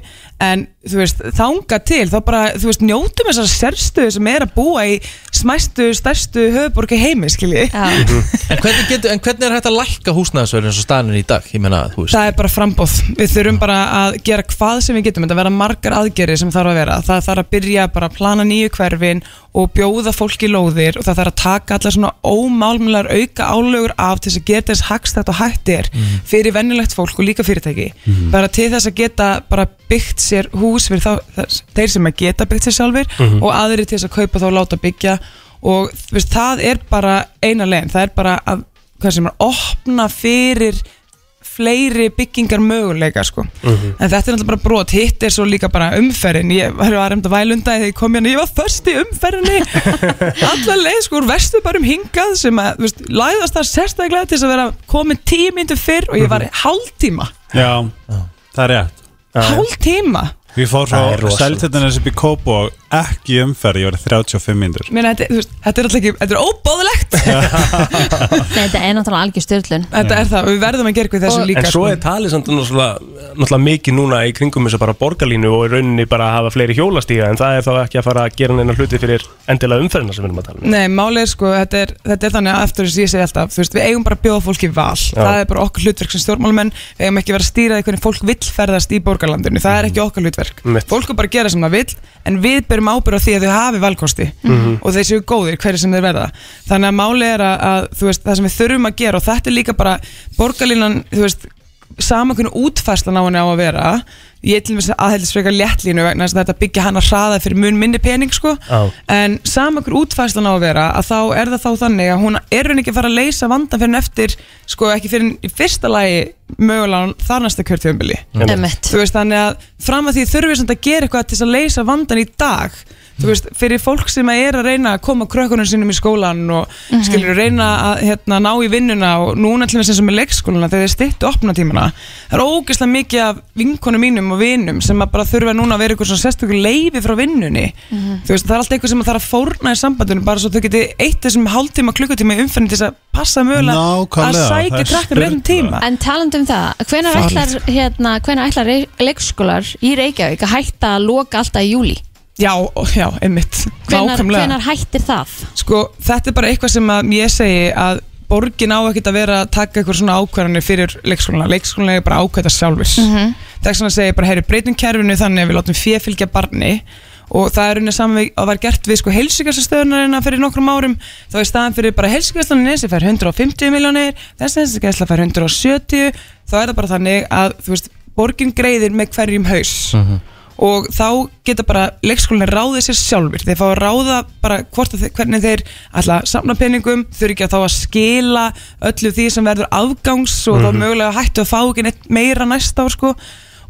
en þú veist, þanga til þá bara, þú veist, njótum þessar sérstöðu sem er að búa í smæstu, stærstu höfuborgi heimi, skilji en, hvernig getur, en hvernig er hægt að lækka húsnæðsverðin eins og staðan er í dag? Ég meina, þú veist Það er bara frambóð. Við þurfum bara að gera hvað sem við getum. Þetta verða margar aðgerðir sem þarf að vera. Það þarf að byrja bara að plana nýju hverfin og bjóða fólki lóðir og það þarf að taka allar svona ómálmulegar auka álögur af til þess að gera þess hagstætt og hættir Mhm. fyrir vennilegt fólk og líka fyrirtæki. Bara til þess að geta bara byggt sér hús fyrir þá, þess, þeir sem að geta byggt sér sjálfur Mhm. og aðrir til þess að kaupa þá og láta byggja og þú veist, það er bara eina legin. Það er bara að, hvað sem er, opna fyrir fleiri byggingar möguleika sko. Mhm. en þetta er náttúrulega bara brot hitt er svo líka bara umferðin ég var var reynd að vælunda þegar ég kom hérna ég var först í umferðinni alla leið sko úr vestu bara um hingað sem að þú veist, læðast það sérstaklega til þess að vera komin tíu myndu fyrr og ég var í hálftíma Já, það er rétt hálftíma Við fór Það er frá rosalegt. Seltjarnanes upp í Kópó ekki í umferð, ég var í 35 mínútur Meina, þetta, þú veist, þetta er alltaf ekki, þetta er óbóðlegt Nei, þetta er náttúrulega algjör styrlun þetta er það, og við verðum að gera eitthvað í þessu líka En svo sko. er talið samt náttúrulega, náttúrulega mikið núna í kringum þess að bara borgarlínu og í rauninni bara að hafa fleiri hjólastíga en það er þá ekki að fara að gera neina hluti fyrir endilega umferðina sem við erum að tala um Nei, málið er sko, þetta er, þetta er þannig að eftir þess að ég segi alltaf, þú veist, við eigum bara að bjóða fólki val, það er bara okkar hlutverk sem stjórnmálumenn, við eigum ekki að vera að stýra því hvernig fólk vill ferðast í borgarlandinu, það er ekki okkar hlutverk, Mitt. fólk er bara að gera sem það vill, en við berum ábyrð á því að þau hafi valkosti Mm. Mhm. og þeir séu góðir hverju sem þeir verða, þannig að málið er að, að þú veist, það sem við þurfum að gera og þetta er líka bara borgarlinan, þú veist, sama hvernig útfærslan á henni á að vera ég til þess aðheldis frekar léttlínu vegna þess að þetta byggja hann að hraða fyrir mun minni pening sko. Já. en sama hvernig útfærslan á að vera að þá er það þá þannig að hún er henni ekki að fara að leysa vandan fyrir en eftir sko ekki fyrir í fyrsta lagi mögulega þar næsta kjörtjöfumbili Einmitt. Einmitt. þú veist þannig að fram að því þurfum við samt að gera eitthvað til þess að leysa vandan í dag þú veist, fyrir fólk sem er að reyna að koma krökkunum sínum í skólan og Mhm. skilur reyna að hérna, ná í vinnuna og núna til þess að með leikskólana þegar þeir styttu opnatímana það er ógeðslega mikið af vinkonum mínum og vinum sem að bara þurfa núna að vera eitthvað svona sérstökur leifi frá vinnunni um. Mhm. þú veist, það er alltaf eitthvað sem að þarf að fórna í sambandinu bara svo þau geti eitt þessum hálftíma, klukkutíma í umferðin til þess að passa mögulega að Nákvæmlega, það sækja er krakkan reyndum tíma En talandi um það, hvenær ætlar, Farlegt. hérna, hvenær ætlar rey- leikskólar í Reykjavík að hætta að loka alltaf í júli? Já, já, einmitt Hvenær, Nákvæmlega. hvenær hættir það? Sko, þetta er bara eitthvað sem að ég segi að borgin á ekkert að vera að taka eitthvað svona ákvarðanir fyrir leikskóluna. Leikskóluna er bara ákvæða sjálfis. Mm Mhm. Þess vegna segi ég bara, heyri, breytum kerfinu þannig að við látum fé fylgja barni og það er unni saman við að var gert við sko heilsugjastastöðunarina fyrir nokkrum árum þá er staðan fyrir bara heilsugjastluninni sem fær 150 miljónir, þessi heilsugjastla fær 170, þá er það bara þannig að, þú veist, borgin greiðir með hverjum haus og þá geta bara leikskólinni ráðið sér sjálfur þeir fá að ráða bara hvort að þeir, hvernig þeir ætla að samna peningum þurfi ekki að þá að skila öllu því sem verður afgangs og Mhm. þá mögulega hættu að fá ekki neitt meira næsta ár sko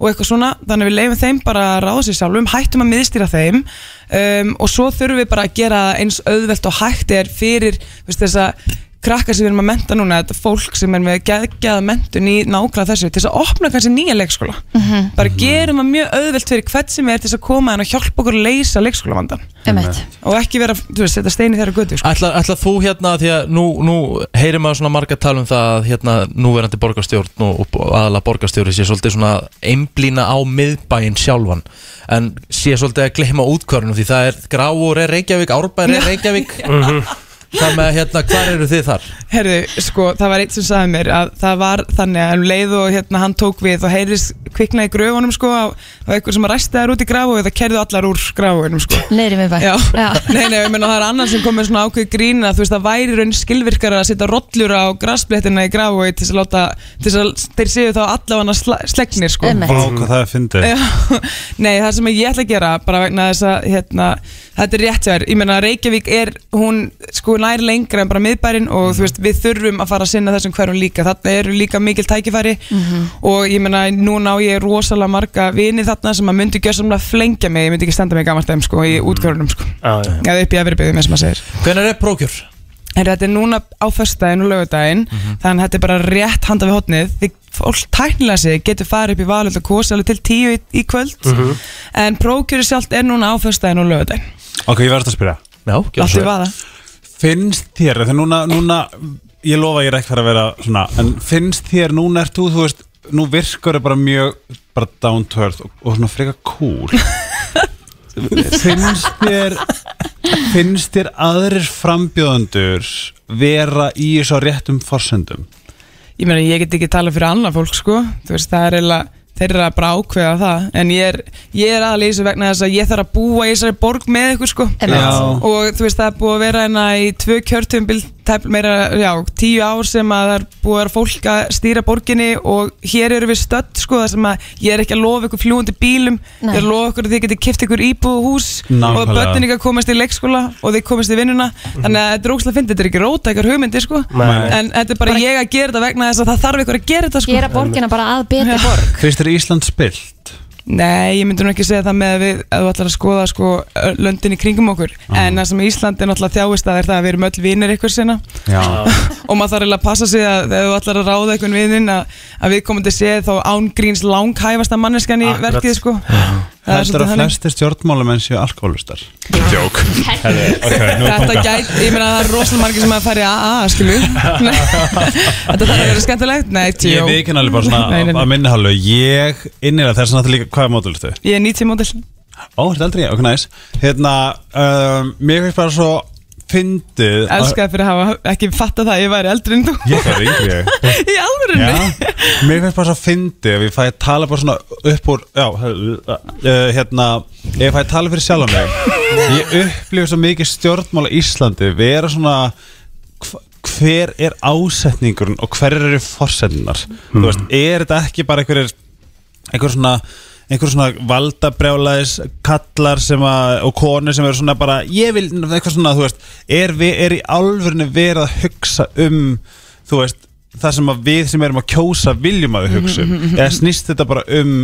og eitthvað svona, þannig að við leifum þeim bara að ráða sér sjálfum, hættum að miðstýra þeim um, og svo þurfum við bara að gera það eins auðvelt og hægt er fyrir þú veist, þessa krakkar sem við erum að menta núna, þetta fólk sem er með geðgjaða mentun í nákvæða þessu til þess að opna kannski nýja leikskóla Mhm, bara gerum það mjög auðvelt fyrir hvert sem er til þess að koma en að hjálpa okkur að leysa leikskólavandan Einmitt. og ekki vera, þú veist, þetta steini þeirra götu sko. Ætla, ætla þú hérna, því að nú, nú heyrir maður svona marga tala um það að hérna, núverandi borgarstjórn og, og aðalega borgarstjóri sé svolítið svona einblína á miðbæinn sjálfan en sé svolítið að gleyma útkvörnum því það er gráur er Reykjavík, árbær er Reykjavík Mhm. þar með hérna, hvar eru þið þar? Herðu, sko, það var eitt sem sagði mér að það var þannig að um leið og hérna hann tók við og heyrðist kvikna í gröfunum sko á, á einhver sem ræsti þær út í grafu og það kerðu allar úr grafunum sko Neyri með bæ Já, nei, nei, ég menna það er annar sem kom með svona ákveð grín að þú veist það væri í raun skilvirkara að setja rollur á graspléttina í grafu til þess að láta, til þess að þeir séu þá allavega sle slegnir sko Vá, hvað það er fyndið Já, Nei, það sem ég ætla að gera bara vegna þess að hérna, þetta er rétt hjá þér, ég meina Reykjavík er hún sko nær lengra en bara miðbærin og þú veist, við þurfum að fara að sinna þessum hverjum líka, þarna eru líka mikil tækifæri og ég meina núna á ég rosalega marga vini þarna sem að myndi gjössamlega flengja mig, ég myndi ekki standa mig gamast þeim sko í útkvörunum sko, ah, eða upp í efribyggðum eins og maður segir Hvenær er prókjör? En þetta er núna á föstudaginn og lögudaginn Mhm. Þannig að þetta er bara rétt handa við hotnið Því fólk tæknilega sig getur farið upp í valöld og kosi alveg til tíu í, í kvöld Mhm. En prókjöri sjálft er núna á föstudaginn og lögudaginn Ok, ég verðist að spyrja Já, Allt í vaða Finnst þér, þegar núna, núna Ég lofa að ég er ekkert að vera svona En finnst þér, núna ert þú, þú veist Nú virkar þau bara mjög Bara down to earth og, og svona freka cool Finnst þér Finnst þér aðrir frambjóðendur Vera í þessu á réttum forsendum Ég meina, ég get ekki talað fyrir annað fólk, sko Þú veist, það er eiginlega þeirra bara að ákveða það en ég er, ég er aðal í þessu vegna þess að ég þarf að búa í þessari borg með ykkur sko Einmitt. Já. og þú veist það er búið að vera hérna í tvö kjörtumbil tæp meira, já, tíu ár sem að það er búið að vera fólk að stýra borginni og hér eru við stödd sko þar sem að ég er ekki að lofa ykkur fljúandi bílum Nei. ég er að lofa ykkur að þið getið kipt ykkur íbúð og hús Nákvæmlega. og börnin ykkar komast í leikskóla og þið komast í vinnuna þannig að þetta er ógslag fyndið, þetta er ekki róta ykkur hugmyndi sko Nei. en þetta er bara, ég að gera þetta vegna þess að það þarf ykkur að gera þetta sko Gera borgina bara að betri borg Finnst þér Ísland spilt? Nei, ég myndi nú ekki segja það með að við að þú ætlar að skoða sko, ö, löndin í kringum okkur Ah. en það sem Ísland er náttúrulega þjáist að er það að við erum öll vinir ykkur sinna Já. og maður þarf eiginlega að passa sig að þegar þú ætlar að ráða einhvern vininn að, að við komum til séð þá ángríns langhæfasta manneskjan í Akkurat. verkið sko. Það er Heldur svolítið að þannig. flestir stjórnmálamenn séu alkoholistar Jók Þetta gæti, ég meina það er rosalega margir sem að fara í AA, skilu Nei, Þetta þarf að vera skemmtilegt Nei, tjó Ég veikin alveg bara svona Nei, nei, nei. að minni hálfu Ég innilega þess að það líka Hvað er mótulstu? Ég er 90 mótil Ó, þetta er aldrei, ok, næs Hérna, um, mér finnst bara svo Fyndið að- Elskaði fyrir að hafa ekki fatta það að ég væri eldri en þú Ég er yngri ég. Í alvörunni? Já, mér finnst bara svo fyndið Ef ég fæ að tala bara svona upp úr Já, uh, hérna Ef ég fæ að tala fyrir sjálf mig Ég upplifu svo mikið stjórnmála í Íslandi Vera svona hv- Hver er ásetningurinn Og hver eru forsendinar Þú veist, er þetta ekki bara einhverjir einhver svona einhver svona valdabrjálaðis kallar sem að, og konur sem eru svona bara ég vil, eitthvað svona, þú veist er, vi, er í alvörinu verið að hugsa um þú veist, það sem að við sem erum að kjósa viljum að við hugsa um Mhm, mhm, mhm. eða snýst þetta bara um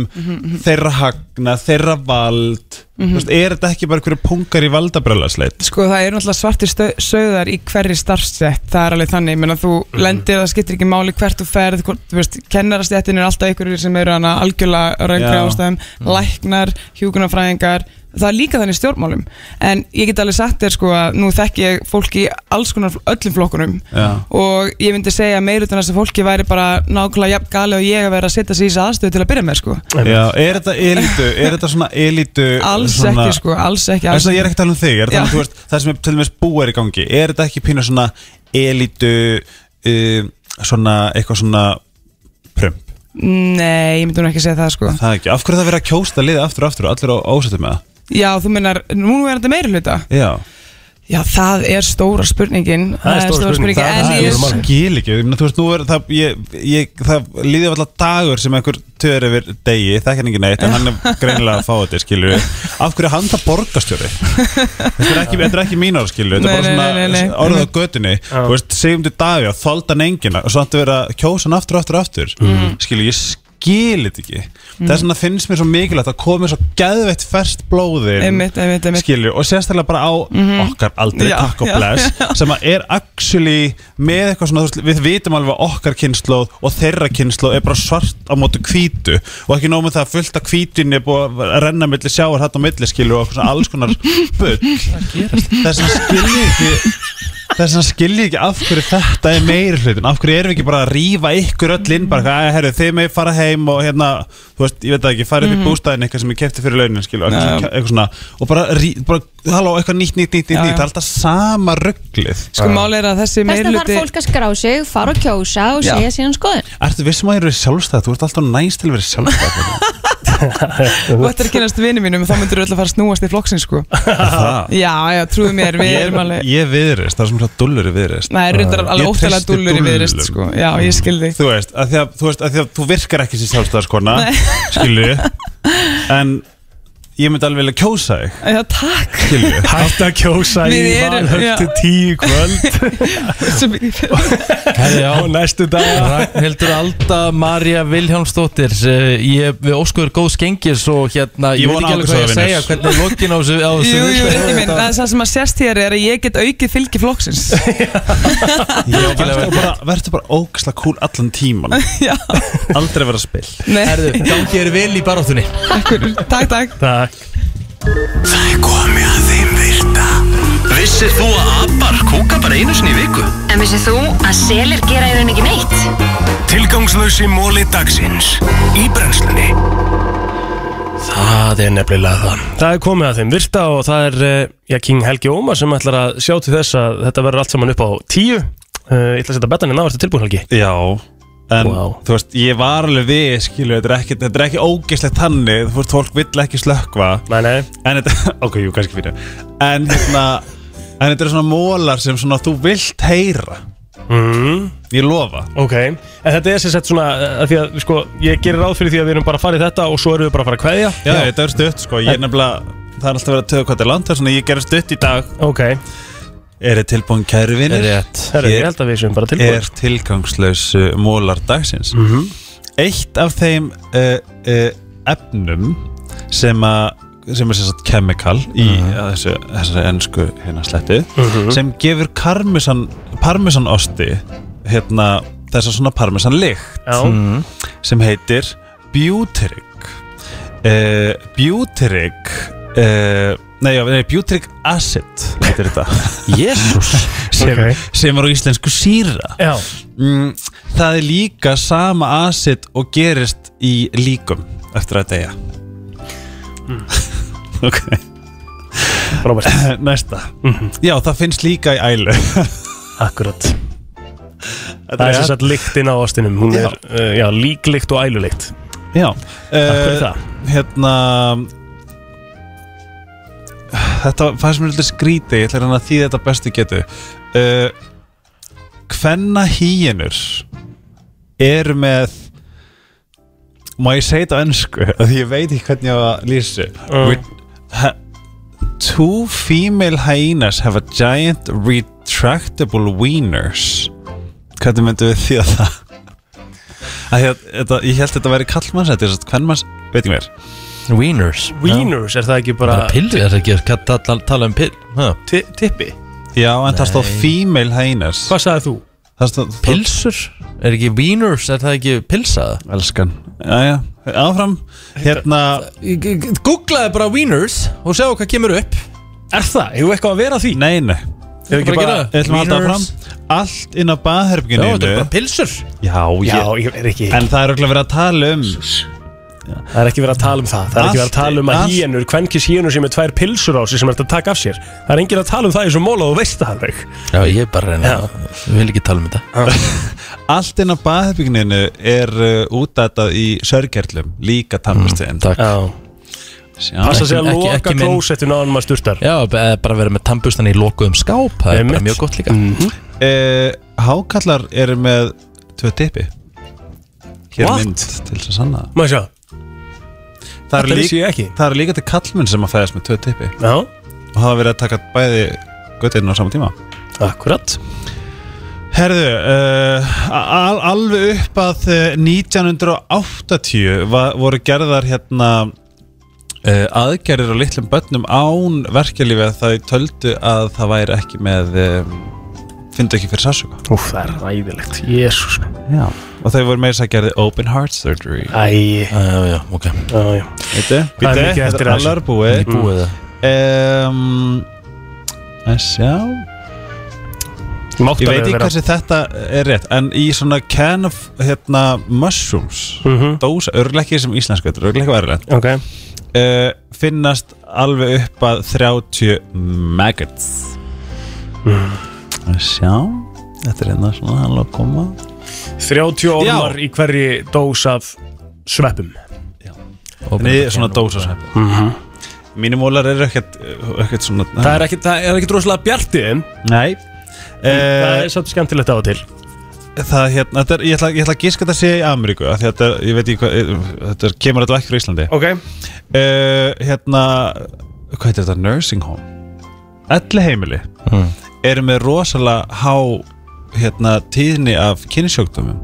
þeirra hagna, þeirra vald Mhm. þú veist, er þetta ekki bara einhverju pungar í valdabrjálaðisleit Sko það eru náttúrulega svartir stau- sauðar í hverri starfsett, það er alveg þannig menna, þú Mhm. lendir, það skiptir ekki máli hvert þú ferð hvort, þú veist, kennarastjættin er alltaf ykkur sem eru hana algjörlega Já. raungræðustæðum Mhm. Mm. læknar, hjúkunarfræðingar það er líka þannig í stjórnmálum en ég get alveg sagt þér sko að nú þekki ég fólki í alls konar öllum flokkunum Já. og ég myndi segja meirutan þess að fólki væri bara nákvæmlega jafn gali og ég að vera að setja sig í þess aðstöðu til að byrja með sko Já, er þetta elitu, er þetta svona elitu Alls svona, ekki, sko, alls ekki, alls Þess að ég er ekki að tala um þig, ég er að tala um Já. þú veist, það sem er til dæmis búið er í gangi Er þetta ekki pínu svona elitu um, svona eitthvað svona prump? Nei, ég myndi nú ekki segja það sko Það er ekki, af hverju er það verið að kjósta liðið aftur og aftur og allir á ásættu með það? Já, þú minnar, nú er þetta meiri hluta Já Já, það er stóra spurningin Það, það, En ég ég skil ekki, ég meina, þú veist, nú er það, ég, ég, það líði alltaf dagur sem einhver tör yfir degi, það er ekki neitt, en hann er greinilega að fá þetta, skilur við. Af hverju er hann það borgarstjóri? Þetta er ekki, þetta er ekki mínar, skilur við, Nei, þetta er nei, bara nei, nei, Mhm. nei. svona orðið á götunni, þú veist, segjum til dagi að þolda hann engina og svo hann verið að kjósa hann aftur og aftur og aftur, Mhm. mm. skilur ég skil þetta ekki. Mm. Það er svona, finnst mér svo mikilvægt að koma svo geðveitt ferskt blóðin, Einmitt, einmitt, einmitt. skilur og sérstaklega bara á Mhm. okkar aldrei, Já, takk og já, bless, já. sem að er actually með eitthvað svona, þú veist, við vitum alveg að okkar kynnslóð og þeirra kynnslóð er bara svart á mótu hvítu og ekki nóg með það að fullt af hvítunni er búið að renna milli sjáar hatt á milli skilur og eitthvað svona alls konar bull þess að skilji ekki þess að skilji ekki af hverju þetta er meiri hlutin, af hverju erum við ekki bara að rífa ykkur öll inn, bara að herru þið með fara heim og hérna, þú veist, ég veit það ekki farið upp Mhm. í bústæðin eitthvað sem ég kefti fyrir launin skilur, Já, já. eitthvað, eitthvað svona, og bara, rí, bara halló, eitthvað nýtt, nýtt, nýtt, nýtt, Já, nýtt já. það er alltaf sama rugglið Sko málið er að þessi Þess meiri að þarf hluti fólk að skrá sig, fara og kjósa og Já. segja síðan skoðun Ertu vissum að það eru sjálfstæð? Þú ert alltaf næst til að vera sjálfstæð Þú ættir að kynast vinið mínum og þá myndir þú öll að fara að snúast í flokksins sko Já, já, trúðu mér, við erum alveg Ég viðrist, það er sem svona dullur í viðrist Nei, reyndar alveg Ég óttalega treysti dúllur í Viðreisn, dúllum. sko. Já, ég skil þig Þú veist, að því að þú, veist, að því að þú virkar ekki sem sjálfstæðarskona Skilju En ég myndi alveg vilja kjósa þig Já, takk Hætt að kjósa í Við erum- valhöld já. til tíu í kvöld Herri, já, næstu dag Ragnhildur Alda, Marja Vilhjálmsdóttir eh, ég, Við óskuður góð skengis og hérna, ég, Ég veit vona ekki alveg ágúst hvað ég að það segja vinnur. hvernig er lokin á þessu á Jú, þessu jú, viðtali. reyndi minn, það, það sem að sérst hér er að ég get aukið fylgi flokksins Verður bara, vertu bara ógisla kúl allan tíman Aldrei vera spil Nei. Herðu, gangi er vel í baróttunni Takk, takk Takk Það er komið að þeim virta Vissir þú að abar kúka bara einu sinni í viku? En vissið þú að selir gera í rauninni ekki neitt? Tilgangslösi móli dagsins Í brennslunni Það er nefnilega það Það er komið að þeim virta og það er eh, já, King Helgi Ómar sem ætlar að sjá til þess að þetta verður allt saman upp á tíu Uh, Ég ætla að setja betan en návært tilbúin Helgi Já En þú veist, ég var alveg við, skilu, þetta er ekki, þetta er ekki ógeðslegt þannig, þú veist, fólk vill ekki slökva Nei, nei En þetta, ok, jú, kannski fyrir En hérna, en þetta eru svona mólar sem svona þú vilt heyra mm. Ég lofa Ok, en þetta er sem sagt svona eh, að Því að sko, ég gerir ráð fyrir því að við erum bara að fara í þetta og svo erum við bara að fara að kveðja Já, þetta er stutt, sko, ég er nefnilega, það er alltaf verið að töða hvað þetta er langt, það er svona, ég gerir stutt í dag Ok Er þið tilbúin kæri vinir? Rétt. Herru, ég held að við séum bara tilbúin. Er tilgangslausu mólar dagsins Mhm. Eitt af þeim uh, uh, efnum sem að sem er sem sagt chemical í uh þessu, þessari ennsku hérna slettu Mhm. sem gefur parmesan parmesanosti hérna þessa svona parmesanlykt Já. Mhm. sem heitir butyric uh, butyric uh, nei, já, nei, butyric acid heitir þetta Jesus sem, Ok. sem er á íslensku síra Já. mm, það er líka sama asit og gerist í líkum eftir að deyja ok Frábært. næsta Mhm. já það finnst líka í ælu Akkurat Það er sem sagt lyktin á ástinum Hún Já. er uh, já, líklykt og ælulykt já fyrir það. hérna þetta fannst mér alltaf skrítið ég ætla að reyna að þýða þetta bestu getu uh, hvenna hýjenur eru með má ég segja þetta á ennsku af því ég veit ekki hvernig ég á að lýsa Mm. uh. ha, two female hyenas have a giant retractable wieners hvernig myndum við því að það Að því að þetta, ég held að þetta væri kallmanns þetta er svo hvernmanns, veit ekki mér Wieners Wieners, er það ekki bara Bara pillu, er það ekki að tala, tala um pill ha? Tippi Já, en það stóð Nei. female hyenas Hvað sagði þú? Það stóð Pilsur? Er ekki wieners, er það ekki pilsaða? Elskan Jæja, áfram Hérna Googlaði bara wieners og sjá hvað kemur upp Er það? Hefur eitthvað að vera því? Nei, nei Hefur ekki bara Við ætlum að halda áfram Allt inn á baðherbygginu Já, þetta er bara pilsur Já, Já, ég er ekki- En það er örugglega verið að tala um Það er ekki verið að tala um það Það er ekki verið að tala um að Allt- híenur, kvenkis híenur sem er tvær pilsur á sig sem er að taka af sér Það er enginn að tala um það í svo móla og þú veist það alveg Já, ég er bara að reyna Við vil ekki tala um þetta Allt inn á baðherbygginu er uh, útdatað í sörgerlum Líka tannbustin Mm, Takk Passa sig að Ekki- ekki- loka ekki minn. klósettinu á hann maður sturtar Já, b- eða bara vera með tannbustan í lokuðum skáp Það er bara Einmitt. mjög gott líka Eh, Hákallar eru með tvö tippi Hér er What? mynd til þess að sanna það. Má sjá það eru Þetta lík- vissi ég ekki. Það eru líka til kallmenn sem að fæðast með tvö tippi Já Og hafa verið að taka bæði göttinu á sama tíma Akkurat Herðu, uh, al, alveg upp að eh, 1980 va, voru gerðar hérna uh, aðgerðir á litlum börnum án verkjalífi að þau töldu að það væri ekki með um, fyndu ekki fyrir sásuga Úf, það er ræðilegt Jésús Já Og þau voru meira þess að gerði open heart surgery Æ Já, já, ok Já, já Veitu? Það er mikið eftir þessu. allar búið Mikið búið, það. um, að sjá Mátt Ég alveg veit ekki vera- hversu þetta er rétt En í svona can of hérna, mushrooms mm -hmm. Dósa, örgleikki sem íslensku Þetta er örgleikki verðilegt Ok. uh, Finnast alveg upp að 30 maggots Að sjá Þetta er hérna svona hann að koma 30 ormar í hverri dós af sveppum Nei, svona dósa svepp mm -hmm. Mínumólar Mhm. eru ekkert, ekkert svona Það er ekkit, það er ekkit rosalega bjartið Nei Eh, Það er svolítið skemmtilegt á og til það hérna, þetta er, ég ætla, ég ætla að gíska þetta sé í Ameríku af því þetta, er- ég veit ekki hvað, eh, þetta er, kemur þetta ekki frá Íslandi Ok Hérna, hvað heitir þetta, nursing home Elli heimili Mm. eru með rosalega há hérna, tíðni af kynnsjókdómum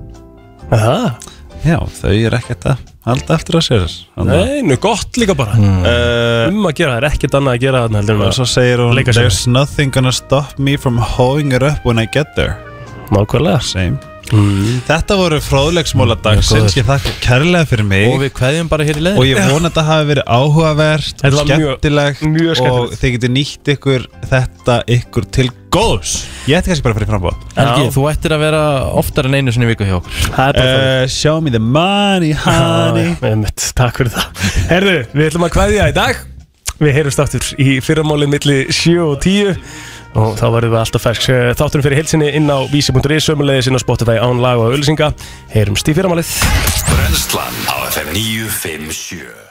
Aha. Já, þau er ekkert að halda eftir að sér Eh, Nei, nú gott líka bara Mm. Um að gera, það er ekkert annað að gera þarna heldur en Og að svo segir hún leika sér. There's nothing gonna stop me from hoeing her up when I get there Nákvæmlega Mm. Same Þetta voru fróðleiksmóla góður. dagsins Ég þakka kærlega fyrir mig Og við kveðjum bara hér í leiðin Og ég vona að þetta hafi verið áhugavert Þetta og var mjög- skemmtilegt mjög og skemmtilegt. þið getur nýtt ykkur þetta ykkur til góðs Ég ætti kannski bara að fara í frambóð Helgi, þú ættir að vera oftar en einu sinni í viku hjá okkur uh, Show me the money, honey Já, einmitt, takk fyrir það Herðu, við ætlum að kveðja í dag Við heyrumst aftur í fyrramálið milli 7 og 10 og þá verðum við alltaf fersk eh, þátturinn fyrir heilsinni inn á vísi.is sömulegis inn á Spotify án lag og ölsinga Heyrumst í fyrramálið Brennslan á FM 957